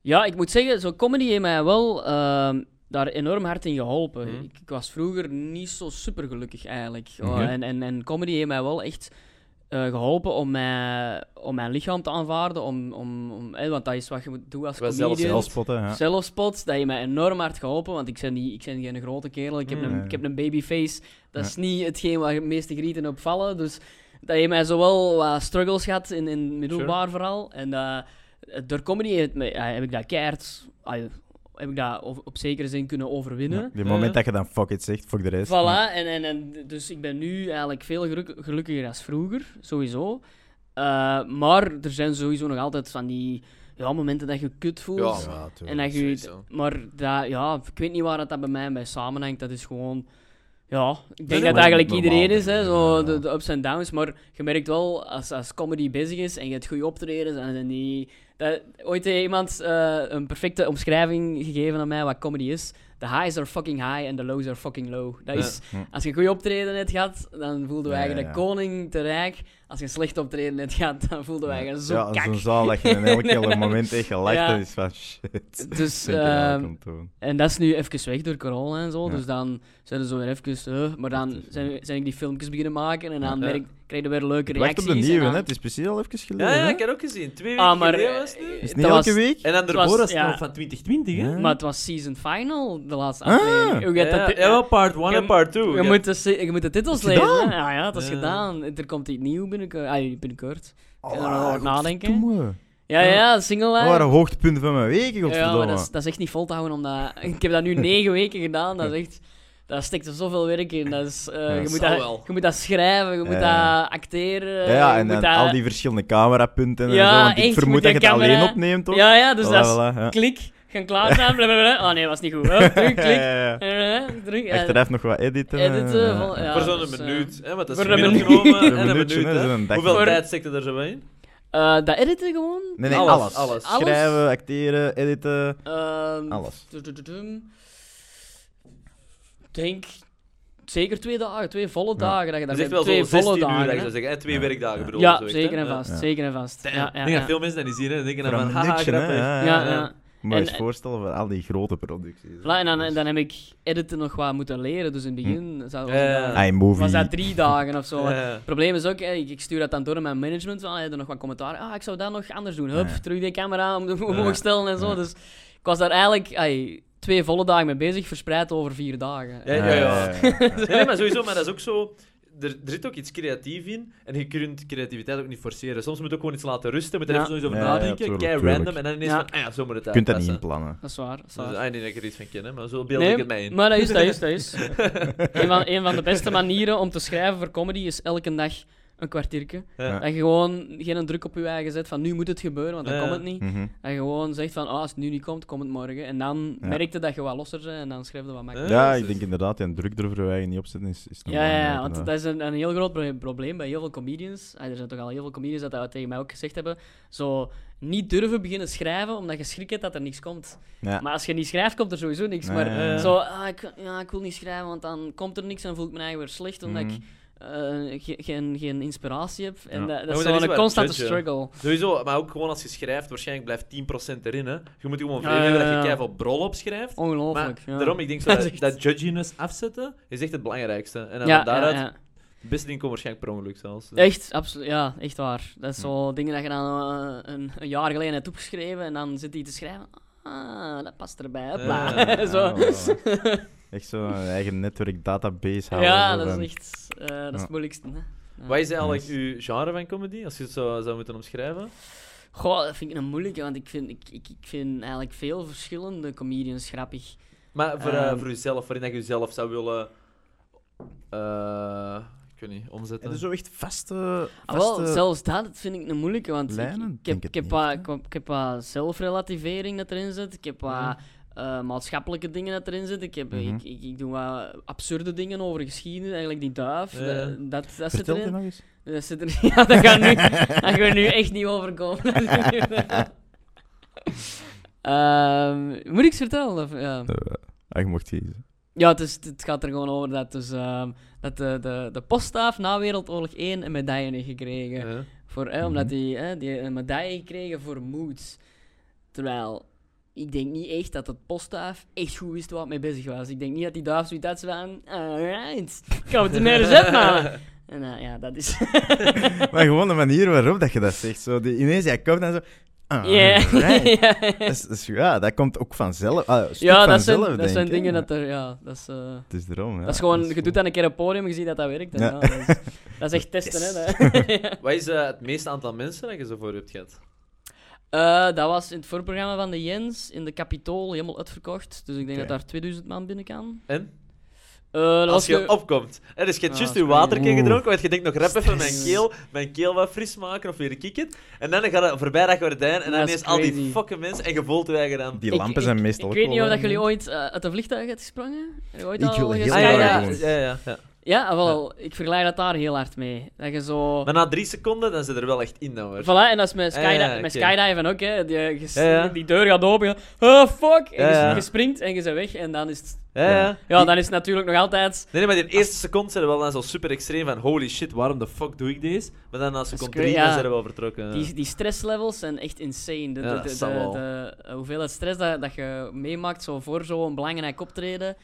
[SPEAKER 5] ja, ik moet zeggen, zo'n comedy heeft mij wel ehm, daar enorm hard in geholpen.
[SPEAKER 4] Mhm.
[SPEAKER 5] Ik, ik was vroeger niet zo super gelukkig eigenlijk.
[SPEAKER 2] Oké.
[SPEAKER 5] Oh, en, en, en comedy heeft mij wel echt eh, geholpen om, mij, om mijn lichaam te aanvaarden. Om, om, om, eh, want dat is wat je moet doen als
[SPEAKER 4] Wel
[SPEAKER 5] comedian.
[SPEAKER 2] Zelfspotten, ja.
[SPEAKER 5] Zelfspot, dat heeft mij enorm hard geholpen, want ik ben, niet, ik ben geen grote kerel, ik heb,
[SPEAKER 4] Mm.
[SPEAKER 5] een,
[SPEAKER 2] Nee.
[SPEAKER 5] ik heb een babyface. Dat is niet hetgeen waar het meeste grieten op vallen. Dus dat heeft mij zowel wat struggles gehad, in, in middelbaar vooral. En eh, door comedy heeft mij- ja, heb ik dat keihard, ah, heb ik dat op, op zekere zin kunnen overwinnen.
[SPEAKER 2] Ja, die moment dat je dan fuck it zegt, fuck de rest. Ja.
[SPEAKER 5] Voilà, en, en, en dus ik ben nu eigenlijk veel geluk- gelukkiger dan vroeger, sowieso. Eh, maar er zijn sowieso nog altijd van die ja, momenten dat je kut voelt.
[SPEAKER 4] Ja,
[SPEAKER 2] Ja,
[SPEAKER 5] En
[SPEAKER 2] tuurlijk.
[SPEAKER 5] dat je,
[SPEAKER 4] Sowieso.
[SPEAKER 5] maar dat, ja, ik weet niet waar dat, dat bij mij bij samenhangt. Dat is gewoon. Ja, ik
[SPEAKER 4] is
[SPEAKER 5] denk dat
[SPEAKER 4] ook
[SPEAKER 5] eigenlijk
[SPEAKER 2] normaal,
[SPEAKER 5] iedereen is, hè,
[SPEAKER 2] denk ik,
[SPEAKER 5] zo
[SPEAKER 2] ja.
[SPEAKER 5] de, de ups en downs. Maar je merkt wel, als, als comedy bezig is en je hebt goede optredens en en die... Dat, ooit heeft iemand eh, een perfecte omschrijving gegeven aan mij wat comedy is. De highs are fucking high en de lows are fucking low. Dat
[SPEAKER 4] Ja.
[SPEAKER 5] is,
[SPEAKER 2] Hm.
[SPEAKER 5] als je goede optreden hebt gehad, dan voelden
[SPEAKER 2] Ja,
[SPEAKER 5] we
[SPEAKER 2] ja,
[SPEAKER 5] eigenlijk
[SPEAKER 2] ja.
[SPEAKER 5] koning te rijk. Als je slecht optreden hebt gehad, dan voelden we eigenlijk zo
[SPEAKER 2] Ja,
[SPEAKER 5] kak.
[SPEAKER 2] zo'n zaal dat je in elk hele
[SPEAKER 5] Ja.
[SPEAKER 2] moment echt gelacht
[SPEAKER 5] Ja.
[SPEAKER 2] dat is van shit. Vind
[SPEAKER 5] Dus,
[SPEAKER 2] je dat
[SPEAKER 5] ehm,
[SPEAKER 2] ook om te doen?
[SPEAKER 5] En dat is nu even weg door corona en zo,
[SPEAKER 2] Ja. dus,
[SPEAKER 5] dus dan zijn er zo weer even... eh, maar
[SPEAKER 2] Dat
[SPEAKER 5] dan
[SPEAKER 2] is-
[SPEAKER 5] zijn, zijn ik die filmpjes beginnen maken en dan
[SPEAKER 4] Ja.
[SPEAKER 5] merk, krijg je weer leuke
[SPEAKER 2] Ik wacht
[SPEAKER 5] reacties.
[SPEAKER 2] op de nieuwe,
[SPEAKER 5] en
[SPEAKER 2] hè.
[SPEAKER 5] dan-
[SPEAKER 2] Het is precies al even geleden.
[SPEAKER 4] Ja, ja,
[SPEAKER 2] hè.
[SPEAKER 4] ik heb ook gezien. Twee weken
[SPEAKER 5] Ah, maar...
[SPEAKER 4] geleden
[SPEAKER 5] eh,
[SPEAKER 4] was het nu.
[SPEAKER 2] Is het
[SPEAKER 5] dat
[SPEAKER 2] niet
[SPEAKER 5] was-
[SPEAKER 2] elke week?
[SPEAKER 4] En dan
[SPEAKER 5] het
[SPEAKER 4] daarvoor
[SPEAKER 5] was-
[SPEAKER 4] was het
[SPEAKER 5] ja.
[SPEAKER 4] nog van 2020, hè?
[SPEAKER 5] Maar het was season final, de laatste
[SPEAKER 2] Ah.
[SPEAKER 5] aflevering. Hoe
[SPEAKER 4] Ja,
[SPEAKER 5] gaat dat-
[SPEAKER 4] ja, wel part 1
[SPEAKER 5] Je-
[SPEAKER 4] en part 2.
[SPEAKER 5] Je moet, de, se- je moet de titels
[SPEAKER 2] Dat is
[SPEAKER 5] lezen.
[SPEAKER 2] gedaan.
[SPEAKER 5] hè. Ah, Ja, ja, dat is
[SPEAKER 4] Ja.
[SPEAKER 5] gedaan. Er komt iets nieuw binnenkort. Ah, binnenkort.
[SPEAKER 2] Oh,
[SPEAKER 5] Ik kan er wel over nadenken.
[SPEAKER 2] godverdomme. Oh,
[SPEAKER 5] Ja,
[SPEAKER 4] Ja.
[SPEAKER 5] ja, single
[SPEAKER 2] Dat
[SPEAKER 5] line.
[SPEAKER 2] waren hoogtepunten van mijn weken,
[SPEAKER 5] Ja,
[SPEAKER 2] godverdomme.
[SPEAKER 5] maar dat is, dat is echt niet vol te houden. Omdat... Ik heb dat nu negen weken gedaan. Dat is echt... Daar steekt er zoveel werk in. Dat is, eh, je,
[SPEAKER 2] dat
[SPEAKER 5] moet
[SPEAKER 4] zal
[SPEAKER 5] dat,
[SPEAKER 4] wel.
[SPEAKER 5] je moet dat schrijven, je moet
[SPEAKER 2] Ja.
[SPEAKER 5] dat acteren.
[SPEAKER 2] Ja, ja,
[SPEAKER 5] eh, je
[SPEAKER 2] en
[SPEAKER 5] moet
[SPEAKER 2] dan
[SPEAKER 5] dat-
[SPEAKER 2] al die verschillende camerapunten en
[SPEAKER 5] Ja,
[SPEAKER 2] zo. Want ik
[SPEAKER 5] echt,
[SPEAKER 2] vermoed
[SPEAKER 5] moet
[SPEAKER 2] dat je
[SPEAKER 5] de
[SPEAKER 2] het alleen
[SPEAKER 5] camera-
[SPEAKER 2] opneemt, toch?
[SPEAKER 5] Ja, ja, dus
[SPEAKER 2] Voilà,
[SPEAKER 5] dat is
[SPEAKER 2] voilà, ja.
[SPEAKER 5] klik, gaan klaarstaan, blablabla. Oh nee, was niet goed. Hup, terug,
[SPEAKER 2] Ja,
[SPEAKER 5] klik.
[SPEAKER 2] ja, ja.
[SPEAKER 5] Eh, terug, eh,
[SPEAKER 2] Achteraf nog wat editen.
[SPEAKER 5] editen,
[SPEAKER 2] eh,
[SPEAKER 5] van- ja.
[SPEAKER 4] voor zo'n
[SPEAKER 5] dus, eh,
[SPEAKER 4] minuut. Hè, want dat is
[SPEAKER 5] voor een
[SPEAKER 4] gemiddeld
[SPEAKER 5] minuut.
[SPEAKER 4] genomen. en
[SPEAKER 2] Een
[SPEAKER 4] een
[SPEAKER 2] minuutje,
[SPEAKER 4] minuut.
[SPEAKER 2] hè,
[SPEAKER 4] hè.
[SPEAKER 2] dat is een dag.
[SPEAKER 4] Hoeveel
[SPEAKER 5] Voor-
[SPEAKER 4] tijd steekt er zo in?
[SPEAKER 5] eh, dat editen gewoon.
[SPEAKER 2] Nee, nee,
[SPEAKER 4] Alles,
[SPEAKER 2] alles.
[SPEAKER 4] alles.
[SPEAKER 5] Alles?
[SPEAKER 2] Schrijven, acteren, editen.
[SPEAKER 5] Ehm,
[SPEAKER 2] Alles.
[SPEAKER 5] tudududum. Ik denk zeker twee dagen, twee volle dagen dat je
[SPEAKER 4] Dat
[SPEAKER 5] daar
[SPEAKER 4] is echt
[SPEAKER 5] bent.
[SPEAKER 4] wel
[SPEAKER 5] twee
[SPEAKER 4] zo'n 16
[SPEAKER 5] volle
[SPEAKER 4] uur, dat
[SPEAKER 5] dagen.
[SPEAKER 4] ik zou
[SPEAKER 5] hè.
[SPEAKER 4] zeggen. hè, Twee
[SPEAKER 2] Ja.
[SPEAKER 4] werkdagen bedoel
[SPEAKER 5] ja,
[SPEAKER 4] zo echt, hè.
[SPEAKER 5] zeker en
[SPEAKER 4] Ja.
[SPEAKER 5] vast,
[SPEAKER 2] Ja.
[SPEAKER 5] zeker en vast.
[SPEAKER 4] Damn.
[SPEAKER 5] Ja, ja,
[SPEAKER 4] Ik denk dat
[SPEAKER 5] ja.
[SPEAKER 4] veel mensen dat niet zien hè. en denken dan
[SPEAKER 2] Van
[SPEAKER 4] van, haha,
[SPEAKER 2] niks, hè.
[SPEAKER 4] grappig.
[SPEAKER 2] Ja,
[SPEAKER 5] Ja,
[SPEAKER 2] ja.
[SPEAKER 5] ja.
[SPEAKER 4] ja.
[SPEAKER 2] Moet je
[SPEAKER 5] En-
[SPEAKER 2] eens voorstellen voor al die grote producties.
[SPEAKER 5] Voilà, en dan, en dan heb ik editen nog wat moeten leren, dus in het
[SPEAKER 2] Hm.
[SPEAKER 5] begin zou- was,
[SPEAKER 4] Ja, ja,
[SPEAKER 2] Ah,
[SPEAKER 5] dat,
[SPEAKER 4] ja.
[SPEAKER 2] iMovie.
[SPEAKER 5] was dat drie dagen of zo.
[SPEAKER 4] Ja.
[SPEAKER 5] Het probleem is ook, hè, ik, ik stuur dat dan door aan mijn management, van, hey, er nog wat commentaar, ah, ik zou dat nog anders doen, hup,
[SPEAKER 2] Ja.
[SPEAKER 5] terug de camera om de- omhoog
[SPEAKER 2] Ja.
[SPEAKER 5] stellen en zo.
[SPEAKER 2] Ja.
[SPEAKER 5] Dus ik was daar eigenlijk ai, twee volle dagen mee bezig, verspreid over vier dagen.
[SPEAKER 4] Ja, ja, ja.
[SPEAKER 2] ja.
[SPEAKER 4] Nee, nee, maar sowieso, maar dat is ook zo. Er, er zit ook iets creatief in en je kunt creativiteit ook niet forceren. Soms moet je ook gewoon iets laten rusten, moet er
[SPEAKER 5] Ja.
[SPEAKER 4] even eens over
[SPEAKER 2] Ja, ja,
[SPEAKER 4] nadenken,
[SPEAKER 2] tuurlijk,
[SPEAKER 4] kei
[SPEAKER 2] tuurlijk.
[SPEAKER 4] random en dan ineens
[SPEAKER 5] Ja.
[SPEAKER 4] van, ah ja, zo moet het
[SPEAKER 2] Je kunt dat niet
[SPEAKER 4] uitpassen.
[SPEAKER 2] inplannen.
[SPEAKER 5] Dat is waar. Dat is
[SPEAKER 4] Dus,
[SPEAKER 5] waar.
[SPEAKER 4] ah, ik denk dat ik er iets van kennen, maar zo beeld
[SPEAKER 5] Nee,
[SPEAKER 4] ik het mij in.
[SPEAKER 5] Maar dat is, dat is, dat is. een, van, een van de beste manieren om te schrijven voor comedy is elke dag een kwartiertje.
[SPEAKER 4] Ja.
[SPEAKER 5] Dat je gewoon geen druk op je eigen zet van nu moet het gebeuren, want dan
[SPEAKER 4] Ja.
[SPEAKER 5] komt het niet.
[SPEAKER 2] Mhm.
[SPEAKER 5] Dat je gewoon zegt van ah als het nu niet komt, komt het morgen. En dan
[SPEAKER 2] Ja.
[SPEAKER 5] merkte dat je wat losser bent en dan schrijf je wat makkelijker.
[SPEAKER 2] Ja,
[SPEAKER 4] dus-
[SPEAKER 2] ik denk inderdaad, ja, een druk er voor je eigen niet op zetten is, is nog
[SPEAKER 5] Eh, Ja, ja, ja,
[SPEAKER 2] belangrijk,
[SPEAKER 5] want
[SPEAKER 2] hè.
[SPEAKER 5] dat is een, een heel groot pro- probleem bij heel veel comedians. Ah, er zijn toch al heel veel comedians dat, dat tegen mij ook gezegd hebben. Zo niet durven beginnen schrijven omdat je schrik hebt dat er niks komt.
[SPEAKER 2] Ja.
[SPEAKER 5] Maar als je niet schrijft, komt er sowieso niks.
[SPEAKER 2] Nee,
[SPEAKER 5] maar
[SPEAKER 2] ja, ja.
[SPEAKER 5] zo, ah, ik, ja, ik wil niet schrijven, want dan komt er niks en voel ik me eigenlijk weer slecht omdat ik eh, ge- geen, geen inspiratie heb. En
[SPEAKER 2] Mhm. Ja.
[SPEAKER 5] dat,
[SPEAKER 4] maar
[SPEAKER 5] dat is
[SPEAKER 4] dat
[SPEAKER 5] gewoon
[SPEAKER 4] is
[SPEAKER 5] een
[SPEAKER 4] waar,
[SPEAKER 5] constante
[SPEAKER 4] judgen.
[SPEAKER 5] struggle.
[SPEAKER 4] Sowieso, maar ook gewoon als je schrijft, waarschijnlijk blijft 10% erin. Hè. Je moet gewoon
[SPEAKER 5] Ja,
[SPEAKER 4] vrede hebben
[SPEAKER 5] ja,
[SPEAKER 4] dat
[SPEAKER 5] ja.
[SPEAKER 4] je keihard op brol opschrijft.
[SPEAKER 5] Ongelooflijk.
[SPEAKER 4] maar
[SPEAKER 5] ja.
[SPEAKER 4] daarom, ik denk zo
[SPEAKER 5] Dat is
[SPEAKER 4] dat,
[SPEAKER 5] echt-
[SPEAKER 4] dat judginess afzetten is echt het belangrijkste. En dan
[SPEAKER 5] ja,
[SPEAKER 4] van daaruit,
[SPEAKER 5] ja, ja.
[SPEAKER 4] het beste ding komt waarschijnlijk per ongeluk zelfs. Dus-
[SPEAKER 5] Echt, absoluut. Ja, echt waar. Dat is zo dingen dat je dan eh, een, een jaar geleden hebt opgeschreven en dan zit die te schrijven. Ah, dat past erbij. Hopla.
[SPEAKER 4] Ja.
[SPEAKER 5] zo.
[SPEAKER 2] Ah, wel, wel. Echt zo'n eigen netwerk database houden.
[SPEAKER 5] ja,
[SPEAKER 2] zo
[SPEAKER 5] dat
[SPEAKER 2] van-
[SPEAKER 5] is echt eh, dat is
[SPEAKER 2] Ja.
[SPEAKER 5] het moeilijkste. Hè.
[SPEAKER 4] Wat is eigenlijk
[SPEAKER 2] Nice.
[SPEAKER 4] uw genre van comedy, als je het zo zou moeten omschrijven?
[SPEAKER 5] Goh, dat vind ik een moeilijke, want ik vind, ik, ik, ik vind eigenlijk veel verschillende comedians grappig.
[SPEAKER 4] Maar voor, eh,
[SPEAKER 5] Ehm.
[SPEAKER 4] voor jezelf, waarin dat je jezelf zou willen. eh, ik weet niet, omzetten.
[SPEAKER 2] Heb je zo echt vaste...
[SPEAKER 5] Ah, wel,
[SPEAKER 2] vaste-
[SPEAKER 5] zelfs dat, dat vind ik een moeilijke, want ik-
[SPEAKER 2] lijnen?
[SPEAKER 5] ik,
[SPEAKER 2] Denk
[SPEAKER 5] heb,
[SPEAKER 2] het
[SPEAKER 5] ik, heb
[SPEAKER 2] niet,
[SPEAKER 5] wat,
[SPEAKER 2] hè?
[SPEAKER 5] ik, heb- ik heb wat zelfrelativering dat erin zit, ik heb wat
[SPEAKER 4] Mhm.
[SPEAKER 5] eh, maatschappelijke dingen dat erin zit, ik, heb,
[SPEAKER 2] Mhm.
[SPEAKER 5] ik, ik, ik doe wat absurde dingen over geschiedenis, eigenlijk die duif,
[SPEAKER 4] Ja.
[SPEAKER 5] dat, dat, dat zit
[SPEAKER 2] Vertel je
[SPEAKER 5] erin.
[SPEAKER 2] nog eens.
[SPEAKER 5] Dat zit er, ja, dat gaan we nu, dat gaan we nu echt niet overkomen.
[SPEAKER 2] Eh,
[SPEAKER 5] Ehm, moet ik ze vertellen? Of, ja.
[SPEAKER 2] Ah, je mocht kiezen.
[SPEAKER 5] Ja, het, is, het gaat er gewoon over dat, dus, ehm, dat de, de, de poststaaf na Wereldoorlog 1 een medaille heeft gekregen.
[SPEAKER 4] Eh,
[SPEAKER 5] Voor, eh, Omdat
[SPEAKER 2] Mhm.
[SPEAKER 5] die, eh, die een medaille heeft gekregen voor moed. Terwijl, ik denk niet echt dat het poststaaf echt goed wist waar het mee bezig was. Ik denk niet dat die duif zoiets had van... Alright, gaan we het er meer eens uitmaken." En eh, ja, dat is...
[SPEAKER 2] Maar gewoon de manier waarop dat je dat zegt. Zo, die, ineens, jij komt en zo... Ah,
[SPEAKER 5] Ja.
[SPEAKER 2] right.
[SPEAKER 5] Ja.
[SPEAKER 2] Dat is- dat is- ja, dat komt ook vanzelf. Ah, een stuk
[SPEAKER 5] Ja, dat zijn,
[SPEAKER 2] vanzelf,
[SPEAKER 5] dat
[SPEAKER 2] denk
[SPEAKER 5] zijn
[SPEAKER 2] ik,
[SPEAKER 5] dingen
[SPEAKER 2] hè.
[SPEAKER 5] dat er... Ja, dat is... eh,
[SPEAKER 2] Het is erom, ja.
[SPEAKER 5] dat is gewoon, je
[SPEAKER 2] goed.
[SPEAKER 5] doet dat een keer op podium en je ziet dat dat werkt. En
[SPEAKER 2] Ja.
[SPEAKER 5] ja, dat, is, dat is echt testen,
[SPEAKER 2] Yes.
[SPEAKER 5] hè. dat-
[SPEAKER 4] Wat is eh, het meeste aantal mensen dat je zo voor hebt gehad?
[SPEAKER 5] Eh, dat was in het voorprogramma van de Jens in de Capitool helemaal uitverkocht. Dus ik denk
[SPEAKER 2] Oké.
[SPEAKER 5] dat daar 2000 man binnen kan.
[SPEAKER 4] En?
[SPEAKER 5] Eh, dat
[SPEAKER 4] Als
[SPEAKER 5] was
[SPEAKER 4] je
[SPEAKER 5] nu-
[SPEAKER 4] opkomt. Er is je hebt
[SPEAKER 5] Ah,
[SPEAKER 4] juist
[SPEAKER 5] dat
[SPEAKER 4] je
[SPEAKER 5] is crazy.
[SPEAKER 4] waterke gedronken, want je denkt nog rap even mijn
[SPEAKER 5] Stress.
[SPEAKER 4] keel, mijn keel wat fris maken of weer kikken. En dan gaat het voorbij dat gordijn en dan
[SPEAKER 5] Dat is
[SPEAKER 4] ineens al die
[SPEAKER 5] crazy.
[SPEAKER 4] fucking mensen en je voelt je eigen aan.
[SPEAKER 2] Die
[SPEAKER 5] Ik-
[SPEAKER 2] lampen zijn meestal
[SPEAKER 5] Ik
[SPEAKER 2] ook
[SPEAKER 5] weet
[SPEAKER 2] wel
[SPEAKER 5] niet of dat
[SPEAKER 2] aan,
[SPEAKER 5] jullie
[SPEAKER 2] hè.
[SPEAKER 5] ooit eh, uit een vliegtuig hebt gesprongen. Heb je ooit
[SPEAKER 2] Ik
[SPEAKER 5] al
[SPEAKER 2] wil heel
[SPEAKER 5] gesprongen?
[SPEAKER 4] Ah, ja,
[SPEAKER 2] erg
[SPEAKER 4] ja,
[SPEAKER 2] doen.
[SPEAKER 4] ja, ja, ja.
[SPEAKER 5] Ja, ah, wel. Ik vergelijk dat daar heel hard mee. Dat je zo...
[SPEAKER 4] Maar na drie seconden, dan zit er wel echt in dan hoor.
[SPEAKER 5] Voilà, en dat is met,
[SPEAKER 4] Ja,
[SPEAKER 5] skydi-
[SPEAKER 4] ja,
[SPEAKER 5] met
[SPEAKER 4] oké.
[SPEAKER 5] skydiven ook, hè. Die, je s-
[SPEAKER 4] Ja, ja.
[SPEAKER 5] die deur gaat open, je- oh fuck! En je,
[SPEAKER 4] Ja, ja.
[SPEAKER 5] je springt en je bent weg en dan is het...
[SPEAKER 4] Ja, ja.
[SPEAKER 5] Ja, dan is het natuurlijk nog altijd...
[SPEAKER 4] Nee, nee, maar die eerste seconde zijn we wel dan zo super extreem van holy shit, waarom de fuck doe ik deze? Maar dan na seconde
[SPEAKER 5] cra-
[SPEAKER 4] drie,
[SPEAKER 5] ja.
[SPEAKER 4] dan zijn we wel vertrokken.
[SPEAKER 5] Die, die stresslevels zijn echt insane. De,
[SPEAKER 4] Ja,
[SPEAKER 5] de-
[SPEAKER 4] dat
[SPEAKER 5] de-
[SPEAKER 4] zal
[SPEAKER 5] de-
[SPEAKER 4] wel.
[SPEAKER 5] de- eh, hoeveelheid stress dat, dat je meemaakt zo voor zo'n belangrijk optreden.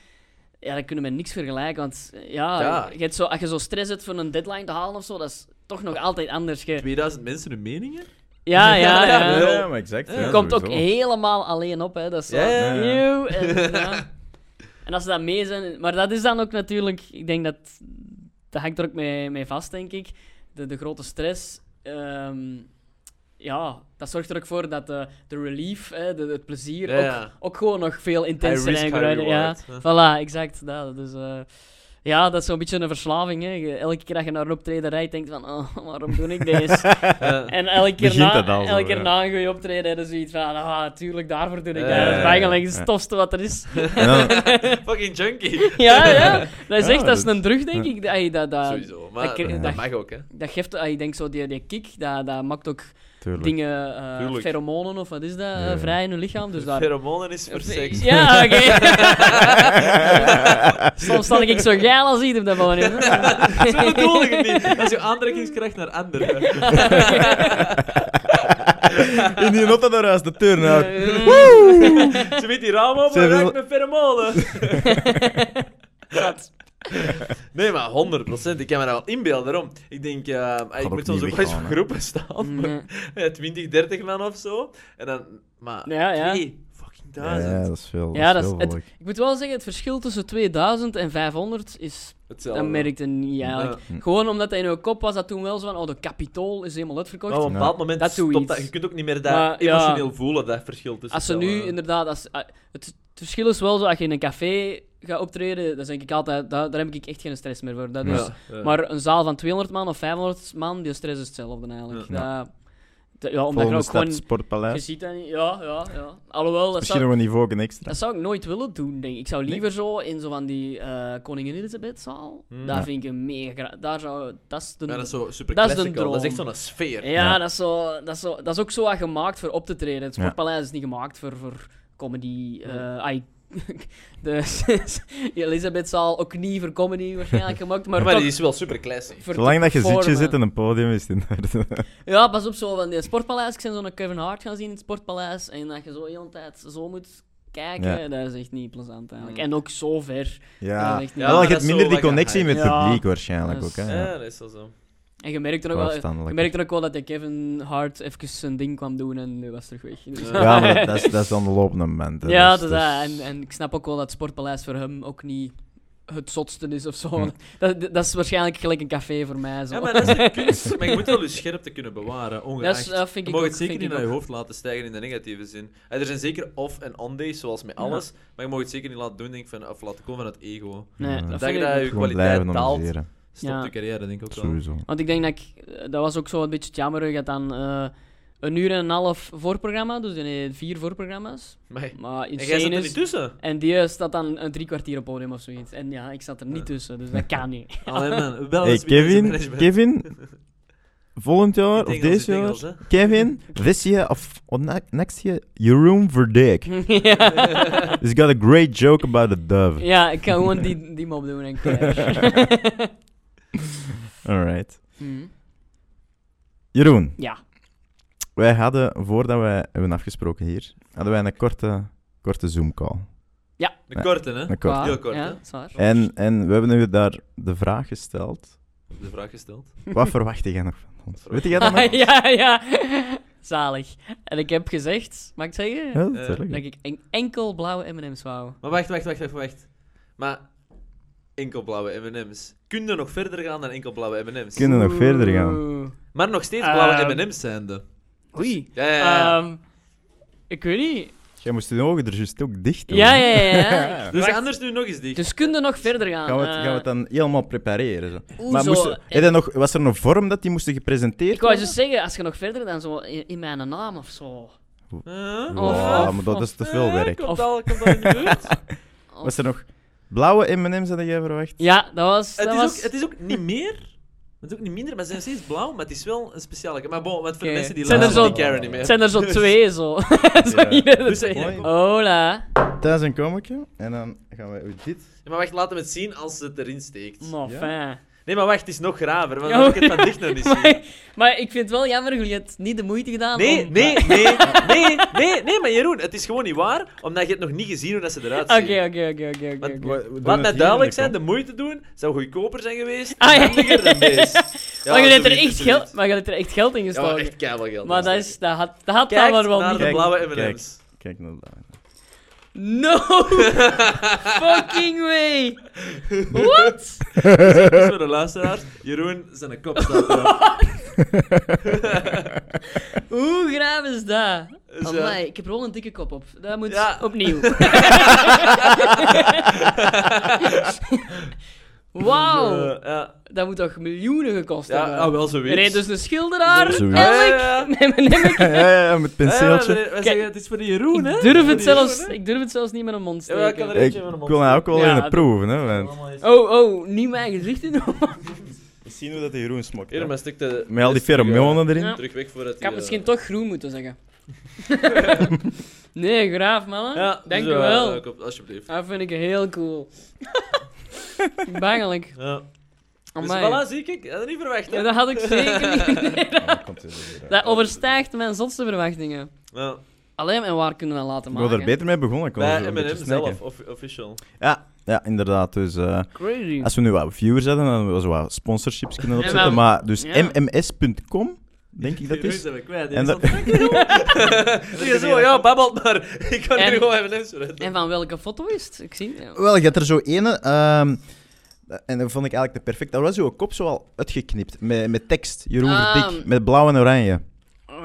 [SPEAKER 5] Ja, dat kunnen we niks vergelijken. Want eh, ja,
[SPEAKER 4] Ja.
[SPEAKER 5] Je hebt zo, als je zo stress hebt voor een deadline te halen of zo, dat is toch nog altijd anders. Je-
[SPEAKER 4] 2000 mensen hun meningen?
[SPEAKER 5] ja, ja, ja.
[SPEAKER 2] Ja, ja, maar exact.
[SPEAKER 4] Je
[SPEAKER 5] Je
[SPEAKER 2] ja,
[SPEAKER 5] eh, komt ook
[SPEAKER 2] sowieso.
[SPEAKER 5] helemaal alleen op. Hè. Dat is zo,
[SPEAKER 4] Ja, ja,
[SPEAKER 2] ja.
[SPEAKER 5] nieuw. En, ja. en als ze dat mee zijn... Maar dat is dan ook natuurlijk... Ik denk dat... Dat hangt er ook mee, mee vast, denk ik. De, de grote stress... ehm, ja, dat zorgt er ook voor dat de, de relief, hè, de, het plezier,
[SPEAKER 4] Ja, ja.
[SPEAKER 5] Ook, ook gewoon nog veel intenser
[SPEAKER 4] risk,
[SPEAKER 5] en
[SPEAKER 4] high
[SPEAKER 5] groter- Ja,
[SPEAKER 4] reward,
[SPEAKER 5] voilà, exact. Dat, dus, eh, ja, dat is zo'n beetje een verslaving. Hè. Je- Elke keer dat je naar een optreden rijdt, denk je van, oh, waarom doe ik deze?
[SPEAKER 4] Eh,
[SPEAKER 5] En elke keer,
[SPEAKER 2] Begint
[SPEAKER 5] na,
[SPEAKER 2] dat al zo,
[SPEAKER 5] elke keer
[SPEAKER 2] ja.
[SPEAKER 5] na een goede optreden hebben ze zoiets van, ah, tuurlijk, daarvoor doe ik
[SPEAKER 4] Ja,
[SPEAKER 5] dat. Dat
[SPEAKER 4] ja,
[SPEAKER 5] is
[SPEAKER 4] ja.
[SPEAKER 5] eigenlijk het
[SPEAKER 2] Ja.
[SPEAKER 5] stofste wat er is.
[SPEAKER 2] En dan-
[SPEAKER 4] fucking junkie.
[SPEAKER 5] ja, ja. Dat is
[SPEAKER 2] Ja,
[SPEAKER 5] echt, dat is
[SPEAKER 2] dat-
[SPEAKER 5] een drug, denk ik. Dat, ey, dat, dat,
[SPEAKER 4] Sowieso, maar
[SPEAKER 5] Ehm, dat-
[SPEAKER 4] dat,
[SPEAKER 2] dat-
[SPEAKER 4] mag ook, hè.
[SPEAKER 5] dat geeft, ey, ik denk zo, die, die kick, dat, dat maakt ook
[SPEAKER 2] Tuurlijk.
[SPEAKER 5] dingen, eh,
[SPEAKER 4] Tuurlijk.
[SPEAKER 5] pheromonen of wat is dat, eh,
[SPEAKER 2] Ja.
[SPEAKER 5] vrij in hun lichaam. Dus daar...
[SPEAKER 4] Pheromonen is voor seks.
[SPEAKER 5] Ja, oké. Soms sta ik zo geil als ieder op dat moment.
[SPEAKER 4] Zo bedoel ik het niet. Dat is je aantrekkingskracht naar anderen.
[SPEAKER 2] in die auto naar huis, de turn uit.
[SPEAKER 4] Ze weet die raam open
[SPEAKER 2] Ze
[SPEAKER 4] en raakt
[SPEAKER 2] wil-
[SPEAKER 4] met pheromonen. Nee, maar 100%. Ik kan me dat wel inbeelden. Daarom. Ik denk, eh, ik
[SPEAKER 2] ook
[SPEAKER 4] moet soms
[SPEAKER 2] niet
[SPEAKER 4] ook wel eens voor
[SPEAKER 2] weggaan, hè.
[SPEAKER 4] groepen staan.
[SPEAKER 5] Nee.
[SPEAKER 4] Ja, 20, 30 man of zo. En dan, maar
[SPEAKER 5] Ja, ja.
[SPEAKER 4] twee fucking
[SPEAKER 2] Ja,
[SPEAKER 4] duizend.
[SPEAKER 2] dat is veel.
[SPEAKER 5] Ja,
[SPEAKER 2] dat is
[SPEAKER 5] dat
[SPEAKER 2] veel
[SPEAKER 5] is- het-
[SPEAKER 2] volk.
[SPEAKER 5] Ik moet wel zeggen, het verschil tussen 2000 en 500 is...
[SPEAKER 4] Hetzelfde.
[SPEAKER 5] Dat merkte niet
[SPEAKER 4] eh,
[SPEAKER 5] eigenlijk.
[SPEAKER 2] Ja.
[SPEAKER 5] Gewoon omdat dat in uw kop was, dat toen wel zo van, oh, de kapitool is helemaal uitverkocht.
[SPEAKER 4] Maar op een
[SPEAKER 2] Ja.
[SPEAKER 4] bepaald moment
[SPEAKER 5] Dat doe
[SPEAKER 4] stopt
[SPEAKER 5] iets.
[SPEAKER 4] dat. Je kunt ook niet meer dat
[SPEAKER 5] Maar, ja.
[SPEAKER 4] emotioneel voelen, dat verschil tussen
[SPEAKER 5] Als ze
[SPEAKER 4] het wel,
[SPEAKER 5] nu
[SPEAKER 4] eh.
[SPEAKER 5] inderdaad, als, ah, het, het verschil is wel zo, als je in een café gaat optreden, dan denk ik altijd, daar, daar heb ik echt geen stress meer voor. Dat is,
[SPEAKER 4] Ja, ja.
[SPEAKER 5] Maar een zaal van 200 man of 500 man, die stress is hetzelfde eigenlijk.
[SPEAKER 2] Ja.
[SPEAKER 5] Dat- dat- ja, omdat je
[SPEAKER 2] Volgende
[SPEAKER 5] ook
[SPEAKER 2] stap,
[SPEAKER 5] gewoon...
[SPEAKER 2] Sportpaleis.
[SPEAKER 5] Je ziet dat niet, ja, ja, ja. Alhoewel, dat
[SPEAKER 2] Misschien
[SPEAKER 5] zou,
[SPEAKER 2] nog een niveau een extra.
[SPEAKER 5] dat zou ik nooit willen doen, denk ik. Ik zou liever zo in zo van die eh, Koningin Elisabethzaal,
[SPEAKER 4] Hmm.
[SPEAKER 5] daar
[SPEAKER 2] Ja.
[SPEAKER 5] vind ik een mega... gra- Daar zou... Dat is de...
[SPEAKER 4] Ja, dat is zo super
[SPEAKER 5] Dat is de
[SPEAKER 4] classical. Dat is echt
[SPEAKER 5] droom.
[SPEAKER 4] zo'n sfeer.
[SPEAKER 5] Ja,
[SPEAKER 2] Ja.
[SPEAKER 5] Dat, is zo, dat, is zo, dat is ook zo wat gemaakt voor op te treden. Het Sportpaleis is niet gemaakt voor, voor comedy. eh ai, de Elisabethzaal ook niet voor comedy waarschijnlijk gemaakt, maar,
[SPEAKER 4] Maar
[SPEAKER 5] toch
[SPEAKER 4] die is wel super classic.
[SPEAKER 5] voor
[SPEAKER 2] Zolang dat je zitje
[SPEAKER 5] vormen.
[SPEAKER 2] zit in een podium, is het in orde.
[SPEAKER 5] Ja, pas op, zo van die Sportpaleis. Ik ben zo'n Kevin Hart gaan zien in het Sportpaleis en dat je zo heel de tijd zo moet kijken,
[SPEAKER 2] Ja.
[SPEAKER 5] dat is echt niet plezant eigenlijk.
[SPEAKER 4] Mm.
[SPEAKER 5] En ook zo ver.
[SPEAKER 2] Ja.
[SPEAKER 5] Dat is echt niet-
[SPEAKER 2] wel, je
[SPEAKER 4] dat
[SPEAKER 2] hebt
[SPEAKER 4] is
[SPEAKER 2] minder
[SPEAKER 4] zo
[SPEAKER 2] die
[SPEAKER 4] wat
[SPEAKER 2] connectie met het
[SPEAKER 5] gehyped.
[SPEAKER 2] publiek
[SPEAKER 5] Ja.
[SPEAKER 2] waarschijnlijk
[SPEAKER 5] Dat
[SPEAKER 2] ook.
[SPEAKER 5] is-
[SPEAKER 2] Hè?
[SPEAKER 4] Ja,
[SPEAKER 2] Ja.
[SPEAKER 4] dat is wel zo.
[SPEAKER 5] En je merkte ook
[SPEAKER 2] Qua
[SPEAKER 5] wel, je
[SPEAKER 2] afstandelijk.
[SPEAKER 5] merkte ook wel dat die Kevin Hart even zijn ding kwam doen en nu was terug weg. Dus-
[SPEAKER 2] Ja, maar dat is, dat is dan de lopende moment. hè.
[SPEAKER 5] Ja,
[SPEAKER 2] Dus-
[SPEAKER 5] dat is
[SPEAKER 2] dus-
[SPEAKER 5] dat. En, en ik snap ook wel dat het Sportpaleis voor hem ook niet het zotste is of zo. Dat, dat is waarschijnlijk gelijk een café voor mij. Zo.
[SPEAKER 4] Ja, maar dat is de kunst. Maar je moet wel je scherpte kunnen bewaren,
[SPEAKER 5] Dat
[SPEAKER 4] ongeacht.
[SPEAKER 5] is- dat vind
[SPEAKER 4] je
[SPEAKER 5] ik
[SPEAKER 4] mag
[SPEAKER 5] ook-
[SPEAKER 4] het zeker
[SPEAKER 5] vind
[SPEAKER 4] niet
[SPEAKER 5] ik
[SPEAKER 4] naar je
[SPEAKER 5] ook.
[SPEAKER 4] hoofd laten stijgen in de negatieve zin. En er zijn zeker off- en on-days, zoals met alles. Maar je mag het zeker niet laten doen, denk ik, van, of laten komen van het ego.
[SPEAKER 5] Nee,
[SPEAKER 2] Ja.
[SPEAKER 5] dat
[SPEAKER 4] Denk
[SPEAKER 5] vind ik
[SPEAKER 4] dat
[SPEAKER 5] ook.
[SPEAKER 4] je
[SPEAKER 2] Gewoon
[SPEAKER 4] kwaliteit
[SPEAKER 2] blijven
[SPEAKER 4] daalt.
[SPEAKER 2] analyseren.
[SPEAKER 4] Stopt
[SPEAKER 5] Ja.
[SPEAKER 4] de carrière, denk ik ook wel.
[SPEAKER 2] Sowieso.
[SPEAKER 5] Want ik denk dat ik... Dat was ook zo een beetje het jammer dat dan eh, een uur en een half voorprogramma, dus nee, vier voorprogramma's.
[SPEAKER 4] Maar, en
[SPEAKER 5] Maar
[SPEAKER 4] jij zit
[SPEAKER 5] insane
[SPEAKER 4] er niet
[SPEAKER 5] is...
[SPEAKER 4] tussen.
[SPEAKER 5] En die eh, staat dan een drie kwartier op podium of zoiets. En ja, ik zat er niet tussen, dus dat kan niet.
[SPEAKER 4] Allee, man. Wel
[SPEAKER 2] Hey,
[SPEAKER 4] eens weer
[SPEAKER 2] Kevin,
[SPEAKER 4] management.
[SPEAKER 2] Kevin, volgend jaar
[SPEAKER 4] Het
[SPEAKER 2] of
[SPEAKER 4] Engels,
[SPEAKER 2] deze
[SPEAKER 4] het
[SPEAKER 2] jaar,
[SPEAKER 4] Engels, hè.
[SPEAKER 2] Kevin, this year of, or ne- next year, your room for dick. He's got a great joke about the dove.
[SPEAKER 5] ja, ik ga gewoon die, die mop doen en klaar.
[SPEAKER 2] Alright.
[SPEAKER 5] Mhm.
[SPEAKER 2] Jeroen,
[SPEAKER 5] Ja.
[SPEAKER 2] wij hadden, voordat wij hebben afgesproken hier, hadden wij een korte, korte Zoom-call.
[SPEAKER 4] De korte, hè?
[SPEAKER 2] Een korte.
[SPEAKER 4] Heel kort,
[SPEAKER 5] Ja,
[SPEAKER 4] hè?
[SPEAKER 5] dat is waar.
[SPEAKER 2] En, en we hebben u daar de vraag gesteld.
[SPEAKER 4] De vraag gesteld.
[SPEAKER 2] Wat verwacht jij nog van ons? Weet jij dat nog?
[SPEAKER 5] Ah, ja, ja. Zalig. En ik heb gezegd, mag ik zeggen?
[SPEAKER 2] Ja, natuurlijk.
[SPEAKER 5] Dat ik en- enkel blauwe M&M's wou.
[SPEAKER 4] Maar wacht, wacht, wacht, wacht, wacht. Maar enkel blauwe M&M's. Kunnen nog verder gaan dan enkel blauwe M&M's?
[SPEAKER 2] Kunnen nog verder gaan.
[SPEAKER 5] Oeh.
[SPEAKER 4] Maar nog steeds
[SPEAKER 5] Eh,
[SPEAKER 4] blauwe M&M's zijnde.
[SPEAKER 5] Oei.
[SPEAKER 4] Ja, ja, ja.
[SPEAKER 5] Dus, Ehm, ik weet niet.
[SPEAKER 2] Jij moest je ogen er juist ook dicht doen.
[SPEAKER 5] Ja, ja, ja. ja.
[SPEAKER 4] dus
[SPEAKER 5] Wacht.
[SPEAKER 4] anders nu nog eens dicht.
[SPEAKER 5] Dus kunnen nog verder gaan.
[SPEAKER 2] Gaan we, het, gaan we het
[SPEAKER 5] Eh,
[SPEAKER 2] dan helemaal prepareren? Zo.
[SPEAKER 5] oeh,
[SPEAKER 2] Maar
[SPEAKER 5] zo,
[SPEAKER 2] moest,
[SPEAKER 5] eh,
[SPEAKER 2] heb je nog, was er een vorm dat die moesten gepresenteerd
[SPEAKER 5] ik wou
[SPEAKER 2] worden?
[SPEAKER 5] dus zeggen, als je nog verder dan zo in, in mijn naam of zo.
[SPEAKER 4] Huh?
[SPEAKER 5] Oh,
[SPEAKER 2] Ja,
[SPEAKER 5] of-
[SPEAKER 2] maar dat is te veel
[SPEAKER 4] Eh,
[SPEAKER 2] werk.
[SPEAKER 4] Komt
[SPEAKER 5] Of-
[SPEAKER 4] al, komt al in de buurt.
[SPEAKER 2] Was er nog blauwe M&M's dat jij verwacht?
[SPEAKER 5] Ja, dat was.
[SPEAKER 4] het,
[SPEAKER 5] dat
[SPEAKER 4] is
[SPEAKER 5] was...
[SPEAKER 4] ook, het is ook niet meer... Het is ook niet minder, maar ze zijn steeds blauw, maar het is wel een speciale... Maar bon, want voor de
[SPEAKER 5] Oké.
[SPEAKER 4] mensen die
[SPEAKER 5] Zijn er
[SPEAKER 4] luisteren, die
[SPEAKER 2] zo-
[SPEAKER 4] Karen niet meer.
[SPEAKER 5] het zijn er zo twee zo. zo
[SPEAKER 2] Ja.
[SPEAKER 5] hier.
[SPEAKER 4] Dus, eh,
[SPEAKER 2] Mooi.
[SPEAKER 5] Hola.
[SPEAKER 2] Thuis een komekje en dan gaan we uit dit.
[SPEAKER 4] ja, maar wacht, laten we het zien als het erin steekt.
[SPEAKER 5] Maar
[SPEAKER 2] Ja.
[SPEAKER 5] fijn.
[SPEAKER 4] Nee, maar wacht, het is nog graver, want
[SPEAKER 5] Ja.
[SPEAKER 4] dan heb ik het van dicht nog niet zien.
[SPEAKER 5] Maar, maar ik vind het wel jammer, jullie hebben het niet de moeite gedaan
[SPEAKER 4] Nee,
[SPEAKER 5] om...
[SPEAKER 4] nee, nee, nee, nee, nee, maar Jeroen, het is gewoon niet waar, omdat je het nog niet gezien hoe dat ze eruit zien.
[SPEAKER 5] Oké, oké, oké, oké, oké,
[SPEAKER 4] Want-
[SPEAKER 5] oké.
[SPEAKER 4] Laat mij duidelijk zijn, de moeite doen zou goedkoper zijn geweest,
[SPEAKER 5] Ah, ja.
[SPEAKER 4] handiger dan deze. Ja,
[SPEAKER 5] maar je hebt er
[SPEAKER 4] zoiets,
[SPEAKER 5] echt
[SPEAKER 4] zoiets.
[SPEAKER 5] geld, maar je hebt er echt geld in
[SPEAKER 4] Ja, maar
[SPEAKER 5] gestoken.
[SPEAKER 4] echt keiveel geld.
[SPEAKER 5] maar dat, is, dat had, dat had
[SPEAKER 4] Kijk
[SPEAKER 5] dan maar wel
[SPEAKER 4] naar
[SPEAKER 5] niet.
[SPEAKER 4] de
[SPEAKER 2] Kijk,
[SPEAKER 4] blauwe
[SPEAKER 2] kijk.
[SPEAKER 4] M&M's.
[SPEAKER 2] Kijk naar daar.
[SPEAKER 5] No! Fucking way! What?
[SPEAKER 4] Dus voor de luisteraars, Jeroen zijn kop staat erop.
[SPEAKER 5] Hoe graaf is dat?
[SPEAKER 4] Dus, eh,
[SPEAKER 5] Amai, ik heb er wel een dikke kop op. Dat moet
[SPEAKER 4] Ja.
[SPEAKER 5] opnieuw. Wauw!
[SPEAKER 4] eh, ja,
[SPEAKER 5] Dat moet toch miljoenen gekost
[SPEAKER 4] ja,
[SPEAKER 5] hebben?
[SPEAKER 4] ah, wel
[SPEAKER 5] Er
[SPEAKER 4] zoiets.
[SPEAKER 5] reed dus een schilderaar,
[SPEAKER 2] Zoiets.
[SPEAKER 4] Ja,
[SPEAKER 5] elk,
[SPEAKER 4] ja, ja.
[SPEAKER 5] met mijn emmer.
[SPEAKER 2] Ja, ja, ja, met penseeltje.
[SPEAKER 4] Ja, ja, wij zeggen, het is voor de Jeroen, hè?
[SPEAKER 5] Ik durf, het
[SPEAKER 4] Voor de
[SPEAKER 5] zelfs,
[SPEAKER 4] Jeroen, hè?
[SPEAKER 5] ik durf het zelfs niet met een mond
[SPEAKER 4] Ja, maar ik kan
[SPEAKER 5] steken.
[SPEAKER 4] er
[SPEAKER 2] Ik,
[SPEAKER 4] eentje van hem
[SPEAKER 2] ik wil nou ook wel
[SPEAKER 5] Ja,
[SPEAKER 2] in
[SPEAKER 5] dat-
[SPEAKER 2] proeven, hè. want-
[SPEAKER 5] Oh, oh, niet mijn gezicht in.
[SPEAKER 2] We zien hoe dat de Jeroen smokt.
[SPEAKER 4] Hier, maar stuk de...
[SPEAKER 2] Met al die
[SPEAKER 4] de-
[SPEAKER 2] pheromonen erin.
[SPEAKER 5] Ja.
[SPEAKER 4] Terug weg voordat
[SPEAKER 5] Ik
[SPEAKER 4] die,
[SPEAKER 5] had
[SPEAKER 4] eh,
[SPEAKER 5] misschien toch groen moeten zeggen. nee, graaf, mannen.
[SPEAKER 4] Ja,
[SPEAKER 5] Dank
[SPEAKER 4] dus,
[SPEAKER 5] u
[SPEAKER 4] eh,
[SPEAKER 5] wel. Ah.
[SPEAKER 4] ja, kom, Alsjeblieft.
[SPEAKER 5] Dat vind ik heel cool. Bangelijk.
[SPEAKER 4] Ja. Dus
[SPEAKER 5] Amai.
[SPEAKER 4] voilà, zie ik. Ik had het niet verwacht. Hè?
[SPEAKER 5] Ja, dat had ik zeker niet. Nee, dat-
[SPEAKER 2] Ja, komt er weer, eh,
[SPEAKER 5] dat overstijgt mijn zotste verwachtingen.
[SPEAKER 4] Ja.
[SPEAKER 5] Alleen en waar kunnen we dat laten
[SPEAKER 2] Ik word
[SPEAKER 5] maken?
[SPEAKER 2] er beter mee begonnen. Ik kon
[SPEAKER 4] Bij
[SPEAKER 2] er zo een beetje
[SPEAKER 4] M&M zelf,
[SPEAKER 2] snacken.
[SPEAKER 4] of, official.
[SPEAKER 2] Ja, ja, inderdaad. Dus eh,
[SPEAKER 5] Crazy.
[SPEAKER 2] als we nu wat viewers hadden, dan hadden we zo wat sponsorships kunnen
[SPEAKER 5] Ja,
[SPEAKER 2] opzetten.
[SPEAKER 5] maar-
[SPEAKER 2] maar, dus
[SPEAKER 5] ja.
[SPEAKER 2] mms.com, denk ik dat
[SPEAKER 4] Die
[SPEAKER 2] is.
[SPEAKER 4] zijn we kwijt.
[SPEAKER 2] En
[SPEAKER 4] En
[SPEAKER 2] dat-
[SPEAKER 4] dat... zo, ja, babbelt maar. Ik kan
[SPEAKER 5] En-
[SPEAKER 4] nu gewoon M&M's redden.
[SPEAKER 5] En van welke foto is het? Ik zie het. ja.
[SPEAKER 2] Wel, je had er zo ene. ehm, en dat vond ik eigenlijk de perfect. Daar was zo'n kop zo al uitgeknipt. Met, met tekst. Jeroen
[SPEAKER 5] Ah.
[SPEAKER 2] Verdik. Met blauw en oranje.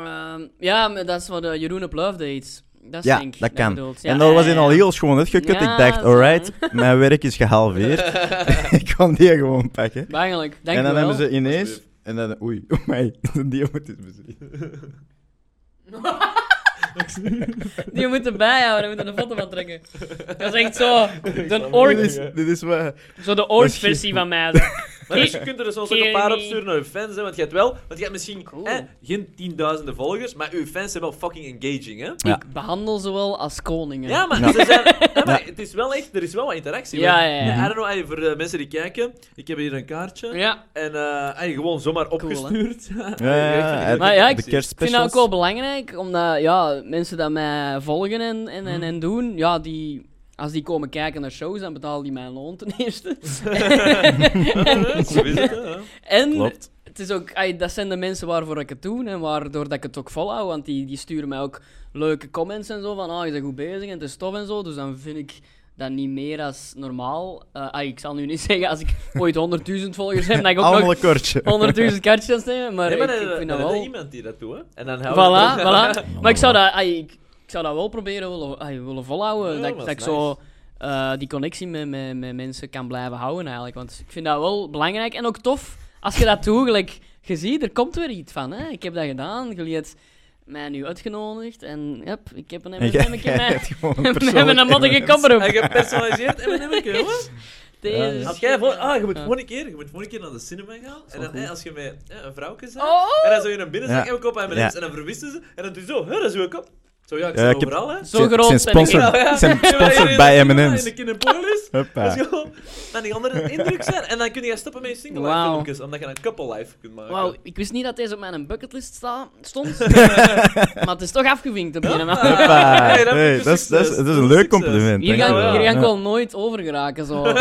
[SPEAKER 5] Ehm, ja, maar dat is wat eh, Jeroen op Love deed. Dat is
[SPEAKER 2] Ja,
[SPEAKER 5] denk ik
[SPEAKER 2] dat
[SPEAKER 5] je
[SPEAKER 2] kan.
[SPEAKER 5] bedoelt. Ja,
[SPEAKER 2] en dat was
[SPEAKER 5] ja,
[SPEAKER 2] in al
[SPEAKER 5] ja.
[SPEAKER 2] heel schoon uitgekut.
[SPEAKER 5] Ja,
[SPEAKER 2] ik dacht,
[SPEAKER 5] zo.
[SPEAKER 2] alright, mijn werk is gehalveerd. ik kan die gewoon pakken.
[SPEAKER 5] Bangelijk, dank
[SPEAKER 2] en
[SPEAKER 5] je
[SPEAKER 2] dan
[SPEAKER 5] wel.
[SPEAKER 2] hebben ze ineens.
[SPEAKER 4] Alsjeblieft.
[SPEAKER 2] En dan, oei, oei, die moet het bezien.
[SPEAKER 5] Die moeten bijhouden, we moeten een foto van trekken. Dat is echt zo, de org,
[SPEAKER 2] Dit is, dit is wat.
[SPEAKER 5] zo de org-versie van mij. zo.
[SPEAKER 4] Maar dus je kunt er soms ook een paar opsturen naar je fans, hè, want je hebt wel, want je hebt misschien
[SPEAKER 5] Cool.
[SPEAKER 4] hè, geen tienduizenden volgers, maar uw fans zijn wel fucking engaging, hè?
[SPEAKER 2] Ja.
[SPEAKER 5] Ik behandel ze wel als koningen.
[SPEAKER 4] Ja, maar,
[SPEAKER 2] Ja.
[SPEAKER 4] Ze zijn, ja, maar het is wel echt, er is wel wat interactie.
[SPEAKER 5] Ja,
[SPEAKER 4] want-
[SPEAKER 5] ja, ja.
[SPEAKER 4] I don't know, ey, voor de mensen die kijken, ik heb hier een kaartje.
[SPEAKER 5] Ja,
[SPEAKER 4] En eh, ey, gewoon zomaar opgestuurd.
[SPEAKER 2] Ja, ja, ja.
[SPEAKER 5] Maar ja, ik-
[SPEAKER 2] de
[SPEAKER 5] ik vind dat
[SPEAKER 2] kerstspecials.
[SPEAKER 5] ook wel belangrijk, omdat ja, mensen die mij volgen en, en,
[SPEAKER 2] Mhm.
[SPEAKER 5] en, en doen, ja, die, als die komen kijken naar shows, dan betalen die mijn loon ten eerste.
[SPEAKER 4] Zo is het, hè, ja.
[SPEAKER 5] En
[SPEAKER 2] Klopt.
[SPEAKER 5] het is ook, ai, dat zijn de mensen waarvoor ik het doe en waardoor dat ik het ook volhou. Want die, die sturen mij ook leuke comments en zo van, ah, je bent goed bezig en het is tof en zo. Dus dan vind ik dat niet meer als normaal. Eh, ai, ik zal nu niet zeggen, als ik ooit 100.000 volgers heb, dat ik ook
[SPEAKER 2] Allemaal
[SPEAKER 5] nog
[SPEAKER 2] een kortje.
[SPEAKER 5] 100.000 kaartjes aan steken, maar,
[SPEAKER 4] Nee, maar
[SPEAKER 5] ik,
[SPEAKER 4] dan-
[SPEAKER 5] ik vind
[SPEAKER 4] dan
[SPEAKER 5] dat
[SPEAKER 4] is er
[SPEAKER 5] wel...
[SPEAKER 4] iemand die dat doet, hè? En dan houden we
[SPEAKER 5] Voilà,
[SPEAKER 4] het-
[SPEAKER 5] voilà. Maar ik zou dat, ai, ik, ik zou dat wel proberen willen, ai, willen volhouden.
[SPEAKER 4] Ja,
[SPEAKER 5] dat ik,
[SPEAKER 4] maar
[SPEAKER 5] dat ik
[SPEAKER 4] is
[SPEAKER 5] zo eh, die connectie met, met, met mensen kan blijven houden eigenlijk. Want ik vind dat wel belangrijk en ook tof als je dat doet. Gelijk, je ziet, er komt weer iets van. Hè? Ik heb dat gedaan, jullie hebben mij nu uitgenodigd en yep, ik heb een
[SPEAKER 2] En jij-
[SPEAKER 5] M&M. ik heb
[SPEAKER 2] jij
[SPEAKER 5] mij-
[SPEAKER 2] hebt gewoon
[SPEAKER 5] We
[SPEAKER 2] persoonlijk
[SPEAKER 5] hebben een mottige
[SPEAKER 2] M&M's.
[SPEAKER 5] kapper op.
[SPEAKER 4] En gepersonaliseerd en dan heb ik jongen.
[SPEAKER 5] Deze
[SPEAKER 4] Als jij voor, ah, je moet
[SPEAKER 5] Dus Ja.
[SPEAKER 4] volgende keer, je moet volgende keer naar de cinema gaan. En dan, hè, als je met hè, een vrouwke bent,
[SPEAKER 5] Oh!
[SPEAKER 4] en dan zou je naar binnen
[SPEAKER 2] Ja.
[SPEAKER 4] zeggen, "Oh, en we kopen M&M's.
[SPEAKER 2] Ja.
[SPEAKER 4] En dan verwisten ze, en dan doe je zo, hè, dat is uw kop. Zo, ja, ik
[SPEAKER 2] Ja,
[SPEAKER 4] zit
[SPEAKER 2] ik heb-
[SPEAKER 4] overal, hè.
[SPEAKER 5] Zo
[SPEAKER 2] Zijn-
[SPEAKER 5] groot
[SPEAKER 2] zijn
[SPEAKER 5] ben ik.
[SPEAKER 4] Ja,
[SPEAKER 2] sponsor-
[SPEAKER 4] ja.
[SPEAKER 2] zijn
[SPEAKER 4] Ja, maar
[SPEAKER 2] sponsored
[SPEAKER 4] iedereen dat
[SPEAKER 2] bij
[SPEAKER 4] cinema
[SPEAKER 2] M&M's.
[SPEAKER 4] In de kinderpolis. Dat
[SPEAKER 2] Hoppa.
[SPEAKER 4] is gewoon, dan die anderen indruk zijn. En dan kun je stoppen met je single life
[SPEAKER 5] Wauw.
[SPEAKER 4] filmpjes, omdat je een couple life kunt maken.
[SPEAKER 5] Wauw, ik wist niet dat deze op mijn bucketlist sta- stond. maar het is toch afgevinkt op een of andere manier.
[SPEAKER 2] Hoppa.
[SPEAKER 4] Hey, dat
[SPEAKER 2] Hey,
[SPEAKER 4] vind ik
[SPEAKER 2] dat is- dat is
[SPEAKER 4] succes. Dat
[SPEAKER 2] dat is een
[SPEAKER 4] is eh,
[SPEAKER 2] leuk
[SPEAKER 4] succes.
[SPEAKER 2] compliment.
[SPEAKER 5] Hier
[SPEAKER 2] Dank je
[SPEAKER 5] ga,
[SPEAKER 2] wel.
[SPEAKER 5] ik- hier ga
[SPEAKER 2] Ja.
[SPEAKER 5] ik wel nooit over geraken. Zo. ik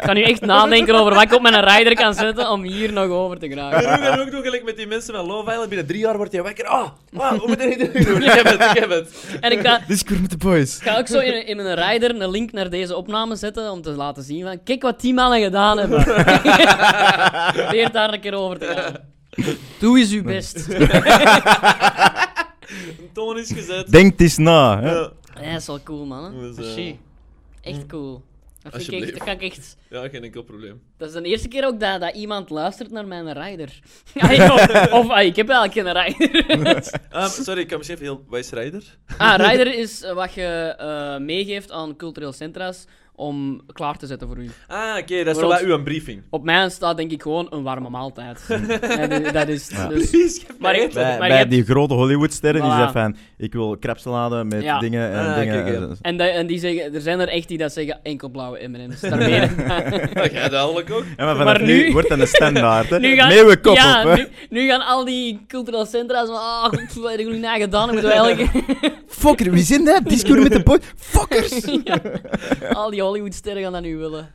[SPEAKER 5] ga nu echt nadenken over wat ik op mijn rider kan zetten om hier nog over te
[SPEAKER 4] En
[SPEAKER 5] geraken.
[SPEAKER 4] hoe gaan we ook doen gelijk met die mensen van Love Island? Binnen drie jaar word je wakker. Ah, wow, we moeten dit doen. Ik heb het, ik heb het.
[SPEAKER 5] En ik ga,
[SPEAKER 2] Dit is Crew met de Boys.
[SPEAKER 5] ik ga ook zo in, in mijn rider een link naar deze opname zetten om te laten zien van kijk wat die mannen gedaan hebben. Probeer daar een keer over te gaan. Doe eens uw best.
[SPEAKER 4] Een toon is gezet.
[SPEAKER 2] Denk het eens na. Hè?
[SPEAKER 4] Ja.
[SPEAKER 5] Ja, dat is wel cool, man. hè.
[SPEAKER 4] Dus, eh,
[SPEAKER 5] Shit. Echt cool. Dat, vind ik echt,
[SPEAKER 4] Alsjeblieft.
[SPEAKER 5] dat kan ik echt...
[SPEAKER 4] Ja, geen enkel probleem.
[SPEAKER 5] Dat is de eerste keer ook dat, dat iemand luistert naar mijn rider. Ai, of of ai, ik heb eigenlijk geen rider.
[SPEAKER 4] Ah, sorry, ik kan misschien even heel wijsrijder.
[SPEAKER 5] Ah, rider is eh, wat je eh, meegeeft aan cultureel centra's om klaar te zetten voor u.
[SPEAKER 4] Ah, oké, dat is
[SPEAKER 5] Voor
[SPEAKER 4] wel
[SPEAKER 5] ons-
[SPEAKER 4] bij u een briefing.
[SPEAKER 5] Op mij staat denk ik gewoon een warme maaltijd. En, eh, dat is het.
[SPEAKER 2] Ja.
[SPEAKER 5] Dus,
[SPEAKER 4] Please, geef
[SPEAKER 5] Maar
[SPEAKER 4] mij
[SPEAKER 5] ik-
[SPEAKER 4] eten.
[SPEAKER 2] Bij,
[SPEAKER 5] Maar
[SPEAKER 2] bij
[SPEAKER 5] je hebt-
[SPEAKER 2] die grote Hollywoodsterren die
[SPEAKER 5] Voilà.
[SPEAKER 2] zeggen van, ik wil krapsalade met
[SPEAKER 5] Ja.
[SPEAKER 2] dingen en
[SPEAKER 4] Ah,
[SPEAKER 2] dingen.
[SPEAKER 4] kijk, ja.
[SPEAKER 5] en, dat- en die zeggen, er zijn er echt die dat zeggen enkel blauwe M&M's. Daar meen ik aan.
[SPEAKER 4] Ja, jij duidelijk ook.
[SPEAKER 2] Ja, maar vanaf
[SPEAKER 5] Maar
[SPEAKER 2] nu...
[SPEAKER 5] nu-
[SPEAKER 2] wordt dat een standaard. Hè?
[SPEAKER 5] Nu gaan,
[SPEAKER 2] Meeuwen kop
[SPEAKER 5] ja,
[SPEAKER 2] op. Hè?
[SPEAKER 5] Nu, nu gaan al die cultureel centra's van, ah, oh, wat hebben jullie nagedaan? Moeten we elke...
[SPEAKER 2] Fucker, wie zijn dat? Discord met de boys. Fuckers!
[SPEAKER 5] Ja. Al die Hollywoodsterren gaan dat nu willen.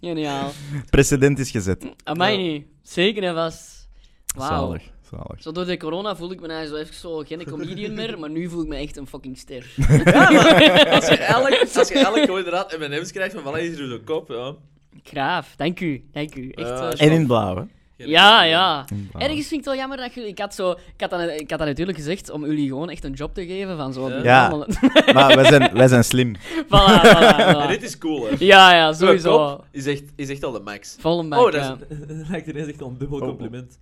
[SPEAKER 5] Geniaal.
[SPEAKER 2] Precedent is gezet.
[SPEAKER 5] Aan mij niet. Zeker en vast. Wauw.
[SPEAKER 2] Zalig, zalig.
[SPEAKER 5] Zo door de corona voel ik me eigenlijk zo even zo geen comedian meer, maar nu voel ik me echt een fucking ster.
[SPEAKER 4] Ja, maar als je elk, als je elk gewoon inderdaad M&M's krijgt van voilà, hier is uw kop, ja.
[SPEAKER 5] Graaf, dank u, dank u. Echt,
[SPEAKER 4] Ja,
[SPEAKER 5] eh,
[SPEAKER 4] is
[SPEAKER 2] En in blauw, hè?
[SPEAKER 4] Geen
[SPEAKER 5] ja,
[SPEAKER 4] enkel
[SPEAKER 5] ja.
[SPEAKER 2] In
[SPEAKER 4] Ah.
[SPEAKER 2] blauw.
[SPEAKER 5] Ergens vind ik het wel jammer dat jullie... Ik had, zo, ik, had dat, ik had dat natuurlijk gezegd om jullie gewoon echt een job te geven van zo...
[SPEAKER 4] Ja.
[SPEAKER 5] doe
[SPEAKER 2] Ja.
[SPEAKER 5] allemaal-
[SPEAKER 2] Maar wij zijn, wij zijn slim.
[SPEAKER 5] voilà, voilà,
[SPEAKER 4] probleem. En
[SPEAKER 5] voilà.
[SPEAKER 4] dit is cool, hè.
[SPEAKER 5] Ja, ja,
[SPEAKER 4] Uw
[SPEAKER 5] sowieso.
[SPEAKER 4] kop is echt, is echt al de max.
[SPEAKER 5] Vol een bak,
[SPEAKER 4] Oh, dat,
[SPEAKER 5] ja.
[SPEAKER 4] is, dat lijkt ineens echt al een dubbel
[SPEAKER 2] Oh, oh.
[SPEAKER 4] compliment.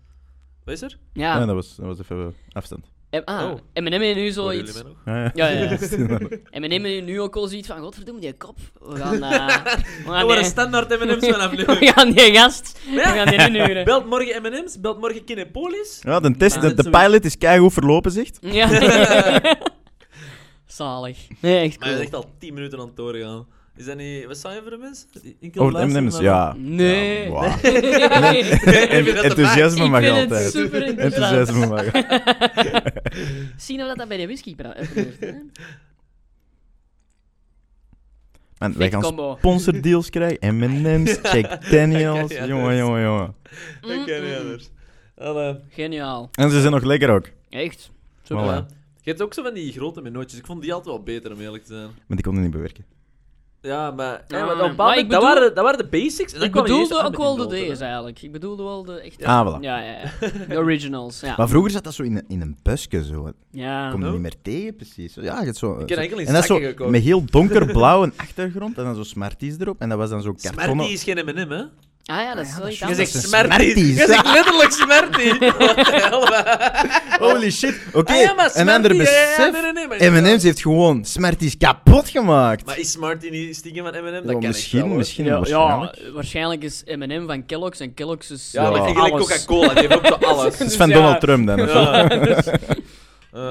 [SPEAKER 4] Wat is er?
[SPEAKER 5] Ja.
[SPEAKER 2] Ja. dat, was, dat was even afstand.
[SPEAKER 5] M- ah,
[SPEAKER 4] Oh.
[SPEAKER 5] M&M is nu
[SPEAKER 4] Horen jullie
[SPEAKER 5] zoiets...
[SPEAKER 4] mij nog?
[SPEAKER 2] Ja,
[SPEAKER 5] Ja, ja, ja.
[SPEAKER 2] ja.
[SPEAKER 5] M&M is nu ook al zoiets van, godverdomme, die kop. We gaan... eh,
[SPEAKER 4] Ah,
[SPEAKER 5] we gaan
[SPEAKER 4] nee. een
[SPEAKER 5] die,
[SPEAKER 4] standaard M&M's van
[SPEAKER 5] we
[SPEAKER 4] aflevering.
[SPEAKER 5] gaan die gast... We
[SPEAKER 4] Ja.
[SPEAKER 5] gaan die inhuren.
[SPEAKER 4] Belt morgen M&M's, belt morgen Kinepolis.
[SPEAKER 2] ja de, test, de, de
[SPEAKER 4] Zoiets.
[SPEAKER 2] pilot is keigoed verlopen, zegt.
[SPEAKER 5] Ja. Zalig. Nee, echt
[SPEAKER 4] Maar hij
[SPEAKER 5] cool.
[SPEAKER 4] is echt al 10 minuten aan het doorgaan. Is dat niet... Wat zijn je voor een mens?
[SPEAKER 3] Ik
[SPEAKER 2] Over de M&M's, ja.
[SPEAKER 5] Nee.
[SPEAKER 2] Ja, wauw.
[SPEAKER 4] vind dat de
[SPEAKER 2] Enthousiasme
[SPEAKER 5] ik
[SPEAKER 2] mag
[SPEAKER 5] vind het
[SPEAKER 2] altijd.
[SPEAKER 5] super interessant.
[SPEAKER 2] Enthousiasme mag altijd.
[SPEAKER 5] Zien of nou dat, dat bij de whisky pra- eh, gebeurt, hè?
[SPEAKER 2] Man, wij
[SPEAKER 5] Perfect
[SPEAKER 2] gaan
[SPEAKER 5] combo.
[SPEAKER 2] sponsordeals krijgen. M&M's, Jack Daniels.
[SPEAKER 4] Ja, ja,
[SPEAKER 2] Jongen,
[SPEAKER 4] dus.
[SPEAKER 2] jongen, jongen.
[SPEAKER 4] Ik ken niet anders. Allee.
[SPEAKER 5] Geniaal.
[SPEAKER 2] En ze zijn nog lekker ook.
[SPEAKER 5] Echt.
[SPEAKER 2] Voilà.
[SPEAKER 4] Ja. Je hebt ook zo van die grote menootjes. Ik vond die altijd wel beter, om eerlijk te zijn.
[SPEAKER 2] Maar die konden niet bewerken.
[SPEAKER 4] Ja, maar...
[SPEAKER 5] Ja,
[SPEAKER 4] Ja, maar,
[SPEAKER 5] maar
[SPEAKER 4] op
[SPEAKER 5] ik
[SPEAKER 4] bepaald,
[SPEAKER 5] bedoel-
[SPEAKER 4] dat, waren, dat waren de basics. En dan
[SPEAKER 5] Ik
[SPEAKER 4] kwam je eerst aan
[SPEAKER 5] bedoelde ook
[SPEAKER 4] met
[SPEAKER 5] wel
[SPEAKER 4] die
[SPEAKER 5] de
[SPEAKER 4] noten,
[SPEAKER 5] D's
[SPEAKER 4] hè.
[SPEAKER 5] eigenlijk. Ik bedoelde wel de echte.
[SPEAKER 2] Ah, voilà.
[SPEAKER 5] Ja, ja, ja. De originals. Ja.
[SPEAKER 2] Maar vroeger zat dat zo in een, in een busje, zo. Ik
[SPEAKER 5] ja.
[SPEAKER 2] kom je
[SPEAKER 4] Oh.
[SPEAKER 2] niet meer tegen, precies. Ja, je hebt zo...
[SPEAKER 4] Ik heb enkel in
[SPEAKER 2] en dat is zo
[SPEAKER 4] zakken gekocht.
[SPEAKER 2] met heel donkerblauw een achtergrond en dan zo Smarties erop. En dat was dan zo kartonnen...
[SPEAKER 4] Smarty is geen M&M, hè?
[SPEAKER 5] Ah ja, dat is wel iets
[SPEAKER 4] Je zegt
[SPEAKER 5] anders.
[SPEAKER 4] Smarty.
[SPEAKER 2] Smarties.
[SPEAKER 4] Je zegt letterlijk Smarty. Wat de hel, hè?
[SPEAKER 2] Holy shit. Oké,
[SPEAKER 4] Ah ja, maar
[SPEAKER 2] een
[SPEAKER 4] Smarty,
[SPEAKER 2] ander
[SPEAKER 4] ja,
[SPEAKER 2] besef.
[SPEAKER 4] ja, nee, nee, nee, maar-
[SPEAKER 2] M&M's heeft gewoon Smarties kapot gemaakt.
[SPEAKER 4] Maar is Smarty niet stiekem van M&M? Dat
[SPEAKER 2] Ja,
[SPEAKER 4] kan
[SPEAKER 2] misschien,
[SPEAKER 4] ik wel, hoor.
[SPEAKER 2] misschien,
[SPEAKER 5] Ja,
[SPEAKER 2] waarschijnlijk.
[SPEAKER 5] ja, waarschijnlijk is M&M van Kellogg's en Kellogg's is
[SPEAKER 4] Ja, maar
[SPEAKER 2] Ja.
[SPEAKER 4] eigenlijk
[SPEAKER 5] alles.
[SPEAKER 4] Coca-Cola, die heeft ook zo alles.
[SPEAKER 2] Het is van
[SPEAKER 5] Dus ja.
[SPEAKER 2] Donald Trump dan. of zo.
[SPEAKER 4] Ja. Ah,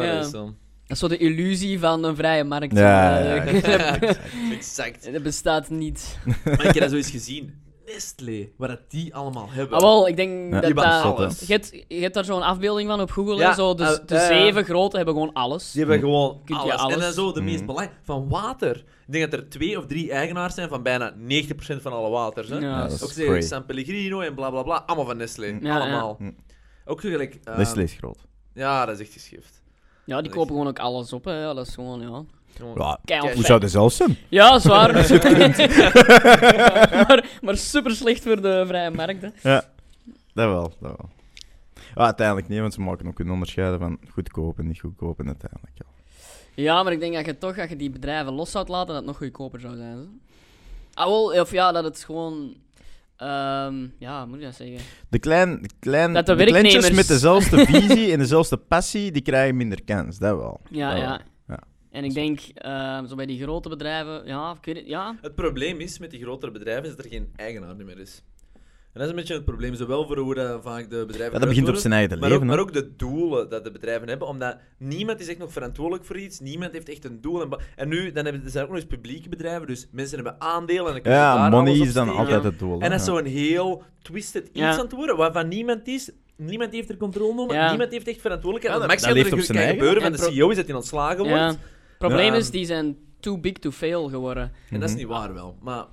[SPEAKER 5] Ja.
[SPEAKER 4] dat is dan.
[SPEAKER 5] Dat is zo de illusie van een vrije markt.
[SPEAKER 2] Ja, ja,
[SPEAKER 5] Eh,
[SPEAKER 4] Exact.
[SPEAKER 5] dat bestaat niet.
[SPEAKER 4] Maar ik heb dat zoiets gezien. Nestlé, waar dat die allemaal hebben.
[SPEAKER 5] Ah, wel, ik denk
[SPEAKER 2] Ja.
[SPEAKER 5] dat
[SPEAKER 2] Je
[SPEAKER 5] dat...
[SPEAKER 2] bent zot, hè.
[SPEAKER 5] Je hebt, je hebt daar zo'n afbeelding van op Google,
[SPEAKER 4] Ja,
[SPEAKER 5] hè, zo, de,
[SPEAKER 4] eh,
[SPEAKER 5] de
[SPEAKER 4] eh,
[SPEAKER 5] zeven grote hebben gewoon alles.
[SPEAKER 4] Die hebben gewoon
[SPEAKER 5] Kun je
[SPEAKER 4] alles.
[SPEAKER 5] alles?
[SPEAKER 4] En dan zo de
[SPEAKER 2] Mhm.
[SPEAKER 4] meest belangrijke. Van water. Ik denk dat er twee of drie eigenaars zijn van bijna 90% van alle waters. Hè?
[SPEAKER 5] Ja,
[SPEAKER 2] Ja,
[SPEAKER 5] dat
[SPEAKER 2] dat
[SPEAKER 4] Ook
[SPEAKER 2] is
[SPEAKER 4] zeg
[SPEAKER 2] crazy.
[SPEAKER 4] San Pellegrino en bla bla bla. Allemaal van Nestlé.
[SPEAKER 5] Ja,
[SPEAKER 4] allemaal.
[SPEAKER 2] ja.
[SPEAKER 4] Ook zo gelijk. eh,
[SPEAKER 2] Nestlé is groot.
[SPEAKER 4] Ja, dat is echt geschift.
[SPEAKER 5] Ja, die kopen gewoon ook alles op, hè. Ja, dat is gewoon, ja...
[SPEAKER 2] Ja,
[SPEAKER 5] Keihard
[SPEAKER 2] hoe
[SPEAKER 5] fijn.
[SPEAKER 2] zou dat zelf zijn?
[SPEAKER 5] Ja, zwaar. maar, maar super slecht voor de vrije markt, hè.
[SPEAKER 2] Dat wel, dat wel. Ah, uiteindelijk niet, want ze maken ook kunnen onderscheiden van goedkoop en niet goedkoop en uiteindelijk. Ja.
[SPEAKER 5] Ja, maar ik denk dat je toch, als je die bedrijven los zou laten, dat het nog goedkoper zou zijn. hè. Ah, wel, of ja, dat het gewoon... ehm, ja, hoe moet je dat zeggen?
[SPEAKER 2] De, klein, de, klein,
[SPEAKER 5] Dat de
[SPEAKER 2] de kleintjes
[SPEAKER 5] werknemers-
[SPEAKER 2] met dezelfde visie en dezelfde passie, die krijgen minder kans, dat wel.
[SPEAKER 5] Ja,
[SPEAKER 2] Dat Ah, wel.
[SPEAKER 5] ja.
[SPEAKER 2] Ja.
[SPEAKER 5] En ik denk, ehm, zo bij die grote bedrijven, ja, ik weet het, ja.
[SPEAKER 4] Het probleem is met die grotere bedrijven is dat er geen eigenaar meer is. En dat is een beetje het probleem, zowel voor hoe dat vaak de bedrijven.
[SPEAKER 2] Ja, dat begint op
[SPEAKER 4] eruit worden,
[SPEAKER 2] zijn eigen
[SPEAKER 4] maar
[SPEAKER 2] leven.
[SPEAKER 4] Ook,
[SPEAKER 2] hè.
[SPEAKER 4] maar ook de doelen dat de bedrijven hebben, omdat niemand is echt nog verantwoordelijk voor iets, niemand heeft echt een doel. En, ba- en nu dan hebben, er zijn ook nog eens publieke bedrijven, dus mensen hebben aandelen en dan kunnen ze
[SPEAKER 2] ja,
[SPEAKER 4] daar
[SPEAKER 2] money
[SPEAKER 4] alles op
[SPEAKER 2] is dan
[SPEAKER 4] steken.
[SPEAKER 2] altijd het doel. hè.
[SPEAKER 4] En dat is
[SPEAKER 2] Ja.
[SPEAKER 4] zo'n heel twisted
[SPEAKER 5] Ja.
[SPEAKER 4] iets aan het worden, waarvan niemand is. Niemand heeft er controle over,
[SPEAKER 5] Ja.
[SPEAKER 4] niemand heeft echt verantwoordelijkheid.
[SPEAKER 2] Ja,
[SPEAKER 4] het
[SPEAKER 2] dat-
[SPEAKER 4] maximum dat er
[SPEAKER 2] dat leeft op
[SPEAKER 4] kan
[SPEAKER 2] zijn eigen.
[SPEAKER 4] gebeuren van
[SPEAKER 5] En
[SPEAKER 4] de
[SPEAKER 5] pro-
[SPEAKER 4] CEO is dat hij ontslagen
[SPEAKER 5] ja.
[SPEAKER 4] wordt.
[SPEAKER 5] probleem
[SPEAKER 4] Ja.
[SPEAKER 5] is, die zijn too big to fail geworden.
[SPEAKER 4] En dat is
[SPEAKER 2] Mhm.
[SPEAKER 4] niet waar wel, maar...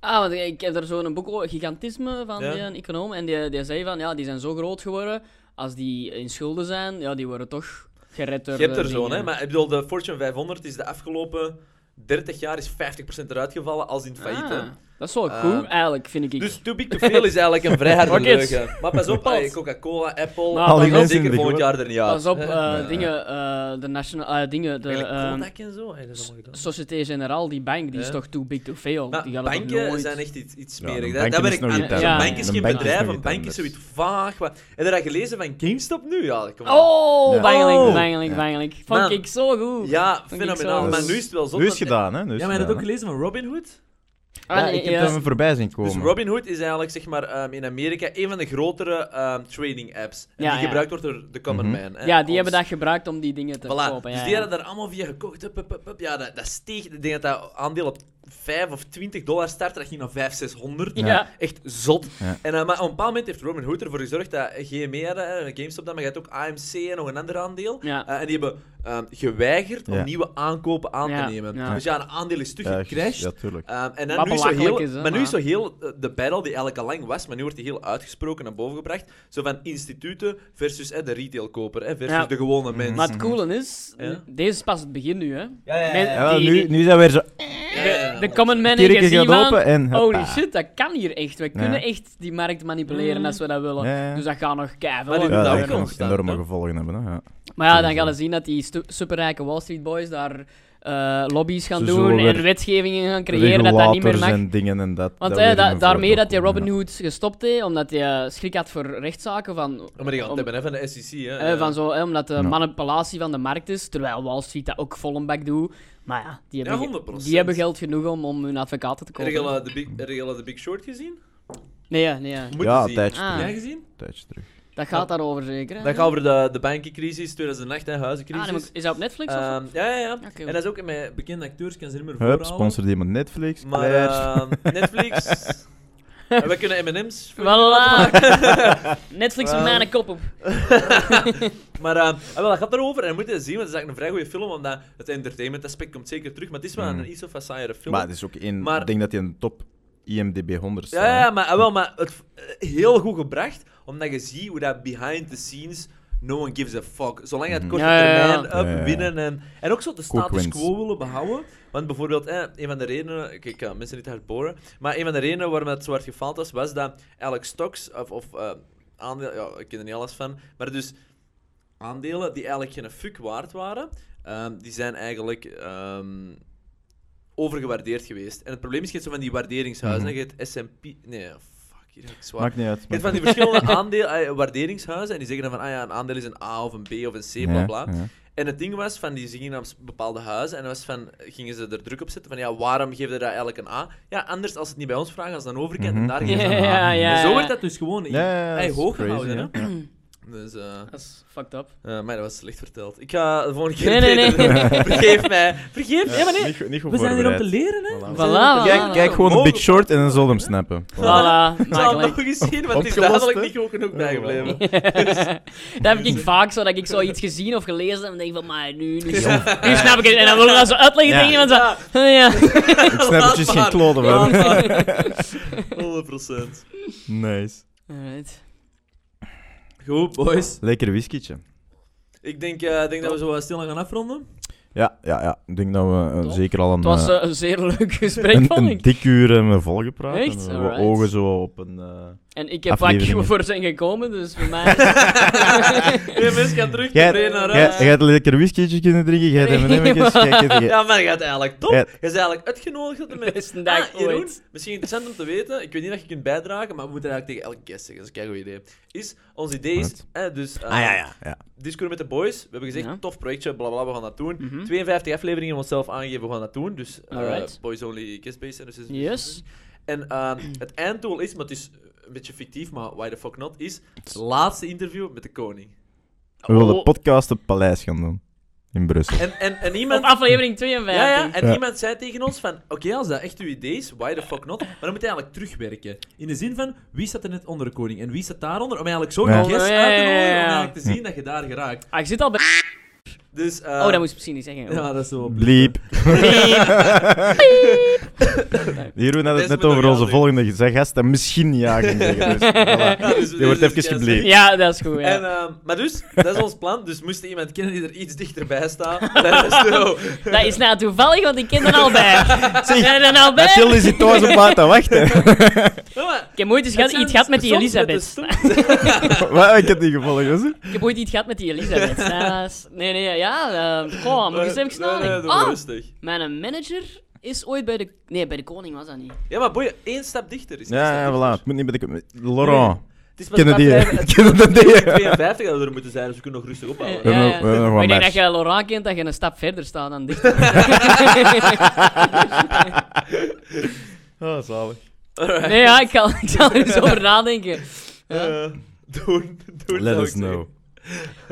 [SPEAKER 5] Ah, want ik heb daar zo'n boek over, Gigantisme, van
[SPEAKER 4] Ja.
[SPEAKER 5] die, een econoom. En die, die zei van, ja, die zijn zo groot geworden, als die in schulden zijn, ja, die worden toch gered door
[SPEAKER 4] Je hebt
[SPEAKER 5] de
[SPEAKER 4] er zo'n,
[SPEAKER 5] eh, dingen.
[SPEAKER 4] hè? Maar ik bedoel, de Fortune 500 is de afgelopen 30 jaar is 50% eruit gevallen als in het failliet. hè.
[SPEAKER 5] Ah, dat is wel
[SPEAKER 4] Eh,
[SPEAKER 5] goed, eigenlijk, vind ik.
[SPEAKER 4] Dus too big to fail is eigenlijk een vrij harde
[SPEAKER 5] Rockets.
[SPEAKER 4] leugen. Maar pas op, allee, Coca-Cola, Apple,
[SPEAKER 5] Nou, Al die
[SPEAKER 4] die
[SPEAKER 2] mensen in
[SPEAKER 4] zeker
[SPEAKER 2] de
[SPEAKER 4] volgend
[SPEAKER 2] groep.
[SPEAKER 4] jaar er niet uit.
[SPEAKER 5] Pas op, eh,
[SPEAKER 4] Hè?
[SPEAKER 5] dingen, eh, de national, eh, dingen, de
[SPEAKER 4] Eigenlijk
[SPEAKER 5] ehm,
[SPEAKER 4] Kodak en zo, hè, dat is allemaal gedaan.
[SPEAKER 5] Société Generale, die bank, die is
[SPEAKER 4] Ja.
[SPEAKER 5] toch too big to fail.
[SPEAKER 4] Maar
[SPEAKER 5] die gaat het toch
[SPEAKER 4] banken
[SPEAKER 5] nooit-
[SPEAKER 4] zijn echt iets, iets
[SPEAKER 2] Ja,
[SPEAKER 4] smerig.
[SPEAKER 2] een
[SPEAKER 4] dat
[SPEAKER 2] bank
[SPEAKER 4] dat
[SPEAKER 2] is
[SPEAKER 4] werkt
[SPEAKER 2] nog
[SPEAKER 4] aan-
[SPEAKER 2] iets
[SPEAKER 4] Een
[SPEAKER 5] anders.
[SPEAKER 4] bank is
[SPEAKER 2] Een
[SPEAKER 4] geen
[SPEAKER 2] bank is
[SPEAKER 4] bedrijf,
[SPEAKER 2] nog dus-
[SPEAKER 4] een
[SPEAKER 2] iets
[SPEAKER 4] bank is
[SPEAKER 2] anders.
[SPEAKER 4] zoiets vaag. wat- Heb je dat gelezen van GameStop nu? Ja, kom op.
[SPEAKER 5] Oh,
[SPEAKER 2] Ja.
[SPEAKER 5] bangelijk,
[SPEAKER 4] Oh.
[SPEAKER 5] bangelijk,
[SPEAKER 2] Ja.
[SPEAKER 5] bangelijk. Vond
[SPEAKER 4] Man.
[SPEAKER 5] ik zo goed.
[SPEAKER 4] Ja,
[SPEAKER 5] ik
[SPEAKER 4] fenomenaal.
[SPEAKER 5] zo.
[SPEAKER 4] Maar nu is het wel zo.
[SPEAKER 2] Nu is het gedaan, dus hè? Nu is
[SPEAKER 4] Ja, maar je
[SPEAKER 2] het
[SPEAKER 4] hebt ook
[SPEAKER 2] gedaan,
[SPEAKER 4] gelezen van Robin Hood?
[SPEAKER 5] Ah,
[SPEAKER 2] hè. Ja,
[SPEAKER 5] nee,
[SPEAKER 2] ik heb
[SPEAKER 5] ja.
[SPEAKER 2] hem voorbij zien komen.
[SPEAKER 4] Dus Robinhood is eigenlijk zeg maar, ehm, in Amerika een van de grotere ehm, trading apps. En
[SPEAKER 5] Ja,
[SPEAKER 4] die
[SPEAKER 5] ja.
[SPEAKER 4] gebruikt wordt door de common
[SPEAKER 2] Mhm.
[SPEAKER 4] man. hè,
[SPEAKER 5] Ja, die
[SPEAKER 4] als-
[SPEAKER 5] hebben dat gebruikt om die dingen te
[SPEAKER 4] eh, Voilà.
[SPEAKER 5] kopen. Ja,
[SPEAKER 4] dus die
[SPEAKER 5] ja.
[SPEAKER 4] hadden daar allemaal via gekocht. Hup, hup, hup, hup. Ja, dat, dat steeg. Ik denk dat dat aandeel op 5 of 20 dollar startte. Dat ging naar 5, 600.
[SPEAKER 5] Ja.
[SPEAKER 4] Echt zot.
[SPEAKER 2] Ja.
[SPEAKER 4] En, eh, maar op een bepaald moment heeft Robinhood ervoor gezorgd dat GME hadden, eh, GameStop dan, maar je had ook AMC en nog een ander aandeel.
[SPEAKER 5] Ja.
[SPEAKER 4] Eh, en die hebben ehm, geweigerd om
[SPEAKER 2] Ja.
[SPEAKER 4] nieuwe aankopen aan
[SPEAKER 5] Ja,
[SPEAKER 4] te nemen.
[SPEAKER 5] ja.
[SPEAKER 4] Dus ja, een aandeel is
[SPEAKER 2] Ja,
[SPEAKER 4] teruggecrashed.
[SPEAKER 2] Ja, tuurlijk.
[SPEAKER 4] Ehm, en dan
[SPEAKER 5] Wat
[SPEAKER 4] nu is zo
[SPEAKER 5] belachelijk
[SPEAKER 4] heel,
[SPEAKER 5] is, hè,
[SPEAKER 4] maar nu is zo
[SPEAKER 5] maar-
[SPEAKER 4] heel eh, de battle die eigenlijk al lang was, maar nu wordt die heel uitgesproken naar boven gebracht. Zo van instituten versus eh, de retailkoper, hè, versus
[SPEAKER 5] Ja.
[SPEAKER 4] de gewone
[SPEAKER 2] Mm.
[SPEAKER 4] mens.
[SPEAKER 5] Maar het coole is,
[SPEAKER 4] Eh, Ja.
[SPEAKER 5] deze is pas het begin nu, hè.
[SPEAKER 4] Ja, ja, ja,
[SPEAKER 5] Men-
[SPEAKER 4] ja.
[SPEAKER 2] Ja,
[SPEAKER 5] die-
[SPEAKER 2] nu, nu zijn we weer zo...
[SPEAKER 5] de, de common man heeft
[SPEAKER 2] Kirken
[SPEAKER 5] gezien
[SPEAKER 2] gaat
[SPEAKER 5] van,
[SPEAKER 2] open en...
[SPEAKER 5] holy
[SPEAKER 2] hoppa.
[SPEAKER 5] shit, dat kan hier echt. We kunnen echt die markt manipuleren als we dat willen.
[SPEAKER 2] Ja, ja.
[SPEAKER 5] Dus dat gaat nog
[SPEAKER 4] Mm. Maar
[SPEAKER 5] keihard.
[SPEAKER 4] die-
[SPEAKER 2] Ja,
[SPEAKER 4] Nou,
[SPEAKER 2] dat
[SPEAKER 4] ik
[SPEAKER 2] kan nog
[SPEAKER 4] ontstaan,
[SPEAKER 2] enorme
[SPEAKER 4] hè.
[SPEAKER 2] gevolgen hebben, hè. Ja.
[SPEAKER 5] Maar ja, dan gaan we zien dat die stu- superrijke Wall Street boys daar eh, lobby's gaan
[SPEAKER 2] Ze
[SPEAKER 5] doen
[SPEAKER 2] zullen
[SPEAKER 5] en
[SPEAKER 2] weer
[SPEAKER 5] wetgevingen gaan creëren dat dat niet meer
[SPEAKER 2] Regulators
[SPEAKER 5] mag.
[SPEAKER 2] en dingen en dat.
[SPEAKER 5] Want
[SPEAKER 2] dat
[SPEAKER 5] eh,
[SPEAKER 2] weet ik
[SPEAKER 5] da-
[SPEAKER 2] nog
[SPEAKER 5] daarmee
[SPEAKER 2] wel.
[SPEAKER 5] dat die Robin Hood gestopt heeft, omdat hij eh, schrik had voor rechtszaken van...
[SPEAKER 4] Ja, maar die gaan
[SPEAKER 5] om-
[SPEAKER 4] het hebben hè, van de SEC. Hè,
[SPEAKER 5] eh, van zo, eh, omdat de
[SPEAKER 2] Ja.
[SPEAKER 5] manipulatie van de markt is, terwijl Wall Street dat ook vol een bak doet. Maar ja, die
[SPEAKER 4] Ja,
[SPEAKER 5] hebben,
[SPEAKER 4] 100%.
[SPEAKER 5] die hebben geld genoeg om, om hun advocaten te
[SPEAKER 4] Heb je
[SPEAKER 5] kopen.
[SPEAKER 4] al, eh, de big, heb je al de Big Short gezien?
[SPEAKER 5] Nee, ja, nee. ja.
[SPEAKER 4] Moet
[SPEAKER 2] Ja,
[SPEAKER 4] je zien.
[SPEAKER 2] tijdje
[SPEAKER 5] Ah.
[SPEAKER 4] Heb
[SPEAKER 2] terug.
[SPEAKER 4] jij gezien?
[SPEAKER 2] tijdje terug.
[SPEAKER 5] Dat gaat daarover zeker. hè?
[SPEAKER 4] Dat gaat over de, de bankencrisis, 2008 en
[SPEAKER 5] Ah,
[SPEAKER 4] huizencrisis.
[SPEAKER 5] nee, maar is dat op Netflix of zo?
[SPEAKER 4] Ehm, ja, ja, ja.
[SPEAKER 5] Oké.
[SPEAKER 4] En dat is ook met bekende acteurs, kan ze niet meer
[SPEAKER 2] Hup,
[SPEAKER 4] voorhalen.
[SPEAKER 2] sponsor die met Netflix.
[SPEAKER 4] Maar
[SPEAKER 2] klaar.
[SPEAKER 4] ehm, Netflix... En we kunnen M&M's... voor jullie
[SPEAKER 5] Voilà.
[SPEAKER 4] laten
[SPEAKER 5] Netflix
[SPEAKER 4] Wel.
[SPEAKER 5] met mijn kop op.
[SPEAKER 4] maken. maar ehm, ah, wel, dat gaat erover. En we moeten het zien, want het is eigenlijk een vrij goede film. Omdat het entertainment aspect komt zeker terug. Maar het is wel
[SPEAKER 2] Mm.
[SPEAKER 4] een iets of een saaiere film.
[SPEAKER 2] Maar het is ook één.
[SPEAKER 4] Maar-
[SPEAKER 2] Ik denk dat hij een top IMDb 100 staat.
[SPEAKER 4] Ja, ja maar, ah, wel, maar het, eh, heel goed gebracht, omdat je ziet hoe dat behind the scenes no one gives a fuck. Zolang het
[SPEAKER 2] Mhm.
[SPEAKER 4] korte
[SPEAKER 5] Ja, ja, ja.
[SPEAKER 4] termijn
[SPEAKER 2] Ja, ja,
[SPEAKER 4] up,
[SPEAKER 2] ja.
[SPEAKER 4] winnen en, en ook zo de
[SPEAKER 2] Quick
[SPEAKER 4] status
[SPEAKER 2] wins.
[SPEAKER 4] quo willen behouden. Want bijvoorbeeld, eh, een van de redenen, ik, ik kan mensen niet hard boren, maar een van de redenen waarom het zo hard gefaald was, was dat Alex Stocks, of, of eh, aandeel, ja, ik ken er niet alles van, maar dus aandelen die eigenlijk geen fuck waard waren, ehm, die zijn eigenlijk ehm, overgewaardeerd geweest. En het probleem is, je hebt zo van die waarderingshuizen,
[SPEAKER 2] Mhm.
[SPEAKER 4] je hebt het S&P... Nee, fuck, hier heb ik zwaar.
[SPEAKER 2] Maakt niet uit.
[SPEAKER 4] Je hebt van die verschillende aandeel, eh, waarderingshuizen en die zeggen dan van, ah ja, een aandeel is een A of een B of een C, bla bla.
[SPEAKER 2] Ja, ja.
[SPEAKER 4] En het ding was, van die gingen naar bepaalde huizen en was van, gingen ze er druk op zetten van, ja, waarom geef je dat eigenlijk een A? Ja, anders als ze het niet bij ons vragen, als dan overkant en
[SPEAKER 2] Mhm.
[SPEAKER 4] daar
[SPEAKER 5] Ja,
[SPEAKER 4] geven ze een A.
[SPEAKER 5] ja, ja.
[SPEAKER 4] En zo werd dat dus gewoon in,
[SPEAKER 2] Ja, ja, ja,
[SPEAKER 4] hey,
[SPEAKER 2] dat is
[SPEAKER 4] hoog
[SPEAKER 2] crazy,
[SPEAKER 4] gehouden, hè.
[SPEAKER 2] hè. Ja.
[SPEAKER 4] Dus, eh,
[SPEAKER 5] Dat is fucked up.
[SPEAKER 4] eh, maar dat was slecht verteld. Ik ga de volgende keer
[SPEAKER 5] Nee, nee,
[SPEAKER 4] beter
[SPEAKER 5] nee.
[SPEAKER 4] doen. Vergeef mij. Vergeef mij. Ja, maar nee.
[SPEAKER 2] Niet, goed- niet goed
[SPEAKER 4] We zijn hier om te
[SPEAKER 2] voorbereid.
[SPEAKER 4] leren, hè. We
[SPEAKER 2] Voilà.
[SPEAKER 4] zijn hier om
[SPEAKER 5] Voilà,
[SPEAKER 4] te-
[SPEAKER 5] voilà.
[SPEAKER 2] Kijk, kijk gewoon de Big Short en dan zal je hem snappen.
[SPEAKER 5] Voilà,
[SPEAKER 4] Ik zal hem nog
[SPEAKER 5] makkelijk.
[SPEAKER 4] eens zien, want het is
[SPEAKER 2] Opgelost,
[SPEAKER 4] dadelijk
[SPEAKER 2] hè?
[SPEAKER 4] niet goed genoeg bijgebleven.
[SPEAKER 5] Dat heb ik vaak zo, dat ik zoiets gezien of gelezen heb en denk van, maar nu, nu, nu snap ik het. En dan wil ik dat zo uitleggen
[SPEAKER 2] Ja.
[SPEAKER 5] tegen iemand zo, "Ah, ja.
[SPEAKER 2] Ik snap er just geen
[SPEAKER 4] Laat
[SPEAKER 2] kloten
[SPEAKER 4] maar.
[SPEAKER 2] van.
[SPEAKER 4] Laat maar. 100%.
[SPEAKER 2] Nice.
[SPEAKER 5] Alright.
[SPEAKER 4] Goed, boys.
[SPEAKER 2] Lekker whiskietje.
[SPEAKER 4] Ik denk, eh, ik denk dat we zo eh, stil aan gaan afronden.
[SPEAKER 2] Ja, ja, ja. Ik denk dat we eh,
[SPEAKER 5] Top.
[SPEAKER 2] zeker al een,
[SPEAKER 5] Het was
[SPEAKER 2] eh,
[SPEAKER 5] eh, een zeer leuk gesprek,
[SPEAKER 2] een,
[SPEAKER 5] vond
[SPEAKER 2] een
[SPEAKER 5] ik.
[SPEAKER 2] dik uur hebben volgepraat.
[SPEAKER 5] Echt?
[SPEAKER 2] En we
[SPEAKER 5] Alright.
[SPEAKER 2] hebben ogen zo op een... eh,
[SPEAKER 5] En ik heb vaak
[SPEAKER 2] afleveringen.
[SPEAKER 5] voor zijn gekomen, dus voor mij...
[SPEAKER 4] Je mensen gaan terug
[SPEAKER 2] Jij
[SPEAKER 4] tevreden naar
[SPEAKER 2] jij-
[SPEAKER 4] huis.
[SPEAKER 2] jij hebt lekker whiskietje kunnen drinken, jij hebt
[SPEAKER 5] Nee,
[SPEAKER 2] M&M's, jij hebt- jij-
[SPEAKER 4] Ja, maar je gaat eigenlijk top.
[SPEAKER 2] Ja.
[SPEAKER 4] Je is eigenlijk uitgenodigd op de
[SPEAKER 5] De
[SPEAKER 4] mensen.
[SPEAKER 5] beste dag
[SPEAKER 4] Ah, Jeroen,
[SPEAKER 5] ooit.
[SPEAKER 4] misschien interessant om te weten. Ik weet niet of je kunt bijdragen, maar we moeten eigenlijk tegen elke guest zeggen. Dat is een goed idee. Is, ons idee is...
[SPEAKER 2] Wat?
[SPEAKER 4] eh, dus, eh,
[SPEAKER 2] Ah, ja.
[SPEAKER 4] Discord met de boys. We hebben gezegd,
[SPEAKER 5] Ja.
[SPEAKER 4] tof projectje, blablabla, we gaan dat doen.
[SPEAKER 5] Mhm.
[SPEAKER 4] 52 afleveringen hebben we onszelf aangegeven, we gaan dat doen. Dus eh,
[SPEAKER 5] Alright.
[SPEAKER 4] boys only guest based. Dus is-
[SPEAKER 5] Yes.
[SPEAKER 4] En eh, het einddoel is, maar het is een beetje fictief, maar why the fuck not, is het laatste interview met de koning.
[SPEAKER 2] We willen
[SPEAKER 5] Oh.
[SPEAKER 2] podcast op Paleis gaan doen. In Brussel.
[SPEAKER 4] En, en, en
[SPEAKER 5] Op
[SPEAKER 4] iemand...
[SPEAKER 5] aflevering 52.
[SPEAKER 4] Ja, ja, en
[SPEAKER 2] Ja.
[SPEAKER 4] iemand zei tegen ons van, oké, als dat echt uw idee is, why the fuck not? Maar dan moet je eigenlijk terugwerken. In de zin van, wie staat er net onder de koning en wie staat daaronder? Om eigenlijk zo
[SPEAKER 2] Ja.
[SPEAKER 4] een guest
[SPEAKER 5] Oh, ja,
[SPEAKER 4] uit te
[SPEAKER 5] ja,
[SPEAKER 4] nodigen,
[SPEAKER 5] ja,
[SPEAKER 4] om
[SPEAKER 5] ja.
[SPEAKER 4] eigenlijk te zien dat je daar geraakt.
[SPEAKER 5] Ah, ik zit al bij...
[SPEAKER 4] Dus, eh,
[SPEAKER 5] Oh, dat moest ik misschien niet zeggen.
[SPEAKER 4] Ja, dat is zo...
[SPEAKER 2] Bliep. Jeroen had het
[SPEAKER 4] Deze
[SPEAKER 2] net
[SPEAKER 4] moet nog
[SPEAKER 2] over
[SPEAKER 4] gaan
[SPEAKER 2] onze
[SPEAKER 4] doen.
[SPEAKER 2] volgende zijn gast en misschien ja ging zeggen. Dus, voilà.
[SPEAKER 4] Ja, dus-
[SPEAKER 2] Die
[SPEAKER 4] dus
[SPEAKER 2] wordt
[SPEAKER 4] is
[SPEAKER 2] even
[SPEAKER 4] guest.
[SPEAKER 2] gebleekt.
[SPEAKER 5] Ja, dat is goed, Oh, ja.
[SPEAKER 4] En, ehm, maar dus, dat is ons plan. Dus moest er iemand kennen die er iets dichterbij staat, let us know.
[SPEAKER 5] Dat is nou toevallig, want ik ken er al bij.
[SPEAKER 2] Zeg,
[SPEAKER 5] Zijn er al bij?
[SPEAKER 2] Mathilde zit thuis op maat te wachten.
[SPEAKER 4] Ja, maar,
[SPEAKER 5] Ik heb ooit
[SPEAKER 4] het
[SPEAKER 5] eens gehad-
[SPEAKER 4] zijn
[SPEAKER 5] iets gehad met die
[SPEAKER 4] soms de
[SPEAKER 5] Elisabeth.
[SPEAKER 4] stoem-
[SPEAKER 2] Wat? Ik heb die gevolgd, dus. was het?
[SPEAKER 5] Ik heb ooit iets gehad met die Elisabeth. Dat is- Nee, nee, ja. eh, Goh, maar eens even snel.
[SPEAKER 4] Nee, nee,
[SPEAKER 5] denken.
[SPEAKER 4] doe maar
[SPEAKER 5] Ah,
[SPEAKER 4] rustig.
[SPEAKER 5] mijn manager is ooit bij de... Nee, bij de koning was dat niet.
[SPEAKER 4] Ja, maar boeien, één stap dichter is.
[SPEAKER 2] Ja, ja,
[SPEAKER 4] één stap
[SPEAKER 2] voilà.
[SPEAKER 4] dichter.
[SPEAKER 2] Het moet niet bij de... Laurent.
[SPEAKER 4] Het is pas
[SPEAKER 2] Kennen die?
[SPEAKER 4] vijf- het-
[SPEAKER 2] Kennen dat die?
[SPEAKER 4] het is 52 dat we er moeten zijn, dus we kunnen nog rustig
[SPEAKER 5] Eh,
[SPEAKER 4] ophouden.
[SPEAKER 2] hebben nog- we hebben nog
[SPEAKER 5] Maar ik
[SPEAKER 2] wat
[SPEAKER 5] denk dat
[SPEAKER 2] match.
[SPEAKER 5] je Laurent kent, dat je een stap verder staat dan dichter.
[SPEAKER 2] Oh, zalig.
[SPEAKER 4] Alright.
[SPEAKER 5] nee, ja, ik, zal- ik zal er eens over nadenken. Ja.
[SPEAKER 4] Eh, Doen, doen.
[SPEAKER 2] Let
[SPEAKER 4] zou
[SPEAKER 2] us
[SPEAKER 4] ik zeggen.
[SPEAKER 2] know.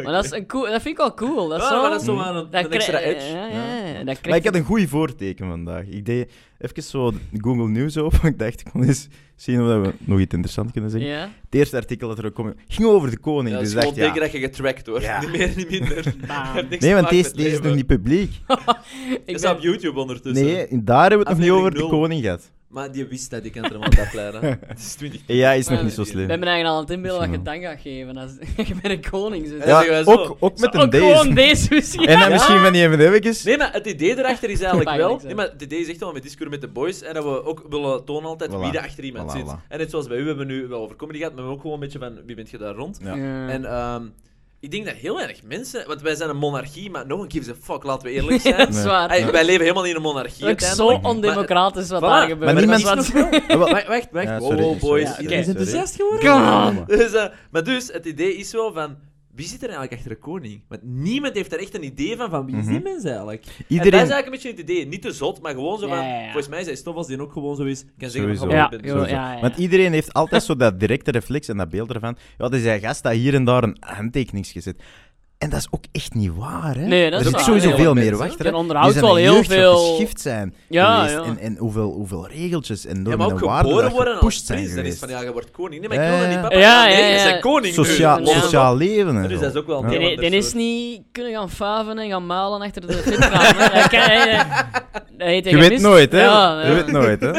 [SPEAKER 5] Maar dat, is een cool, dat vind ik wel cool. Dat is
[SPEAKER 4] Ah,
[SPEAKER 5] zo...
[SPEAKER 4] maar dat is zo maar een,
[SPEAKER 5] dat eh,
[SPEAKER 4] een
[SPEAKER 5] kri-
[SPEAKER 4] extra edge.
[SPEAKER 5] Ja, ja, ja, dat
[SPEAKER 2] Maar
[SPEAKER 5] krijg
[SPEAKER 2] ik had een goed voorteken vandaag. Ik deed even zo Google News open. Ik dacht, ik kon eens zien of we nog iets interessants kunnen zeggen.
[SPEAKER 5] Ja,
[SPEAKER 2] Het eerste artikel dat er ook kwam, ging over de koning.
[SPEAKER 4] Ja, het
[SPEAKER 2] dus
[SPEAKER 4] is
[SPEAKER 2] ik
[SPEAKER 4] gewoon
[SPEAKER 2] dacht, ja.
[SPEAKER 4] dikker dat je getrackt wordt.
[SPEAKER 2] Ja.
[SPEAKER 4] Niet meer, niet minder. Het
[SPEAKER 5] bam.
[SPEAKER 4] heeft niks te
[SPEAKER 2] Nee, want
[SPEAKER 4] maken
[SPEAKER 2] deze,
[SPEAKER 4] met
[SPEAKER 2] deze is
[SPEAKER 4] leven.
[SPEAKER 2] nog niet publiek.
[SPEAKER 5] Ik
[SPEAKER 4] Het
[SPEAKER 5] ben-
[SPEAKER 4] staat op YouTube ondertussen.
[SPEAKER 2] Nee, daar hebben we het nog niet
[SPEAKER 4] Aflevering
[SPEAKER 2] over
[SPEAKER 4] nul.
[SPEAKER 2] de koning gehad.
[SPEAKER 4] Maar die wist dat, die kan er helemaal op afleiden. Het is 20.
[SPEAKER 2] En jij is nog
[SPEAKER 5] Ja,
[SPEAKER 2] niet zo
[SPEAKER 4] nee.
[SPEAKER 5] We
[SPEAKER 2] slim.
[SPEAKER 5] hebben eigenlijk al aan het inbeelden dat je dank gaat geven als je bij de koning
[SPEAKER 4] Ja,
[SPEAKER 5] zit.
[SPEAKER 4] dat zeggen wij
[SPEAKER 2] Ja,
[SPEAKER 4] zo.
[SPEAKER 2] ook, ook met
[SPEAKER 5] Ook
[SPEAKER 2] een deze.
[SPEAKER 5] gewoon deze misschien.
[SPEAKER 2] En dan misschien van die M&M's.
[SPEAKER 4] Nee, maar het idee erachter is eigenlijk
[SPEAKER 5] Mag
[SPEAKER 4] wel.
[SPEAKER 5] niks, hè.
[SPEAKER 4] Nee, maar het idee is echt wel met Discord met de boys. En dat we ook willen tonen altijd
[SPEAKER 2] Voilà.
[SPEAKER 4] wie er achter iemand
[SPEAKER 2] Voilà,
[SPEAKER 4] zit.
[SPEAKER 2] voilà.
[SPEAKER 4] En net zoals bij u we hebben we nu wel over comedy gehad, maar we hebben ook gewoon een beetje van wie bent je daar rond.
[SPEAKER 2] Ja.
[SPEAKER 4] En ehm, ik denk dat heel weinig mensen. Want wij zijn een monarchie, maar no one gives a fuck, laten we eerlijk zijn. Ah,
[SPEAKER 5] dat
[SPEAKER 2] Nee.
[SPEAKER 5] is waar.
[SPEAKER 4] Hey, Wij leven helemaal niet in een monarchie.
[SPEAKER 5] Ook zo
[SPEAKER 4] uiteindelijk.
[SPEAKER 5] ondemocratisch wat
[SPEAKER 4] Maar-
[SPEAKER 5] daar
[SPEAKER 4] Voilà.
[SPEAKER 5] gebeurt.
[SPEAKER 2] Maar niemand-
[SPEAKER 5] Dat is wat-
[SPEAKER 2] Ah, wel,
[SPEAKER 4] Wacht, wacht, wacht.
[SPEAKER 2] Ja,
[SPEAKER 4] Wow,
[SPEAKER 2] sorry,
[SPEAKER 4] wow,
[SPEAKER 2] sorry,
[SPEAKER 4] boys.
[SPEAKER 5] sorry,
[SPEAKER 4] Je bent
[SPEAKER 2] sorry.
[SPEAKER 4] enthousiast geworden?
[SPEAKER 5] Come on.
[SPEAKER 4] Dus, eh, maar dus, het idee is wel van. wie zit er eigenlijk achter de koning? Want niemand heeft er echt een idee van, van wie is die
[SPEAKER 2] Mhm.
[SPEAKER 4] mens eigenlijk? En dat is
[SPEAKER 2] Iedereen...
[SPEAKER 4] eigenlijk een beetje het idee. Niet te zot, maar gewoon zo van...
[SPEAKER 5] Ja, ja, ja.
[SPEAKER 4] Volgens mij zijn stof als die ook gewoon zo is. Kan zeggen
[SPEAKER 2] Sowieso.
[SPEAKER 4] van,
[SPEAKER 5] Ja,
[SPEAKER 4] ik ben
[SPEAKER 5] joh,
[SPEAKER 4] zo.
[SPEAKER 2] Sowieso.
[SPEAKER 5] ja, ja.
[SPEAKER 2] Want iedereen heeft altijd zo dat directe reflex en dat beeld ervan. Ja, dat is een gast dat hier en daar een handtekening gezet. En dat is ook echt niet waar, hè?
[SPEAKER 5] Nee, dat
[SPEAKER 2] er
[SPEAKER 5] is
[SPEAKER 2] zit
[SPEAKER 5] waar.
[SPEAKER 2] sowieso
[SPEAKER 4] Nee,
[SPEAKER 2] veel
[SPEAKER 4] want
[SPEAKER 2] meer
[SPEAKER 4] mensen-
[SPEAKER 2] wachter.
[SPEAKER 5] Je
[SPEAKER 2] hè.
[SPEAKER 5] onderhoudt
[SPEAKER 2] Die zijn
[SPEAKER 5] wel
[SPEAKER 2] een
[SPEAKER 5] heel
[SPEAKER 2] jeugd wat
[SPEAKER 5] veel-
[SPEAKER 2] geschift zijn
[SPEAKER 5] Ja,
[SPEAKER 2] geweest.
[SPEAKER 5] ja.
[SPEAKER 2] En, en hoeveel, hoeveel regeltjes en
[SPEAKER 4] Ja,
[SPEAKER 2] normen
[SPEAKER 4] maar ook
[SPEAKER 2] en waarden
[SPEAKER 4] geboren
[SPEAKER 2] dat
[SPEAKER 4] worden als
[SPEAKER 2] gepusht zijn
[SPEAKER 4] prins. Dan is
[SPEAKER 2] geweest.
[SPEAKER 4] van, ja, je wordt koning. Nee, maar ik
[SPEAKER 2] Ja,
[SPEAKER 4] wil dat
[SPEAKER 2] ja.
[SPEAKER 4] niet, papa.
[SPEAKER 5] Ja,
[SPEAKER 4] nee,
[SPEAKER 5] ja,
[SPEAKER 4] je
[SPEAKER 5] ja.
[SPEAKER 4] bent koning nu.
[SPEAKER 2] Sociaal,
[SPEAKER 5] Ja.
[SPEAKER 2] sociaal leven en
[SPEAKER 4] Dus
[SPEAKER 2] zo.
[SPEAKER 4] dat is ook wel een
[SPEAKER 2] Ja.
[SPEAKER 5] Die,
[SPEAKER 4] heel
[SPEAKER 5] die,
[SPEAKER 4] ander
[SPEAKER 5] die is
[SPEAKER 4] soort.
[SPEAKER 5] niet kunnen gaan faven en gaan malen achter de fitkraam. hè. Hij kan- hij- hij- hij heeft
[SPEAKER 2] Je
[SPEAKER 5] geen
[SPEAKER 2] weet
[SPEAKER 5] mist.
[SPEAKER 2] nooit, hè?
[SPEAKER 5] Ja,
[SPEAKER 2] Je
[SPEAKER 5] ja.
[SPEAKER 2] weet nooit, hè?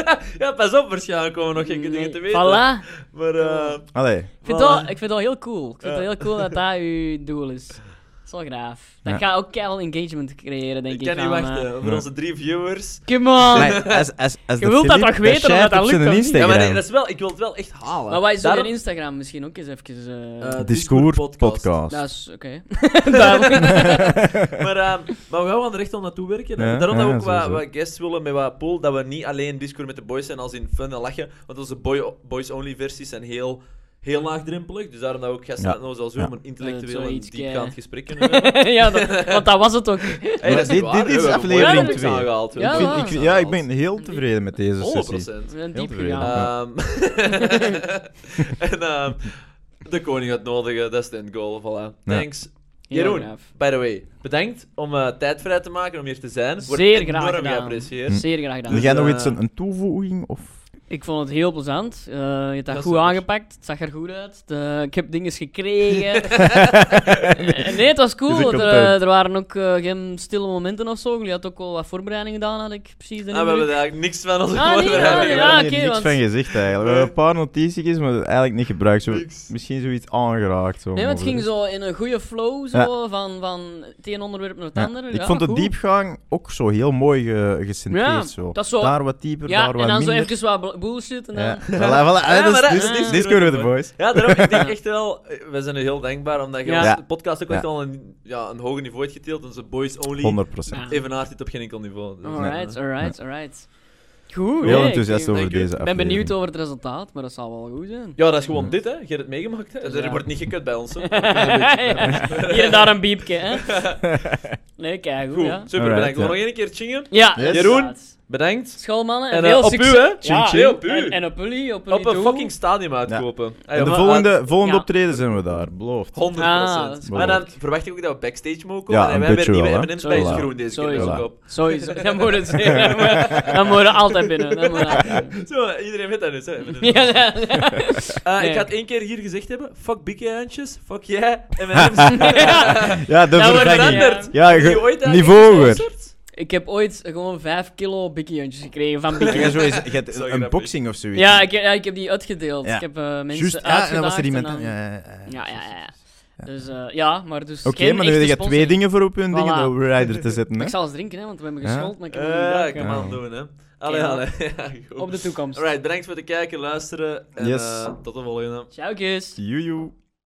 [SPEAKER 4] Ja, pas op, waarschijnlijk komen we nog gekke dingen te weten.
[SPEAKER 5] Voilà.
[SPEAKER 4] Maar, eh,
[SPEAKER 2] Allee.
[SPEAKER 5] Ik vind,
[SPEAKER 4] Voilà.
[SPEAKER 5] dat, ik vind dat heel cool. Ik vind
[SPEAKER 4] Ja.
[SPEAKER 5] het heel cool dat dat uw doel is. Dat is wel graaf. Dat
[SPEAKER 2] Ja.
[SPEAKER 5] gaat ook keihard engagement creëren, denk
[SPEAKER 4] ik
[SPEAKER 5] ik.
[SPEAKER 4] kan niet eh.
[SPEAKER 5] van,
[SPEAKER 4] wachten voor
[SPEAKER 2] Ja.
[SPEAKER 4] onze drie viewers.
[SPEAKER 5] eh, Come on!
[SPEAKER 2] Maar als, als, als
[SPEAKER 5] Je wilt dat
[SPEAKER 2] Filip-
[SPEAKER 5] toch weten,
[SPEAKER 2] schijnt
[SPEAKER 5] omdat dat
[SPEAKER 2] op
[SPEAKER 5] lukt
[SPEAKER 2] zijn
[SPEAKER 5] toch niet?
[SPEAKER 4] Ja,
[SPEAKER 2] Instagram.
[SPEAKER 4] maar nee, dat is wel, ik wil het wel echt halen.
[SPEAKER 5] maar wij zullen
[SPEAKER 4] Daarom-
[SPEAKER 5] in Instagram misschien ook eens even... eh,
[SPEAKER 4] Eh,
[SPEAKER 2] Discours
[SPEAKER 4] Discours-podcast.
[SPEAKER 2] podcast.
[SPEAKER 5] dat is... Oké. Duidelijk.
[SPEAKER 4] maar, ehm, maar we gaan er echt al naartoe werken.
[SPEAKER 2] Ja,
[SPEAKER 4] Daarom dat we
[SPEAKER 2] ja,
[SPEAKER 4] ook wat,
[SPEAKER 2] sowieso.
[SPEAKER 4] wat guests willen met wat pool. Dat we niet alleen Discord met de boys zijn als in fun en lachen. Want onze boy, boys-only versies zijn heel, heel laagdrempelig. Dus daarom dat we ook gasten
[SPEAKER 2] Ja.
[SPEAKER 4] hadden zoals u
[SPEAKER 2] Ja.
[SPEAKER 4] om een intellectueel en
[SPEAKER 5] Eh, zoiets,
[SPEAKER 4] diepgaand
[SPEAKER 5] eh.
[SPEAKER 4] gesprek kunnen hebben.
[SPEAKER 5] ja, dat- want dat was het ook.
[SPEAKER 4] Hey, dat is niet
[SPEAKER 2] Dit-
[SPEAKER 4] waar,
[SPEAKER 2] dit
[SPEAKER 4] hè.
[SPEAKER 2] is
[SPEAKER 4] We hebben
[SPEAKER 2] aflevering
[SPEAKER 4] mooie topics
[SPEAKER 2] twee.
[SPEAKER 4] aangehaald. We
[SPEAKER 5] Ja,
[SPEAKER 4] hebben
[SPEAKER 2] Ik vind-
[SPEAKER 4] mooie
[SPEAKER 2] ik vind-
[SPEAKER 5] waar.
[SPEAKER 4] topics
[SPEAKER 2] ja, ik
[SPEAKER 4] aangehaald.
[SPEAKER 2] ben heel tevreden met deze sessie.
[SPEAKER 4] 100%.
[SPEAKER 5] We zijn diep
[SPEAKER 2] tevreden.
[SPEAKER 5] gegaan.
[SPEAKER 4] Ehm, en ehm, de koning uitnodigen, dat is de end goal. Voilà.
[SPEAKER 2] Ja.
[SPEAKER 4] Thanks.
[SPEAKER 5] Heel
[SPEAKER 4] Eh, Jeroen,
[SPEAKER 5] graaf.
[SPEAKER 4] by the way, bedankt om eh, tijd vrij te maken om hier te zijn. Wordt
[SPEAKER 5] Zeer
[SPEAKER 4] enorm
[SPEAKER 5] graag gedaan.
[SPEAKER 4] geapprecieerd.
[SPEAKER 2] Mm.
[SPEAKER 5] Zeer graag
[SPEAKER 2] Wil
[SPEAKER 5] gedaan.
[SPEAKER 2] jij
[SPEAKER 4] Dus,
[SPEAKER 2] nog
[SPEAKER 4] eh,
[SPEAKER 2] iets, een, een toevoeging? Of...
[SPEAKER 5] Ik vond het heel plezant. Eh, je hebt dat
[SPEAKER 4] Dat is
[SPEAKER 5] goed
[SPEAKER 4] super.
[SPEAKER 5] aangepakt. Het zag er goed uit. De- ik heb dingen gekregen. Eh, nee, het was
[SPEAKER 2] Is
[SPEAKER 5] cool.
[SPEAKER 2] ook
[SPEAKER 5] Er,
[SPEAKER 2] content.
[SPEAKER 5] eh, er waren ook eh, geen stille momenten of zo. Jullie hadden ook al wat voorbereidingen gedaan, had ik precies
[SPEAKER 4] Ah,
[SPEAKER 5] de
[SPEAKER 4] we hebben
[SPEAKER 5] indruk.
[SPEAKER 4] daar eigenlijk niks van onze
[SPEAKER 5] Ah, nee,
[SPEAKER 2] We
[SPEAKER 5] ja,
[SPEAKER 4] voorbereiding.
[SPEAKER 5] ja,
[SPEAKER 2] hebben hier
[SPEAKER 5] oké,
[SPEAKER 2] niks
[SPEAKER 5] want-
[SPEAKER 2] van gezegd eigenlijk. We hebben een paar notities, maar eigenlijk niet gebruikt. Zo,
[SPEAKER 4] Niks.
[SPEAKER 2] misschien zoiets aangeraakt. Zo,
[SPEAKER 5] Nee,
[SPEAKER 2] maar
[SPEAKER 5] maar het
[SPEAKER 2] voor
[SPEAKER 5] ging
[SPEAKER 2] de
[SPEAKER 5] zo in een goede flow zo,
[SPEAKER 2] Ja.
[SPEAKER 5] van, van het een onderwerp naar het
[SPEAKER 2] rest- Ja.
[SPEAKER 5] andere.
[SPEAKER 2] Ik
[SPEAKER 5] Ja,
[SPEAKER 2] vond de
[SPEAKER 5] goed.
[SPEAKER 2] diepgang ook zo heel mooi ge- gecentreerd.
[SPEAKER 5] Ja,
[SPEAKER 2] zo.
[SPEAKER 5] dat is zo-
[SPEAKER 2] Daar wat dieper,
[SPEAKER 5] Ja,
[SPEAKER 2] daar
[SPEAKER 5] en
[SPEAKER 2] wat
[SPEAKER 5] dan zo
[SPEAKER 2] minder.
[SPEAKER 5] even wat bu- bullshit. En dan...
[SPEAKER 2] Ja, voilà, voilà.
[SPEAKER 4] Ja,
[SPEAKER 2] dat
[SPEAKER 4] maar
[SPEAKER 2] is-
[SPEAKER 4] dat- dat
[SPEAKER 2] dus-
[SPEAKER 4] is
[SPEAKER 2] Dit
[SPEAKER 4] er
[SPEAKER 2] kunnen we
[SPEAKER 4] ook
[SPEAKER 2] de
[SPEAKER 4] voor.
[SPEAKER 2] boys.
[SPEAKER 4] Ja, daarom, ik denk echt wel, eh, we zijn u heel dankbaar omdat je
[SPEAKER 5] Ja.
[SPEAKER 4] onze
[SPEAKER 2] Ja.
[SPEAKER 4] podcast ook
[SPEAKER 2] Ja.
[SPEAKER 4] echt al een, ja, een hoger niveau hebt getild. Onze boys only
[SPEAKER 2] 100 procent.
[SPEAKER 5] Ja.
[SPEAKER 4] evenaart dit op geen enkel niveau. Dus,
[SPEAKER 5] Alright,
[SPEAKER 4] eh,
[SPEAKER 5] alright, alright. Goed.
[SPEAKER 2] Heel
[SPEAKER 5] nee,
[SPEAKER 2] enthousiast
[SPEAKER 5] ik,
[SPEAKER 2] over
[SPEAKER 4] Dank u.
[SPEAKER 2] deze
[SPEAKER 5] Ik
[SPEAKER 2] aflevering.
[SPEAKER 5] ben benieuwd over het resultaat, maar dat zal wel goed zijn.
[SPEAKER 4] Ja, dat is gewoon dit, hè. Je hebt het meegemaakt, hè. Dus Er
[SPEAKER 5] Ja.
[SPEAKER 4] wordt niet gekut bij ons, hè.
[SPEAKER 5] Hier en daar een biepje, hè? Nee, kijk, goed,
[SPEAKER 4] Goed,
[SPEAKER 5] ja.
[SPEAKER 4] super,
[SPEAKER 2] Alright,
[SPEAKER 4] bedankt.
[SPEAKER 2] ja.
[SPEAKER 4] Nog één keer chingen.
[SPEAKER 5] Ja,
[SPEAKER 2] Yes.
[SPEAKER 5] inderdaad.
[SPEAKER 4] Jeroen? Bedankt.
[SPEAKER 5] Schoolmannen,
[SPEAKER 4] En,
[SPEAKER 5] en
[SPEAKER 4] eh,
[SPEAKER 5] veel
[SPEAKER 4] op u,
[SPEAKER 5] succes.
[SPEAKER 4] hè? Ching, ching. Op u.
[SPEAKER 5] En, en op jullie, op jullie
[SPEAKER 4] Op een
[SPEAKER 5] toe.
[SPEAKER 4] fucking stadium uitkopen. Hey,
[SPEAKER 2] En de
[SPEAKER 4] maar,
[SPEAKER 2] volgende, volgende
[SPEAKER 5] ja.
[SPEAKER 2] optreden zijn we daar, beloofd.
[SPEAKER 4] eh, 100%.
[SPEAKER 5] Ah, dat is
[SPEAKER 4] maar dan
[SPEAKER 2] belangrijk.
[SPEAKER 4] verwacht ik ook dat we backstage mogen komen.
[SPEAKER 2] Ja,
[SPEAKER 4] en
[SPEAKER 2] een
[SPEAKER 4] wij hebben
[SPEAKER 2] beetje
[SPEAKER 4] nieuwe
[SPEAKER 2] wel, hè.
[SPEAKER 4] M&M's bij is
[SPEAKER 2] Sowieso.
[SPEAKER 4] groen deze keer.
[SPEAKER 5] Sowieso.
[SPEAKER 4] dus ook op.
[SPEAKER 5] Sowieso, dat moet het zijn. Dat moet- Dat moet er altijd binnen. Dat moet er altijd binnen.
[SPEAKER 4] Zo, iedereen weet dat dus, hè. M&M's.
[SPEAKER 5] Ja, ja, ja.
[SPEAKER 4] Eh,
[SPEAKER 5] Nee.
[SPEAKER 4] Ik ga het één keer hier gezegd hebben. Fuck bikke handjes, fuck jij, M&M's.
[SPEAKER 2] Ja, de
[SPEAKER 5] Ja,
[SPEAKER 4] Dat wordt
[SPEAKER 5] vervanging.
[SPEAKER 4] veranderd.
[SPEAKER 2] Ja,
[SPEAKER 4] Heb je
[SPEAKER 2] ge-
[SPEAKER 4] ooit aan
[SPEAKER 2] niveau
[SPEAKER 4] iets
[SPEAKER 2] hoger.
[SPEAKER 4] gesponsord?
[SPEAKER 5] Ik heb ooit gewoon 5 kilo bikkieuntjes gekregen van
[SPEAKER 2] Je gaat
[SPEAKER 5] Bikkie.
[SPEAKER 2] zo eens- je gaat
[SPEAKER 4] Sorry,
[SPEAKER 2] een
[SPEAKER 4] dat
[SPEAKER 2] boxing of zoiets.
[SPEAKER 5] Ja ik, ja, ik heb die uitgedeeld.
[SPEAKER 2] Ja.
[SPEAKER 5] Ik heb eh, mensen
[SPEAKER 2] Juist, ja, en dan
[SPEAKER 5] uitgedaagd
[SPEAKER 2] was er iemand...
[SPEAKER 5] dan-
[SPEAKER 2] Ja, ja, ja.
[SPEAKER 5] Ja, ja, ja. Dus eh, ja, maar dus
[SPEAKER 2] Oké,
[SPEAKER 5] geen
[SPEAKER 2] maar nu
[SPEAKER 5] echte
[SPEAKER 2] heb je
[SPEAKER 5] sponsor.
[SPEAKER 2] twee dingen voor op hun dingen,
[SPEAKER 5] Voilà.
[SPEAKER 2] de rider te zetten. Hè?
[SPEAKER 5] Ik zal eens drinken, hè, want we hebben
[SPEAKER 2] Ja.
[SPEAKER 5] geschoold, maar ik heb
[SPEAKER 4] Eh,
[SPEAKER 5] nog niet
[SPEAKER 4] Ja,
[SPEAKER 5] gedronken.
[SPEAKER 4] ik kan het doen, hè. Allee,
[SPEAKER 5] Ja.
[SPEAKER 4] allee. Ja, goed.
[SPEAKER 5] Op de toekomst.
[SPEAKER 4] Alright, bedankt voor het kijken, luisteren. En
[SPEAKER 2] Yes.
[SPEAKER 4] eh, tot de volgende.
[SPEAKER 5] Ciao, kus.
[SPEAKER 2] Joejoe.